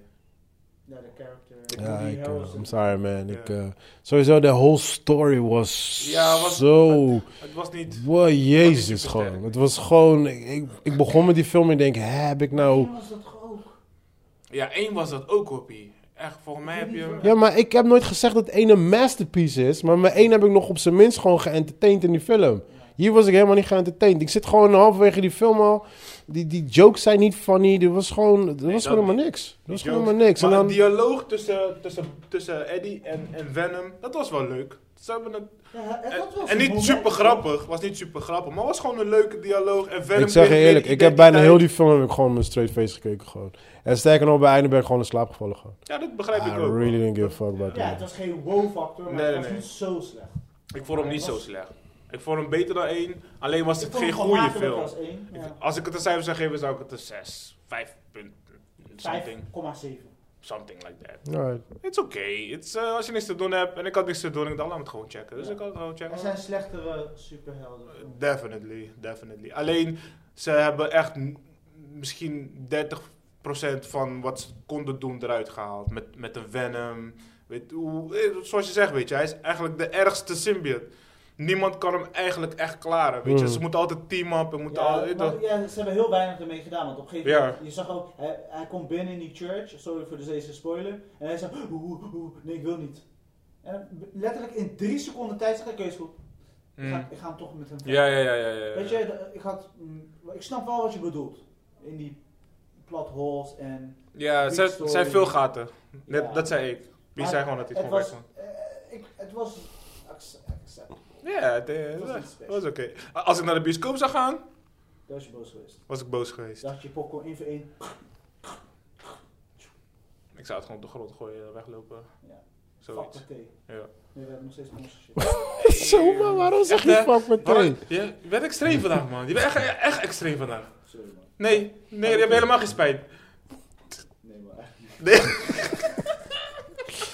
[SPEAKER 5] Ja, de character.
[SPEAKER 3] Ja,
[SPEAKER 5] die
[SPEAKER 3] ik, eh,
[SPEAKER 5] heroes en-
[SPEAKER 3] I'm sorry man. Ik,
[SPEAKER 2] Ja.
[SPEAKER 3] eh, sowieso, de whole story was
[SPEAKER 2] Ja, was-
[SPEAKER 3] zo...
[SPEAKER 2] Het was niet...
[SPEAKER 3] Wow, jezus
[SPEAKER 2] super
[SPEAKER 3] gewoon.
[SPEAKER 2] sterk.
[SPEAKER 3] Het was gewoon... Ik, ik, ik begon met die film en ik denk, hè, heb ik nou...
[SPEAKER 5] Misschien was dat toch ook.
[SPEAKER 2] Ja, één was dat ook, Hoppie. Echt, volgens mij heb je hem...
[SPEAKER 3] Ja, maar ik heb nooit gezegd dat één een masterpiece is. Maar mijn één heb ik nog op zijn minst gewoon geëntertained in die film. Hier was ik helemaal niet geëntertained. Ik zit gewoon halverwege die film al. Die, die jokes zijn niet funny. Er was gewoon, er was
[SPEAKER 2] dat
[SPEAKER 3] gewoon helemaal
[SPEAKER 2] niet.
[SPEAKER 3] niks. Er was
[SPEAKER 2] Die
[SPEAKER 3] gewoon
[SPEAKER 2] jokes.
[SPEAKER 3] helemaal niks. En
[SPEAKER 2] Maar
[SPEAKER 3] dan,
[SPEAKER 2] een dialoog tussen, tussen, tussen Eddie en, en Venom, dat was wel leuk. ze hebben het
[SPEAKER 1] Ja, het had wel
[SPEAKER 2] En, en
[SPEAKER 1] zijn
[SPEAKER 2] niet
[SPEAKER 1] momenten.
[SPEAKER 2] super grappig, was niet super grappig, maar was gewoon een leuke dialoog. En verder
[SPEAKER 3] Ik zeg je
[SPEAKER 2] kreeg
[SPEAKER 3] eerlijk,
[SPEAKER 2] weer
[SPEAKER 3] ik heb bijna heel
[SPEAKER 2] identiteit.
[SPEAKER 3] die film heb ik gewoon met een straight face gekeken gewoon. En sterker nog, bij einde ben ik gewoon in slaap gevallen gewoon.
[SPEAKER 2] Ja, dat begrijp
[SPEAKER 3] I
[SPEAKER 2] ik ook.
[SPEAKER 3] Ah, really didn't give a fuck about
[SPEAKER 1] Ja,
[SPEAKER 3] that.
[SPEAKER 1] het was geen wow-factor, maar
[SPEAKER 2] Nee,
[SPEAKER 1] het
[SPEAKER 2] nee,
[SPEAKER 1] was
[SPEAKER 2] nee.
[SPEAKER 1] niet zo slecht.
[SPEAKER 2] Ik vond hem niet zo slecht. Ik vond hem beter dan één, alleen was
[SPEAKER 1] Ik
[SPEAKER 2] het
[SPEAKER 1] vond
[SPEAKER 2] geen
[SPEAKER 1] hem gewoon
[SPEAKER 2] goede
[SPEAKER 1] makkelijker
[SPEAKER 2] film.
[SPEAKER 1] Als één,
[SPEAKER 2] Ik-
[SPEAKER 1] ja.
[SPEAKER 2] Als ik het een cijfer zou geven, zou ik het een 6, 5 punt, something,
[SPEAKER 1] 5,7.
[SPEAKER 2] something like that.
[SPEAKER 3] Alright.
[SPEAKER 2] It's okay, It's, eh, als je niks te doen hebt, en ik had niks te doen, ik dacht laat me het gewoon checken. Dus
[SPEAKER 1] Ja.
[SPEAKER 2] ik had het gewoon
[SPEAKER 1] Er
[SPEAKER 2] checken.
[SPEAKER 1] zijn slechtere superhelden.
[SPEAKER 2] Eh,
[SPEAKER 1] films.
[SPEAKER 2] Definitely, definitely. Alleen, ze hebben echt m- misschien 30% van wat ze konden doen eruit gehaald. Met, met de Venom. Weet, hoe, eh, zoals je zegt, weet je, hij is eigenlijk de ergste symbiote. Niemand kan hem eigenlijk echt klaren, weet je.
[SPEAKER 3] Mm.
[SPEAKER 2] Ze moeten altijd team-up en moeten... al,
[SPEAKER 1] Ja,
[SPEAKER 2] weet
[SPEAKER 1] maar
[SPEAKER 2] je,
[SPEAKER 1] ja, ze hebben heel weinig ermee gedaan. Want op een gegeven
[SPEAKER 2] Ja.
[SPEAKER 1] moment, je zag ook, hij, hij komt binnen in die church, sorry voor deze spoiler. En hij zegt, oeh, oeh, oeh, nee, ik wil niet. En letterlijk in drie seconden tijd zeg ik, oké, is goed. Ik,
[SPEAKER 2] Mm.
[SPEAKER 1] ga, ik ga hem toch met hem verder."
[SPEAKER 2] ja, ja, ja, ja, ja.
[SPEAKER 1] Weet je, d- ik, had, mm, ik snap wel wat je bedoelt. In die plot holes en...
[SPEAKER 2] ja, het zijn, het zijn veel gaten. Net,
[SPEAKER 1] Ja.
[SPEAKER 2] Dat zei ik. Wie
[SPEAKER 1] Maar
[SPEAKER 2] zei gewoon dat hij het
[SPEAKER 1] het
[SPEAKER 2] gewoon
[SPEAKER 1] was,
[SPEAKER 2] weg
[SPEAKER 1] eh, ik, Het was... acce- accept.
[SPEAKER 2] kon? Ja, het eh,
[SPEAKER 1] Het was niet
[SPEAKER 2] het
[SPEAKER 1] special.
[SPEAKER 2] was oké. Als ik naar de bioscoop zou gaan,
[SPEAKER 1] Daar was je boos geweest.
[SPEAKER 2] was ik boos geweest.
[SPEAKER 1] Dat je popcorn in voor één.
[SPEAKER 2] Ik zou het gewoon op de grond gooien, eh, weglopen.
[SPEAKER 1] Ja. Fuck
[SPEAKER 2] Zoiets.
[SPEAKER 1] met thee.
[SPEAKER 2] Ja.
[SPEAKER 1] Nee, we hebben nog steeds onze shit.
[SPEAKER 3] Zomaar, waarom zeg je
[SPEAKER 2] Echt, hè?
[SPEAKER 3] fuck meteen?
[SPEAKER 2] Warren, Je bent extreem vandaag, man. Je bent echt, eh, echt extreem vandaag.
[SPEAKER 1] Sorry man.
[SPEAKER 2] Nee, nee, je hebt helemaal geen spijt.
[SPEAKER 1] Nee maar echt niet.
[SPEAKER 2] Nee.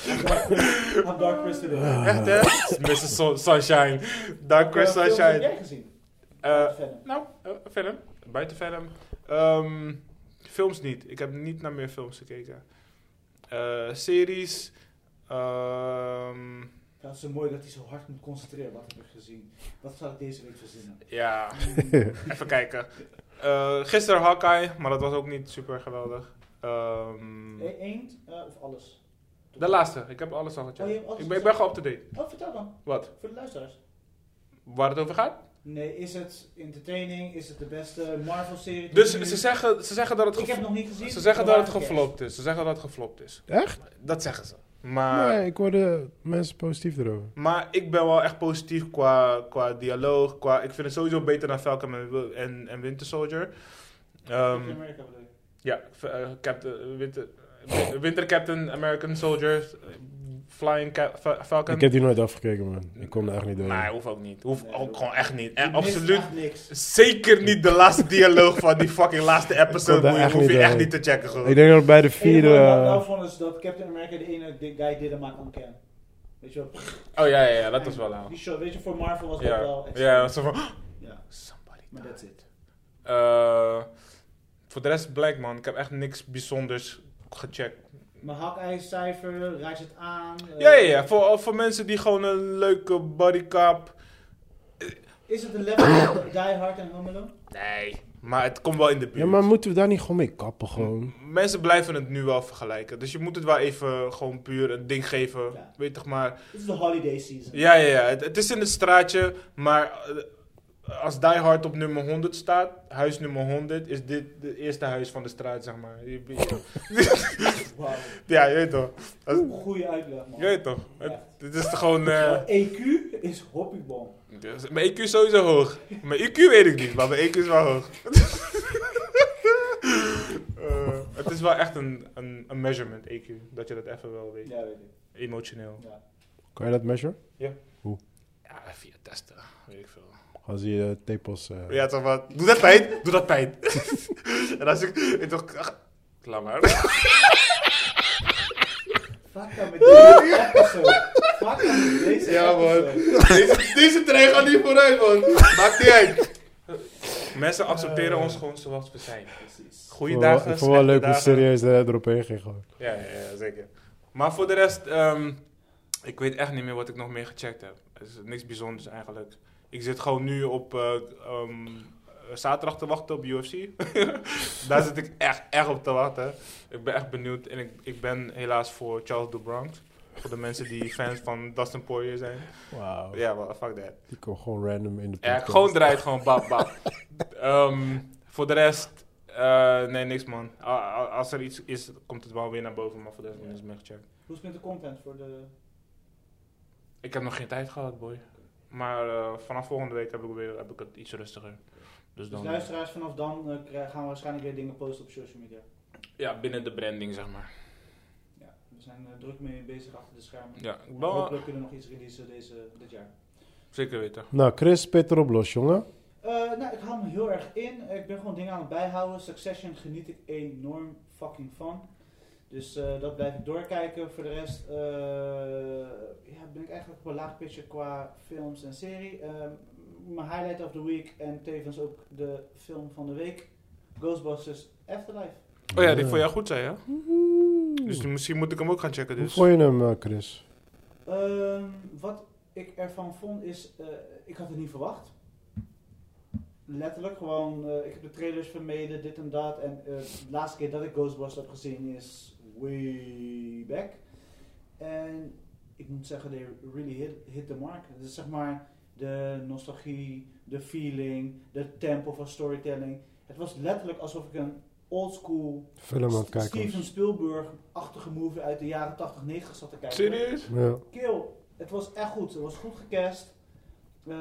[SPEAKER 1] I'm dark Chris- I'm Dark Chris today.
[SPEAKER 2] Echt, hè? Mr. Sun- Sunshine. Ah. Dark Chris
[SPEAKER 1] Welke films heb
[SPEAKER 2] Sunshine.
[SPEAKER 1] jij gezien?
[SPEAKER 2] Eh,
[SPEAKER 1] Verder.
[SPEAKER 2] nou, eh, film. Buiten film. Ehm, films niet. Ik heb niet naar meer films gekeken. Eh, series. Ehm,
[SPEAKER 1] Dat is zo mooi dat hij zo hard moet concentreren wat ik heb gezien. Wat zou ik deze week verzinnen?
[SPEAKER 2] ja, even kijken. Eh, gisteren Hawkeye, maar dat was ook niet super geweldig. Ehm,
[SPEAKER 1] E- Eén eh, of alles?
[SPEAKER 2] de laatste. Ik heb alles al
[SPEAKER 1] Oh, je hebt
[SPEAKER 2] gecheckt.
[SPEAKER 1] alles
[SPEAKER 2] Ik ben, ik ben gewoon up-to-date.
[SPEAKER 1] Oh, vertel dan.
[SPEAKER 2] Wat?
[SPEAKER 1] Voor de luisteraars.
[SPEAKER 2] Waar het over gaat?
[SPEAKER 1] Nee, is het entertaining? Is het de beste Marvel-serie?
[SPEAKER 2] Dus
[SPEAKER 1] tot nu?
[SPEAKER 2] ze zeggen, ze zeggen dat het
[SPEAKER 1] Ik heb
[SPEAKER 2] gefl-
[SPEAKER 1] nog niet gezien. Oh,
[SPEAKER 2] ze zeggen dat het
[SPEAKER 1] maar-
[SPEAKER 2] geflopt is. Ze zeggen dat het geflopt is.
[SPEAKER 3] Echt?
[SPEAKER 2] Dat zeggen ze. Maar,
[SPEAKER 3] Nee, ik hoorde mensen positief erover.
[SPEAKER 2] maar ik ben wel echt positief qua, qua dialoog. Qua, ik vind het sowieso beter dan Falcon en, Wil- en, en Winter Soldier. Ehm,
[SPEAKER 1] Captain America bedoel je?
[SPEAKER 2] ja, v- eh, Captain, Winter, eh, Winter Captain, American Soldier, eh, Flying Ca- Fa- Falcon.
[SPEAKER 3] Ik heb die nooit afgekeken, man. Ik kon er echt niet door.
[SPEAKER 2] Nee, hoeft ook niet. Hoeft
[SPEAKER 1] Nee,
[SPEAKER 2] ook
[SPEAKER 1] hoeft
[SPEAKER 2] gewoon echt niet. En
[SPEAKER 1] Je mist
[SPEAKER 2] absoluut
[SPEAKER 1] echt niks.
[SPEAKER 2] zeker niet de laatste dialoog van die fucking laatste episode.
[SPEAKER 3] daar
[SPEAKER 2] Moet je-
[SPEAKER 3] echt
[SPEAKER 2] Hoef je
[SPEAKER 3] niet
[SPEAKER 2] echt
[SPEAKER 3] bij.
[SPEAKER 2] niet te checken gewoon.
[SPEAKER 3] Ik denk dat bij de vierde...
[SPEAKER 1] Vierde. Nou
[SPEAKER 3] eh,
[SPEAKER 1] vond is dat Captain America de ene di- guy did hem aan kon kennen. Weet je wel?
[SPEAKER 2] Oh ja, ja, ja, dat is wel aan.
[SPEAKER 1] Die show, weet je, voor Marvel was dat
[SPEAKER 2] Ja,
[SPEAKER 1] wel extra.
[SPEAKER 2] ja, zo van.
[SPEAKER 1] Ja,
[SPEAKER 2] Somebody.
[SPEAKER 1] maar that's it.
[SPEAKER 2] Eh, voor de rest, blank man. Ik heb echt niks bijzonders gecheckt.
[SPEAKER 1] Maar Hawkeye-cijfer, reis het aan. eh,
[SPEAKER 2] Ja, ja, ja. Voor, oh, voor mensen die gewoon een leuke bodycap.
[SPEAKER 1] Is het een level van Die Hard en Home Alone?
[SPEAKER 2] Nee. Maar het komt wel in de buurt.
[SPEAKER 3] Ja, maar moeten we daar niet gewoon mee kappen, gewoon?
[SPEAKER 2] Mensen blijven het nu wel vergelijken. Dus je moet het wel even gewoon puur een ding geven.
[SPEAKER 1] Ja.
[SPEAKER 2] Weet toch maar.
[SPEAKER 1] Dit is de holiday season.
[SPEAKER 2] Ja, ja, ja. Het, het is in het straatje. Maar eh, als Die Hard op nummer 100 staat, huis nummer 100, is dit het eerste huis van de straat, zeg maar. Je- je-
[SPEAKER 1] Wauw.
[SPEAKER 2] Ja, je weet toch. Dat is-
[SPEAKER 1] Goeie uitleg, man.
[SPEAKER 2] Je weet toch? Het,
[SPEAKER 1] Echt.
[SPEAKER 2] het is gewoon. eh,
[SPEAKER 1] Maar EQ is hoppiebom.
[SPEAKER 2] dus- mijn EQ is sowieso hoog. Mijn IQ weet ik niet, maar mijn EQ is wel hoog. Eh, het is wel echt een, een, een measurement EQ, dat je dat even wel weet.
[SPEAKER 1] Ja, weet ik.
[SPEAKER 2] Emotioneel.
[SPEAKER 1] Ja.
[SPEAKER 3] Kan je dat measure?
[SPEAKER 2] Ja, via testen, weet ik veel.
[SPEAKER 3] Als je uh, tepels... eh,
[SPEAKER 2] Ja, toch wat. Doe dat pijn, doe dat pijn. en als ik. Ik dacht, ach, laat maar.
[SPEAKER 1] Fuck dan met deze episode. Fuck dan met deze
[SPEAKER 2] Ja, man.
[SPEAKER 1] episode.
[SPEAKER 2] Deze, deze trein gaat niet vooruit, man. Maakt niet uit. Mensen accepteren ons gewoon zoals we zijn.
[SPEAKER 1] Precies.
[SPEAKER 2] Goeie
[SPEAKER 3] ik vond wel-
[SPEAKER 2] dagen.
[SPEAKER 3] Ik vond wel
[SPEAKER 2] slechte
[SPEAKER 3] leuk hoe
[SPEAKER 2] dagen.
[SPEAKER 3] serieus er- erop heen ging, gewoon.
[SPEAKER 2] Ja, ja, ja, zeker. Maar voor de rest, ehm, ik weet echt niet meer wat ik nog meer gecheckt heb. Het is niks bijzonders eigenlijk. Ik zit gewoon nu op eh, ehm, zaterdag te wachten op UFC. Daar zit ik echt, echt op te wachten. Ik ben echt benieuwd en ik, ik ben helaas voor Charles Bronx Voor de mensen die fans van Dustin Poirier zijn.
[SPEAKER 3] Wauw.
[SPEAKER 2] Ja, maar fuck that.
[SPEAKER 3] Die kwam gewoon random in de
[SPEAKER 2] Oh. Ja,
[SPEAKER 3] podcast.
[SPEAKER 2] gewoon draait, gewoon bap, bap. Ehm, voor de rest, eh, nee, niks man. A- a- Als er iets is, komt het wel weer naar boven, maar voor de rest heb ik niks meer gecheckt.
[SPEAKER 1] Hoe is het met de content voor de...
[SPEAKER 2] Ik heb nog geen tijd gehad, boy. Maar eh, vanaf volgende week heb ik, weer, heb ik het iets rustiger.
[SPEAKER 1] Dus
[SPEAKER 2] Dus dan...
[SPEAKER 1] luisteraars, vanaf dan eh, krijgen- gaan we waarschijnlijk weer dingen posten op social media.
[SPEAKER 2] Ja, binnen de branding, zeg maar.
[SPEAKER 1] Ja, we zijn eh, druk mee bezig achter de schermen.
[SPEAKER 2] Ja, ik ben-
[SPEAKER 1] Hopelijk kunnen we nog iets releasen deze, dit jaar.
[SPEAKER 2] Zeker weten.
[SPEAKER 3] Nou, Chris, Peter op los, jongen.
[SPEAKER 1] Eh, nou, ik hou me heel erg in. Ik ben gewoon dingen aan het bijhouden. Succession geniet ik enorm fucking van. Dus eh, dat blijf ik doorkijken. Voor de rest eh, ja, ben ik eigenlijk op een laag pitje qua films en serie. Ehm, mijn highlight of the week en tevens ook de film van de week. Ghostbusters Afterlife.
[SPEAKER 2] Oh ja, die voor jou goed zei, hè? Dus die- misschien moet ik hem ook gaan checken,
[SPEAKER 3] Hoe
[SPEAKER 2] dus.
[SPEAKER 3] vond je hem, eh, Chris?
[SPEAKER 1] Ehm, wat ik ervan vond is, eh, ik had het niet verwacht. Letterlijk gewoon, eh, ik heb de trailers vermeden, dit en dat. En eh, de laatste keer dat ik Ghostbusters heb gezien is way back. En ik moet zeggen, they really hit, hit the mark. Het is zeg maar de nostalgie, de feeling, de tempo van storytelling. Het was letterlijk alsof ik een old school
[SPEAKER 3] Film aan het kijken.
[SPEAKER 1] Steven
[SPEAKER 3] was.
[SPEAKER 1] Spielberg-achtige movie uit de jaren 80, 90 zat te kijken.
[SPEAKER 2] Serieus?
[SPEAKER 3] Ja.
[SPEAKER 1] Kill, het was echt goed. Het was goed gecast. Eh,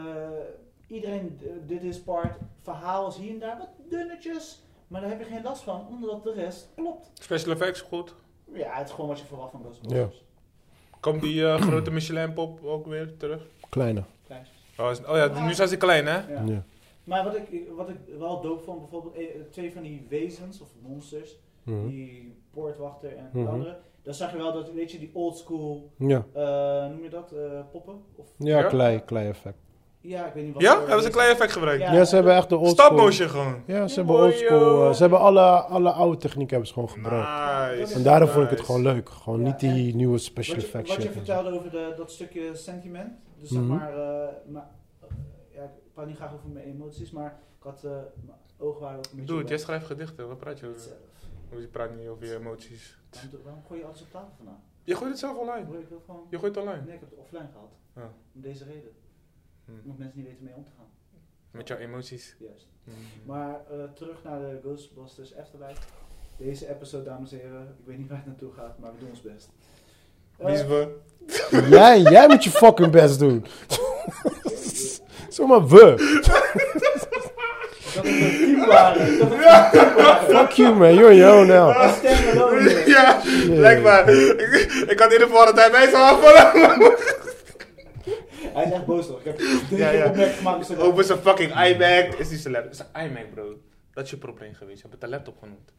[SPEAKER 1] iedereen eh, dit is part. Verhaal is hier en daar wat dunnetjes. Maar daar heb je geen last van, omdat de rest klopt.
[SPEAKER 2] Special effects, goed.
[SPEAKER 1] Ja, het is gewoon wat je verwacht van
[SPEAKER 3] Ja.
[SPEAKER 1] Ghostbusters.
[SPEAKER 2] Komt die eh, grote Michelin-pop ook weer terug?
[SPEAKER 3] Kleine.
[SPEAKER 1] Klein.
[SPEAKER 2] Oh, is- oh ja, nu zijn ze klein, hè?
[SPEAKER 1] Ja.
[SPEAKER 3] Ja.
[SPEAKER 1] Maar wat ik, wat ik wel doop vond, bijvoorbeeld eh, twee van die wezens of monsters,
[SPEAKER 3] Mhm.
[SPEAKER 1] die poortwachter en
[SPEAKER 3] Mhm.
[SPEAKER 1] de andere, dan zag je wel dat, weet je, die old school,
[SPEAKER 3] Ja.
[SPEAKER 1] eh, noem je dat, eh, poppen? Of,
[SPEAKER 3] Ja,
[SPEAKER 2] Ja?
[SPEAKER 3] klei, klei effect.
[SPEAKER 1] ja, ik weet niet wat.
[SPEAKER 2] Ja?
[SPEAKER 1] voor-
[SPEAKER 2] Hebben ze een klein effect gebruikt?
[SPEAKER 1] Ja.
[SPEAKER 3] Ja, ze hebben echt de old
[SPEAKER 2] Stop
[SPEAKER 3] school-
[SPEAKER 2] motion gewoon.
[SPEAKER 3] Ja, ze
[SPEAKER 2] Ja,
[SPEAKER 3] hebben
[SPEAKER 2] mooi,
[SPEAKER 3] old school.
[SPEAKER 2] joh.
[SPEAKER 3] eh, ze hebben alle, alle oude technieken hebben ze gewoon gebruikt.
[SPEAKER 2] Nice.
[SPEAKER 3] En daarom vond ik het
[SPEAKER 2] Nice.
[SPEAKER 3] gewoon leuk. Gewoon
[SPEAKER 1] Ja,
[SPEAKER 3] niet die nieuwe special
[SPEAKER 1] Wat je,
[SPEAKER 3] effects
[SPEAKER 1] wat je
[SPEAKER 3] shit. en zo.
[SPEAKER 1] vertelde over de, dat stukje sentiment. Dus zeg
[SPEAKER 3] Mhm.
[SPEAKER 1] maar, eh, maar eh, ja, ik praat niet graag over mijn emoties, maar ik had eh, mijn ogen waren ook een beetje.
[SPEAKER 2] Doe het, jij
[SPEAKER 1] wet.
[SPEAKER 2] schrijft gedichten, wat praat je over?
[SPEAKER 1] Zelf.
[SPEAKER 2] Je praat niet over je emoties.
[SPEAKER 1] Waarom, doe- waarom gooi je alles op tafel vandaan?
[SPEAKER 2] Je gooit het zelf
[SPEAKER 1] Ik
[SPEAKER 2] online.
[SPEAKER 1] wil- ik wil gewoon.
[SPEAKER 2] Je gooit het online.
[SPEAKER 1] Nee, ik heb het offline gehaald.
[SPEAKER 2] Ja.
[SPEAKER 1] Om deze reden.
[SPEAKER 2] Hm.
[SPEAKER 1] Omdat mensen niet weten mee om te gaan.
[SPEAKER 2] Met jouw emoties.
[SPEAKER 1] Juist.
[SPEAKER 2] Hm.
[SPEAKER 1] Maar eh, terug naar de Ghostbusters Afterlife. Deze episode, dames en heren, ik weet niet waar het naartoe gaat, maar we doen ons best.
[SPEAKER 2] Wie is
[SPEAKER 1] Eh,
[SPEAKER 2] we?
[SPEAKER 3] Jij, jij moet je fucking best doen. Zomaar we.
[SPEAKER 1] dat we een team waren. Dat we een team waren.
[SPEAKER 3] Fuck you man, you're yo nou. now.
[SPEAKER 1] Als standalone hier.
[SPEAKER 2] Ja, blijkbaar. Ik, ik had in ieder geval de tijd bij zijn afvallen.
[SPEAKER 1] Hij is echt boos toch? Ik heb drie
[SPEAKER 2] Ja, ja.
[SPEAKER 1] keer
[SPEAKER 2] Oh,
[SPEAKER 1] opmerking gemaakt. Dus
[SPEAKER 2] Open zijn fucking iMac. Is die zijn laptop? Is een iMac, bro. Dat is je probleem geweest. Je hebt het een laptop genoemd.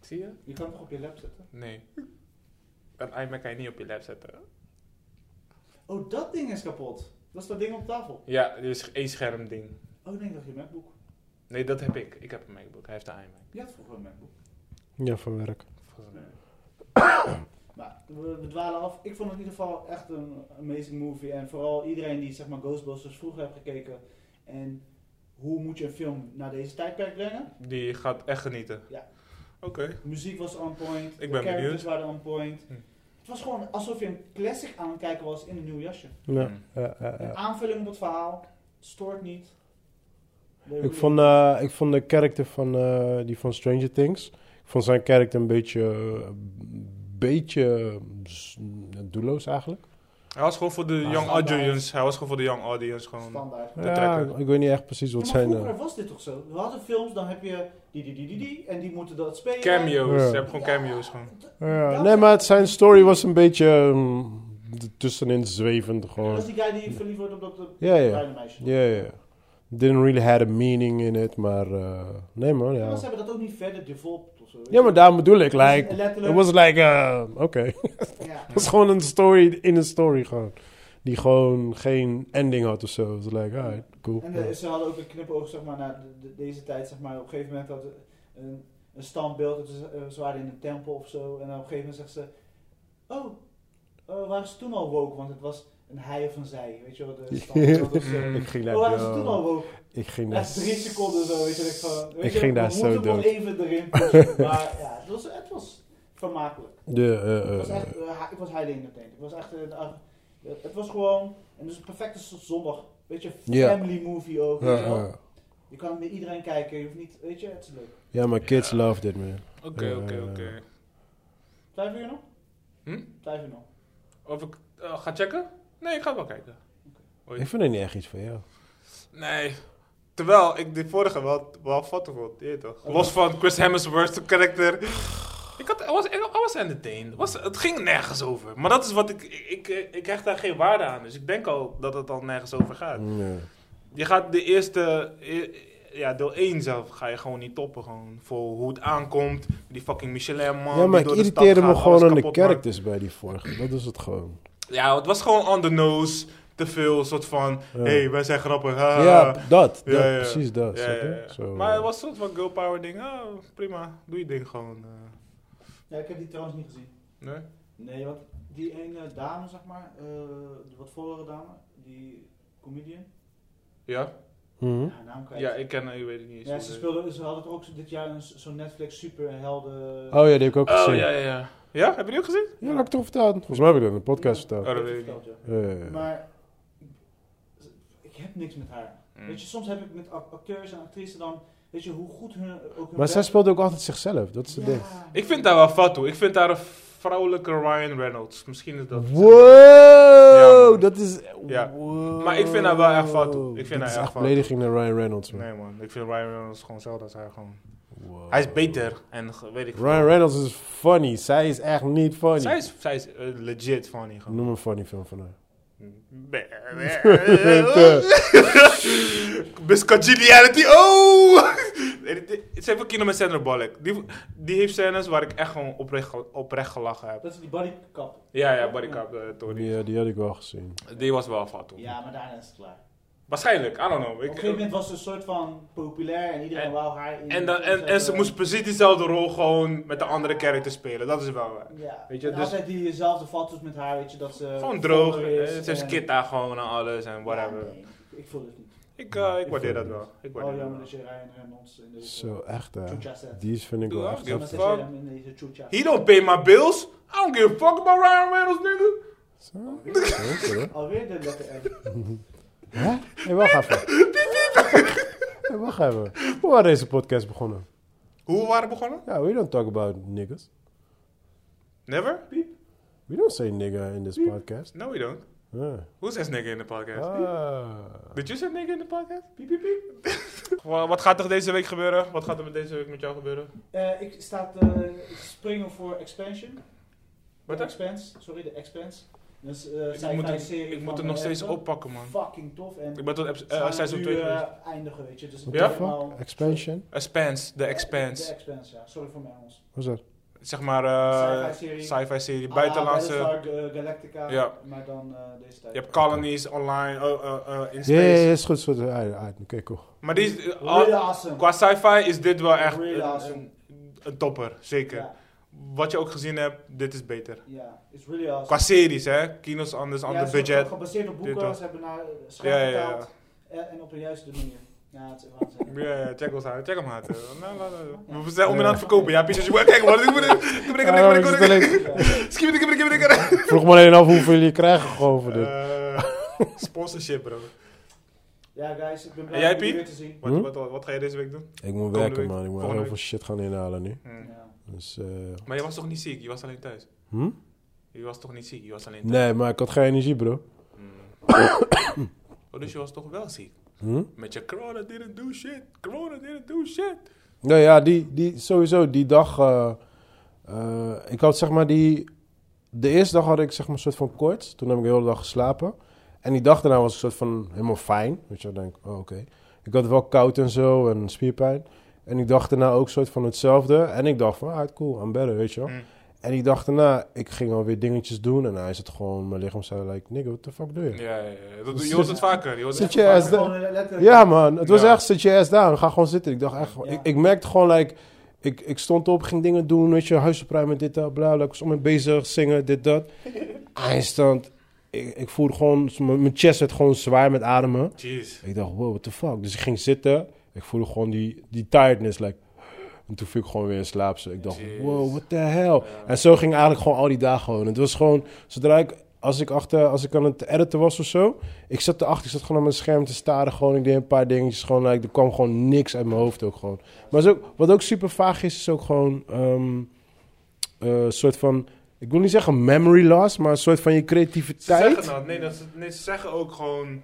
[SPEAKER 2] Zie je?
[SPEAKER 1] Je kan hem toch op je lap zetten?
[SPEAKER 2] Nee. Een iMac kan je niet op je lap zetten.
[SPEAKER 1] Oh, dat ding is kapot. Dat is dat ding op tafel.
[SPEAKER 2] Ja, dit is één scherm ding.
[SPEAKER 1] Oh, ik denk dat je een MacBook.
[SPEAKER 2] Nee, dat heb ik. Ik heb een MacBook. Hij heeft een iMac.
[SPEAKER 1] Je had vroeger een MacBook.
[SPEAKER 3] Ja, van werk.
[SPEAKER 2] Volgens mij.
[SPEAKER 1] Maar we, we dwalen af. Ik vond het in ieder geval echt een amazing movie. En vooral iedereen die zeg maar Ghostbusters vroeger heeft gekeken. En hoe moet je een film naar deze tijdperk brengen?
[SPEAKER 2] Die gaat echt genieten.
[SPEAKER 1] Ja.
[SPEAKER 2] Oké.
[SPEAKER 1] De muziek was on point.
[SPEAKER 2] ben
[SPEAKER 1] de characters
[SPEAKER 2] benieuwd.
[SPEAKER 1] waren on point.
[SPEAKER 2] Hm.
[SPEAKER 1] Het was gewoon alsof je een classic aan het kijken was in een nieuw jasje.
[SPEAKER 3] Ja,
[SPEAKER 2] Mm.
[SPEAKER 3] ja, ja,
[SPEAKER 1] Een
[SPEAKER 3] ja.
[SPEAKER 1] aanvulling op het verhaal. Het stoort niet.
[SPEAKER 3] Ik, vond, eh, ik vond de karakter van eh, die van Stranger Things. Ik vond zijn karakter een beetje. een beetje. s- doelloos eigenlijk.
[SPEAKER 2] Hij was gewoon voor de
[SPEAKER 3] Ah,
[SPEAKER 2] young
[SPEAKER 1] standaard.
[SPEAKER 2] audience. Hij was gewoon voor de young audience. Gewoon.
[SPEAKER 1] standaard.
[SPEAKER 2] De
[SPEAKER 3] Ja,
[SPEAKER 2] trekker.
[SPEAKER 3] ik weet niet echt precies wat
[SPEAKER 1] Ja, maar
[SPEAKER 3] zijn. eh,
[SPEAKER 1] vroeger was dit toch zo? We hadden films, dan heb je die, die, die, die, die en die moeten dat spelen.
[SPEAKER 2] Cameo's.
[SPEAKER 3] Ja.
[SPEAKER 2] Ze hebben gewoon cameo's. Gewoon.
[SPEAKER 3] ja.
[SPEAKER 1] Dat-
[SPEAKER 3] Nee, maar het- zijn story was een beetje. mm, d- tussenin zwevend
[SPEAKER 1] Dat
[SPEAKER 3] gewoon.
[SPEAKER 1] is die guy die verliefd wordt op dat dat
[SPEAKER 3] Ja, ja.
[SPEAKER 1] kleine meisje.
[SPEAKER 3] Ja, ja. Didn't really had a meaning in it, maar eh, nee man,
[SPEAKER 1] Maar
[SPEAKER 3] ja.
[SPEAKER 1] ze hebben dat ook niet verder developed of zo. weet
[SPEAKER 3] Ja,
[SPEAKER 1] je.
[SPEAKER 3] maar daarom bedoel ik,
[SPEAKER 1] Dus
[SPEAKER 3] like, it
[SPEAKER 1] letterlijk,
[SPEAKER 3] was like, eh, oké.
[SPEAKER 1] ja.
[SPEAKER 3] Het was gewoon een story in een story gewoon. Die gewoon geen ending had of zo. Het was like, alright, cool.
[SPEAKER 1] En eh, ze hadden ook een knipoog zeg maar, naar de- de- deze tijd. Zeg maar. Op een gegeven moment hadden ze een, een standbeeld. dat Ze, eh, ze waren in een tempel of zo. En op een gegeven moment zegt ze... Oh, eh, waren ze toen al woke? Want het was een hij of een zij. Weet je wel, de standbeeld of zo.
[SPEAKER 3] ik ging daar,
[SPEAKER 1] Oh, waren ze toen al
[SPEAKER 3] yo,
[SPEAKER 1] woke?
[SPEAKER 3] ik ging daar.
[SPEAKER 1] Echt drie seconden zo, weet je. dat Ik, van, weet
[SPEAKER 3] Ik
[SPEAKER 1] je,
[SPEAKER 3] ging
[SPEAKER 1] we
[SPEAKER 3] daar zo
[SPEAKER 1] moeten nog
[SPEAKER 3] dood.
[SPEAKER 1] even erin pushen. maar ja, het was, het was vermakelijk.
[SPEAKER 3] De, eh,
[SPEAKER 1] Het
[SPEAKER 3] eh,
[SPEAKER 1] was echt, eh, ha- ik was highly entertained. Ik was echt, een- eh, het was gewoon, en dus een perfecte z- zondag. Weet je,
[SPEAKER 3] Ja.
[SPEAKER 1] family movie ook.
[SPEAKER 3] ja,
[SPEAKER 1] weet je wel.
[SPEAKER 3] ja.
[SPEAKER 1] Je kan met iedereen kijken, je hoeft niet, weet je, het is leuk.
[SPEAKER 3] Ja, maar kids loved it, man.
[SPEAKER 2] Oké, oké,
[SPEAKER 3] Eh.
[SPEAKER 2] oké.
[SPEAKER 1] Vijf uur nog?
[SPEAKER 2] Hm?
[SPEAKER 1] Vijf uur nog.
[SPEAKER 2] Of ik eh, ga checken? Nee, ik ga het wel kijken.
[SPEAKER 3] Ik vind er niet echt iets van jou.
[SPEAKER 2] Nee. Terwijl ik die vorige wel, wel foto vond, je weet toch? Los van Chris Hemsworth's karakter. Ik, had, I was, I was entertained. Was, het ging nergens over. Maar dat is wat ik, ik, ik, ik hecht daar geen waarde aan. Dus ik denk al dat het al nergens over gaat.
[SPEAKER 3] Ja.
[SPEAKER 2] Je gaat de eerste, eh, ja, deel 1 zelf ga je gewoon niet toppen. Gewoon voor hoe het aankomt. Die fucking Michelin man.
[SPEAKER 3] ja, maar
[SPEAKER 2] Oh, die
[SPEAKER 3] ik
[SPEAKER 2] door de stad
[SPEAKER 3] irriteerde me
[SPEAKER 2] gaat,
[SPEAKER 3] gewoon
[SPEAKER 2] alles
[SPEAKER 3] aan de
[SPEAKER 2] kapot maakt.
[SPEAKER 3] characters bij die vorige. Dat is het gewoon.
[SPEAKER 2] Ja, het was gewoon on the nose. Te veel soort van,
[SPEAKER 3] Ja.
[SPEAKER 2] hey, wij zijn grappig. ha,
[SPEAKER 3] ja,
[SPEAKER 2] ha.
[SPEAKER 3] dat. dat
[SPEAKER 2] ja, ja.
[SPEAKER 3] Precies dat.
[SPEAKER 2] Ja,
[SPEAKER 3] snap je?
[SPEAKER 2] ja, ja.
[SPEAKER 3] Zo,
[SPEAKER 2] Maar het was een soort van girl power ding. Ah, prima. Doe je ding gewoon. eh.
[SPEAKER 1] Ja, ik heb die trouwens niet gezien.
[SPEAKER 2] nee?
[SPEAKER 1] Nee, want die ene dame, zeg maar, eh, de wat vollere dame, die comedian,
[SPEAKER 2] Ja?
[SPEAKER 3] Mhm.
[SPEAKER 1] haar naam kwijt.
[SPEAKER 2] Ja, ik ken haar, ik weet het niet eens.
[SPEAKER 1] Ja,
[SPEAKER 2] hoe
[SPEAKER 1] ze,
[SPEAKER 2] ze heet.
[SPEAKER 1] speelde, ze hadden toch ook zo- dit jaar een- zo'n Netflix superhelden...
[SPEAKER 3] Oh ja, die heb ik ook
[SPEAKER 2] Oh,
[SPEAKER 3] gezien.
[SPEAKER 2] ja,
[SPEAKER 3] ja.
[SPEAKER 2] ja, ja. Ja, heb je die ook gezien?
[SPEAKER 3] dat heb ik toch verteld. Volgens mij heb ik dat in een podcast
[SPEAKER 1] Ja,
[SPEAKER 2] Oh,
[SPEAKER 3] verteld.
[SPEAKER 2] dat
[SPEAKER 1] heb
[SPEAKER 2] weet ik
[SPEAKER 1] verteld, ja.
[SPEAKER 3] Ja, ja, ja.
[SPEAKER 1] Maar ik heb niks met haar.
[SPEAKER 2] Hm.
[SPEAKER 1] Weet je, soms heb ik met ac- acteurs en actrices dan, weet je, hoe goed hun ook hun
[SPEAKER 3] Maar zij
[SPEAKER 1] best-
[SPEAKER 3] speelde ook altijd zichzelf. Dat is het
[SPEAKER 1] Ja.
[SPEAKER 3] ding.
[SPEAKER 2] Ik vind haar wel fat, hoor. Ik vind haar een vrouwelijke Ryan Reynolds. Misschien is dat... Ja,
[SPEAKER 3] Wow,
[SPEAKER 2] man.
[SPEAKER 3] dat is...
[SPEAKER 2] Ja.
[SPEAKER 3] Wow.
[SPEAKER 2] Maar ik vind haar wel echt fout, hoor. Ik vind haar
[SPEAKER 3] Dat is
[SPEAKER 2] echt
[SPEAKER 3] echt
[SPEAKER 2] fout.
[SPEAKER 3] belediging naar Ryan Reynolds, man.
[SPEAKER 2] Nee, man. Ik vind Ryan Reynolds gewoon zelf als hij gewoon...
[SPEAKER 3] Wow.
[SPEAKER 2] Hij is beter. En ge- weet ik veel.
[SPEAKER 3] Ryan Reynolds is funny. Zij is echt niet funny.
[SPEAKER 2] Zij is, zij is eh, legit funny gewoon.
[SPEAKER 3] Noem een funny film van haar.
[SPEAKER 2] Biscongeniality, oh! Ze heeft ook met Sandra Bullock. Die, die heeft scènes waar ik echt gewoon oprecht, gel- oprecht gelachen heb.
[SPEAKER 1] Dat is die bodycap.
[SPEAKER 2] Ja, ja, bodycap, eh Tori.
[SPEAKER 3] Die, eh, die had ik wel gezien.
[SPEAKER 2] Die was wel fat toen.
[SPEAKER 1] Ja, maar daarna is het klaar.
[SPEAKER 2] Waarschijnlijk, I don't know.
[SPEAKER 1] Op een gegeven
[SPEAKER 2] Ik,
[SPEAKER 1] moment was ze een soort van populair en iedereen
[SPEAKER 2] eh, En-
[SPEAKER 1] wou haar in.
[SPEAKER 2] en, dan, en, en ze moest precies diezelfde rol gewoon met de andere character spelen. Dat is wel waar.
[SPEAKER 1] Ja,
[SPEAKER 2] Weet
[SPEAKER 1] weet
[SPEAKER 2] je,
[SPEAKER 1] je,
[SPEAKER 2] dus-
[SPEAKER 1] altijd diezelfde foto's met haar, weet je, dat ze...
[SPEAKER 2] Gewoon droog. eh,
[SPEAKER 1] voller is
[SPEAKER 2] Ze heeft
[SPEAKER 1] en-
[SPEAKER 2] kit daar gewoon en alles en
[SPEAKER 1] Ja,
[SPEAKER 2] whatever.
[SPEAKER 1] nee, ik voel het niet.
[SPEAKER 2] Ik, eh, ik waardeer dat
[SPEAKER 3] vind
[SPEAKER 2] wel. Ik
[SPEAKER 1] Oh,
[SPEAKER 2] waardeer dat
[SPEAKER 1] jammer
[SPEAKER 2] wel.
[SPEAKER 1] dat je Ryan Reynolds in deze...
[SPEAKER 3] Zo, echt hè.
[SPEAKER 1] Chucha zet.
[SPEAKER 3] Die is vind ik
[SPEAKER 2] Doe
[SPEAKER 3] wel
[SPEAKER 2] ook,
[SPEAKER 3] echt
[SPEAKER 2] joh.
[SPEAKER 1] Jammer
[SPEAKER 3] heftig.
[SPEAKER 1] dat je hem in deze chucha
[SPEAKER 2] He don't pay my bills. I don't give a fuck about Ryan Reynolds, nigga.
[SPEAKER 3] Zo, oké, hoor.
[SPEAKER 1] Alweer de letter R.
[SPEAKER 3] Hè? Hé, wacht even. Hé, wacht even. Hoe waren deze podcast begonnen?
[SPEAKER 2] Hoe we waren begonnen?
[SPEAKER 3] Ja, we don't talk about niggas.
[SPEAKER 2] Never?
[SPEAKER 3] We don't say nigga in this
[SPEAKER 2] Hmm.
[SPEAKER 3] podcast.
[SPEAKER 2] No, we don't.
[SPEAKER 3] Ja.
[SPEAKER 2] Who says nigga in the podcast?
[SPEAKER 3] Ah.
[SPEAKER 2] Did you say nigga in the podcast? Piep, piep, piep. Wa- Wat gaat er deze week gebeuren? Wat gaat er met deze week met jou gebeuren?
[SPEAKER 1] Eh, ik sta te springen voor Expansion.
[SPEAKER 2] Wat
[SPEAKER 1] de
[SPEAKER 2] dan?
[SPEAKER 1] Expanse, sorry, de Expanse. Dus, eh,
[SPEAKER 2] Ik
[SPEAKER 1] sci-fi
[SPEAKER 2] moet het,
[SPEAKER 1] serie
[SPEAKER 2] ik
[SPEAKER 1] van,
[SPEAKER 2] moet het nog
[SPEAKER 1] eh,
[SPEAKER 2] steeds
[SPEAKER 1] Apple.
[SPEAKER 2] oppakken, man.
[SPEAKER 1] Fucking tof. En
[SPEAKER 2] Ik ben tot eps-
[SPEAKER 1] ze gaan
[SPEAKER 2] eh, seizoen
[SPEAKER 1] nu,
[SPEAKER 2] 2
[SPEAKER 1] eh,
[SPEAKER 2] geweest.
[SPEAKER 1] eindigen, weet je. Dus het
[SPEAKER 3] What the
[SPEAKER 2] Ja?
[SPEAKER 1] is helemaal-
[SPEAKER 3] fuck? Expansion?
[SPEAKER 2] Expanse, The
[SPEAKER 1] De
[SPEAKER 2] Expanse.
[SPEAKER 1] Expanse, ja. Sorry voor mijn Engels.
[SPEAKER 3] Wat is dat?
[SPEAKER 2] Zeg maar, eh
[SPEAKER 1] Sci-fi-serie.
[SPEAKER 2] sci-fi serie,
[SPEAKER 1] Ah,
[SPEAKER 2] buitenlandse.
[SPEAKER 1] Battlestar, eh, Galactica.
[SPEAKER 2] Ja.
[SPEAKER 1] Maar dan eh, deze tijd.
[SPEAKER 2] Je hebt colonies online, eh, eh, eh, in
[SPEAKER 3] Ja, ja, ja,
[SPEAKER 2] space.
[SPEAKER 3] is goed. is goed. Ah, ja, ah, Oké, cool.
[SPEAKER 2] Maar die is, eh,
[SPEAKER 1] Really
[SPEAKER 2] al-
[SPEAKER 1] awesome.
[SPEAKER 2] qua sci-fi is dit wel echt
[SPEAKER 1] Really
[SPEAKER 2] een-
[SPEAKER 1] awesome.
[SPEAKER 2] een, een topper, zeker.
[SPEAKER 1] Ja,
[SPEAKER 2] Wat je ook gezien hebt, dit is beter.
[SPEAKER 1] ja. It's really awesome.
[SPEAKER 2] Qua series, hè? Kino's anders,
[SPEAKER 1] Ja,
[SPEAKER 2] ander
[SPEAKER 1] het is
[SPEAKER 2] budget.
[SPEAKER 1] ook Gebaseerd op
[SPEAKER 2] Dit
[SPEAKER 1] boeken.
[SPEAKER 2] toch?
[SPEAKER 1] Ze hebben naar eh,
[SPEAKER 2] Ja, ja,
[SPEAKER 1] schrijf
[SPEAKER 2] ja.
[SPEAKER 1] vertaald. En, en op een juiste manier. Ja, het is waanzinnig.
[SPEAKER 2] Ja, ja, check ons uit, check hem uit. eh. Nou, nou, nou. We zijn om en aan het verkopen. Ja, Pieter, je kijk, wat ik moet ik ben ik
[SPEAKER 3] Ah, ik zit
[SPEAKER 2] ik
[SPEAKER 3] alleen-
[SPEAKER 2] Schiet ik ik ik ik
[SPEAKER 3] Ik Vroeg me alleen af hoeveel jullie krijgen gewoon voor dit.
[SPEAKER 2] Eh, Sponsorship, bro.
[SPEAKER 1] Ja, guys, ik ben
[SPEAKER 2] En
[SPEAKER 1] blij
[SPEAKER 2] jij,
[SPEAKER 1] om jullie
[SPEAKER 2] Piet?
[SPEAKER 1] weer te zien.
[SPEAKER 2] Wat,
[SPEAKER 3] Hm?
[SPEAKER 2] wat, wat, wat ga je deze week doen?
[SPEAKER 3] Ik moet
[SPEAKER 2] Komende
[SPEAKER 3] werken,
[SPEAKER 2] week.
[SPEAKER 3] man. Ik moet
[SPEAKER 2] Eh, Volgende
[SPEAKER 3] heel
[SPEAKER 2] week.
[SPEAKER 3] veel shit gaan inhalen nu.
[SPEAKER 2] Hm.
[SPEAKER 1] Ja.
[SPEAKER 3] Dus, eh,
[SPEAKER 2] Maar je was toch niet ziek? Je was alleen thuis?
[SPEAKER 3] hm?
[SPEAKER 2] Je was toch niet ziek? Je was alleen thuis?
[SPEAKER 3] Nee, maar ik had geen energie, bro.
[SPEAKER 2] Hm. Oh, dus je was toch wel ziek?
[SPEAKER 3] Hm?
[SPEAKER 2] Met je corona didn't do shit. Corona didn't do shit.
[SPEAKER 3] Nou ja, die, die, sowieso die dag. eh, eh, ik had zeg maar die. De eerste dag had ik zeg maar een soort van koorts. Toen heb ik de hele dag geslapen. En die dag daarna was ik soort van helemaal fijn. Weet je, dan denk ik, oh, oké. Ik had wel koud en zo en spierpijn. En die dag daarna ook soort van hetzelfde. En ik dacht van, ah, cool, aan better, weet je wel.
[SPEAKER 2] Mm.
[SPEAKER 3] En die dag daarna, ik ging alweer dingetjes doen. En hij zat gewoon, mijn lichaam zei, like, nigga, what the fuck doe je?
[SPEAKER 2] Ja, ja, ja. Dat, je hoort het vaker. Je hoort
[SPEAKER 3] Dus Zit
[SPEAKER 2] het
[SPEAKER 3] je
[SPEAKER 1] Maar
[SPEAKER 3] ass
[SPEAKER 1] gewoon,
[SPEAKER 3] down?
[SPEAKER 1] eh, letterlijk-
[SPEAKER 3] Ja, man. Het was
[SPEAKER 2] Ja.
[SPEAKER 3] echt, zet je ass down. Ga gewoon zitten. Ik dacht echt,
[SPEAKER 1] Ja.
[SPEAKER 3] ik, ik merkte gewoon, like, ik, ik stond op, ging dingen doen, weet je, huis opruimen, dit, dat, bla, bla. Ik was om me bezig, zingen, dit, dat. Eindstand, ik, ik voelde gewoon, mijn mijn chest werd gewoon zwaar met ademen.
[SPEAKER 2] Jeez.
[SPEAKER 3] Ik dacht, wow, what the fuck. Dus ik ging zitten. Ik voelde gewoon die, die tiredness, like... En toen viel ik gewoon weer in slaap. Zo. Ik dacht,
[SPEAKER 2] Jeez.
[SPEAKER 3] wow, what the hell. Oh, En zo ging eigenlijk gewoon al die dagen gewoon. Het was gewoon, zodra ik... Als ik, achter, als ik aan het editen was of zo... Ik zat erachter, ik zat gewoon aan mijn scherm te staren. Gewoon, ik deed een paar dingetjes. Gewoon, like, er kwam gewoon niks uit mijn hoofd ook gewoon. Maar zo, wat ook super vaag is, is ook gewoon... ehm, eh, soort van Ik wil niet zeggen memory loss, maar een soort van je
[SPEAKER 2] Ze zeggen
[SPEAKER 3] creativiteit.
[SPEAKER 2] dat. Nee, dat ze, nee, ze zeggen ook gewoon...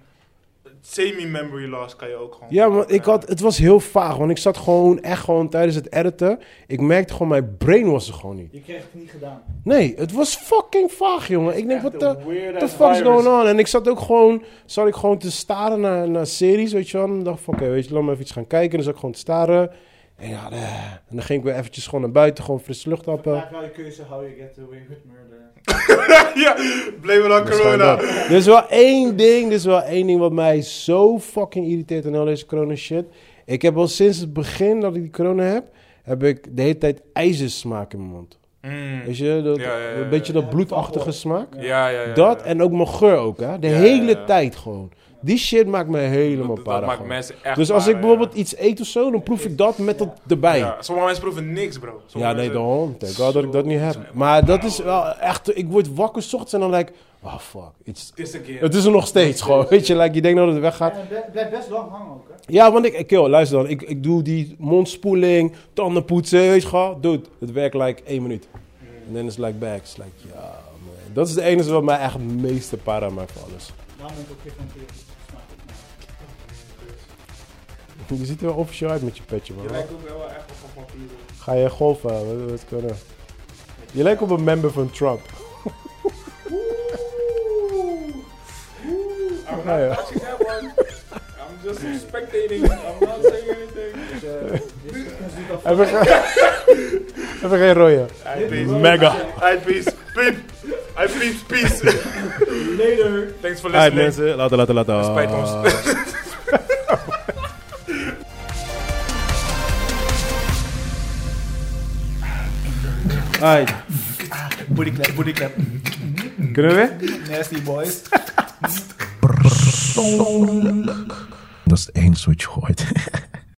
[SPEAKER 2] Semi-memory loss kan je ook gewoon...
[SPEAKER 3] Ja, maar ik had, het was heel vaag, want ik zat gewoon echt gewoon tijdens het editen. Ik merkte gewoon, mijn brain was er gewoon niet.
[SPEAKER 5] Je kreeg het niet gedaan.
[SPEAKER 3] Nee, het was fucking vaag, jongen. Ik denk, wat de...
[SPEAKER 2] What
[SPEAKER 3] What the fuck is going on? En ik zat ook gewoon, zat ik gewoon te staren naar, naar series, weet je wel. En ik dacht van, oké, weet je, laat me even iets gaan kijken. En dan zat ik gewoon te staren. En, ja, eh. en dan ging ik weer eventjes gewoon naar buiten, gewoon frisse lucht happen.
[SPEAKER 5] Vaak wel je keuze, how you get away with murder.
[SPEAKER 2] ja, blame it
[SPEAKER 3] Dus
[SPEAKER 2] on corona.
[SPEAKER 3] Er is wel één ding, er is wel één ding wat mij zo fucking irriteert aan al deze corona shit. Ik heb al sinds het begin dat ik die corona heb, heb ik de hele tijd ijzersmaak in mijn mond.
[SPEAKER 2] Mm.
[SPEAKER 3] Weet je, dat,
[SPEAKER 2] Ja, ja, ja,
[SPEAKER 3] een beetje dat
[SPEAKER 5] ja.
[SPEAKER 3] bloedachtige smaak.
[SPEAKER 2] Ja, ja, ja.
[SPEAKER 3] Dat
[SPEAKER 2] ja.
[SPEAKER 3] en ook mijn geur ook, hè. De
[SPEAKER 2] Ja, ja,
[SPEAKER 3] hele
[SPEAKER 2] ja.
[SPEAKER 3] tijd gewoon. Die shit maakt me helemaal
[SPEAKER 2] Dat- dat,
[SPEAKER 3] para.
[SPEAKER 2] maakt
[SPEAKER 3] gewoon.
[SPEAKER 2] mensen echt
[SPEAKER 3] Dus als
[SPEAKER 2] para,
[SPEAKER 3] ik bijvoorbeeld
[SPEAKER 2] ja.
[SPEAKER 3] iets eet of zo, dan proef ik dat met dat erbij. Ja,
[SPEAKER 2] Ja, sommige mensen proeven niks, bro. Sommige
[SPEAKER 3] nee,
[SPEAKER 2] mensen-
[SPEAKER 3] daarom. Thank God dat ik dat niet heb. Maar dat is wel echt... Ik word wakker 's ochtends en dan denk ik... Oh, fuck. It's,
[SPEAKER 2] Het is een keer.
[SPEAKER 3] het is er nog steeds gewoon. Weet je, like, je denkt nou dat het weggaat.
[SPEAKER 5] En het ble- blijft best lang hangen ook, hè?
[SPEAKER 3] Ja, want ik... Kill, luister dan. Ik, ik doe die mondspoeling, tanden poetsen, weet je wel. Dude, het werkt like één minuut.
[SPEAKER 2] Mm.
[SPEAKER 3] En dan is het like back. It's like, ja, man. Dat is de enige wat mij echt het meeste para maakt van alles.
[SPEAKER 5] Daarom ben ik ook weer van tegen. Smaakt ook niet.
[SPEAKER 3] Je ziet er wel officieel uit met je petje, man.
[SPEAKER 2] Je lijkt ook wel echt op een vampier. bro.
[SPEAKER 3] Ga je golven? Wat, wat kunnen? Je lijkt op een member van Trump.
[SPEAKER 2] I'm
[SPEAKER 3] Ja, ja.
[SPEAKER 2] not touching that one. I'm just spectating. I'm not saying anything.
[SPEAKER 5] Dus, eh, dit is natuurlijk al
[SPEAKER 3] Even, ge- Even geen rode.
[SPEAKER 2] I peace.
[SPEAKER 3] Mega.
[SPEAKER 2] I peace. Peep. I peace. Peace.
[SPEAKER 5] later.
[SPEAKER 2] Thanks for listening.
[SPEAKER 3] Alright mensen, later, later, later.
[SPEAKER 2] Spijt ons.
[SPEAKER 3] Alright,
[SPEAKER 1] Booty clap, booty clap.
[SPEAKER 3] kunnen we weer?
[SPEAKER 1] Nasty boys.
[SPEAKER 6] Dat is het enige wat je hoort.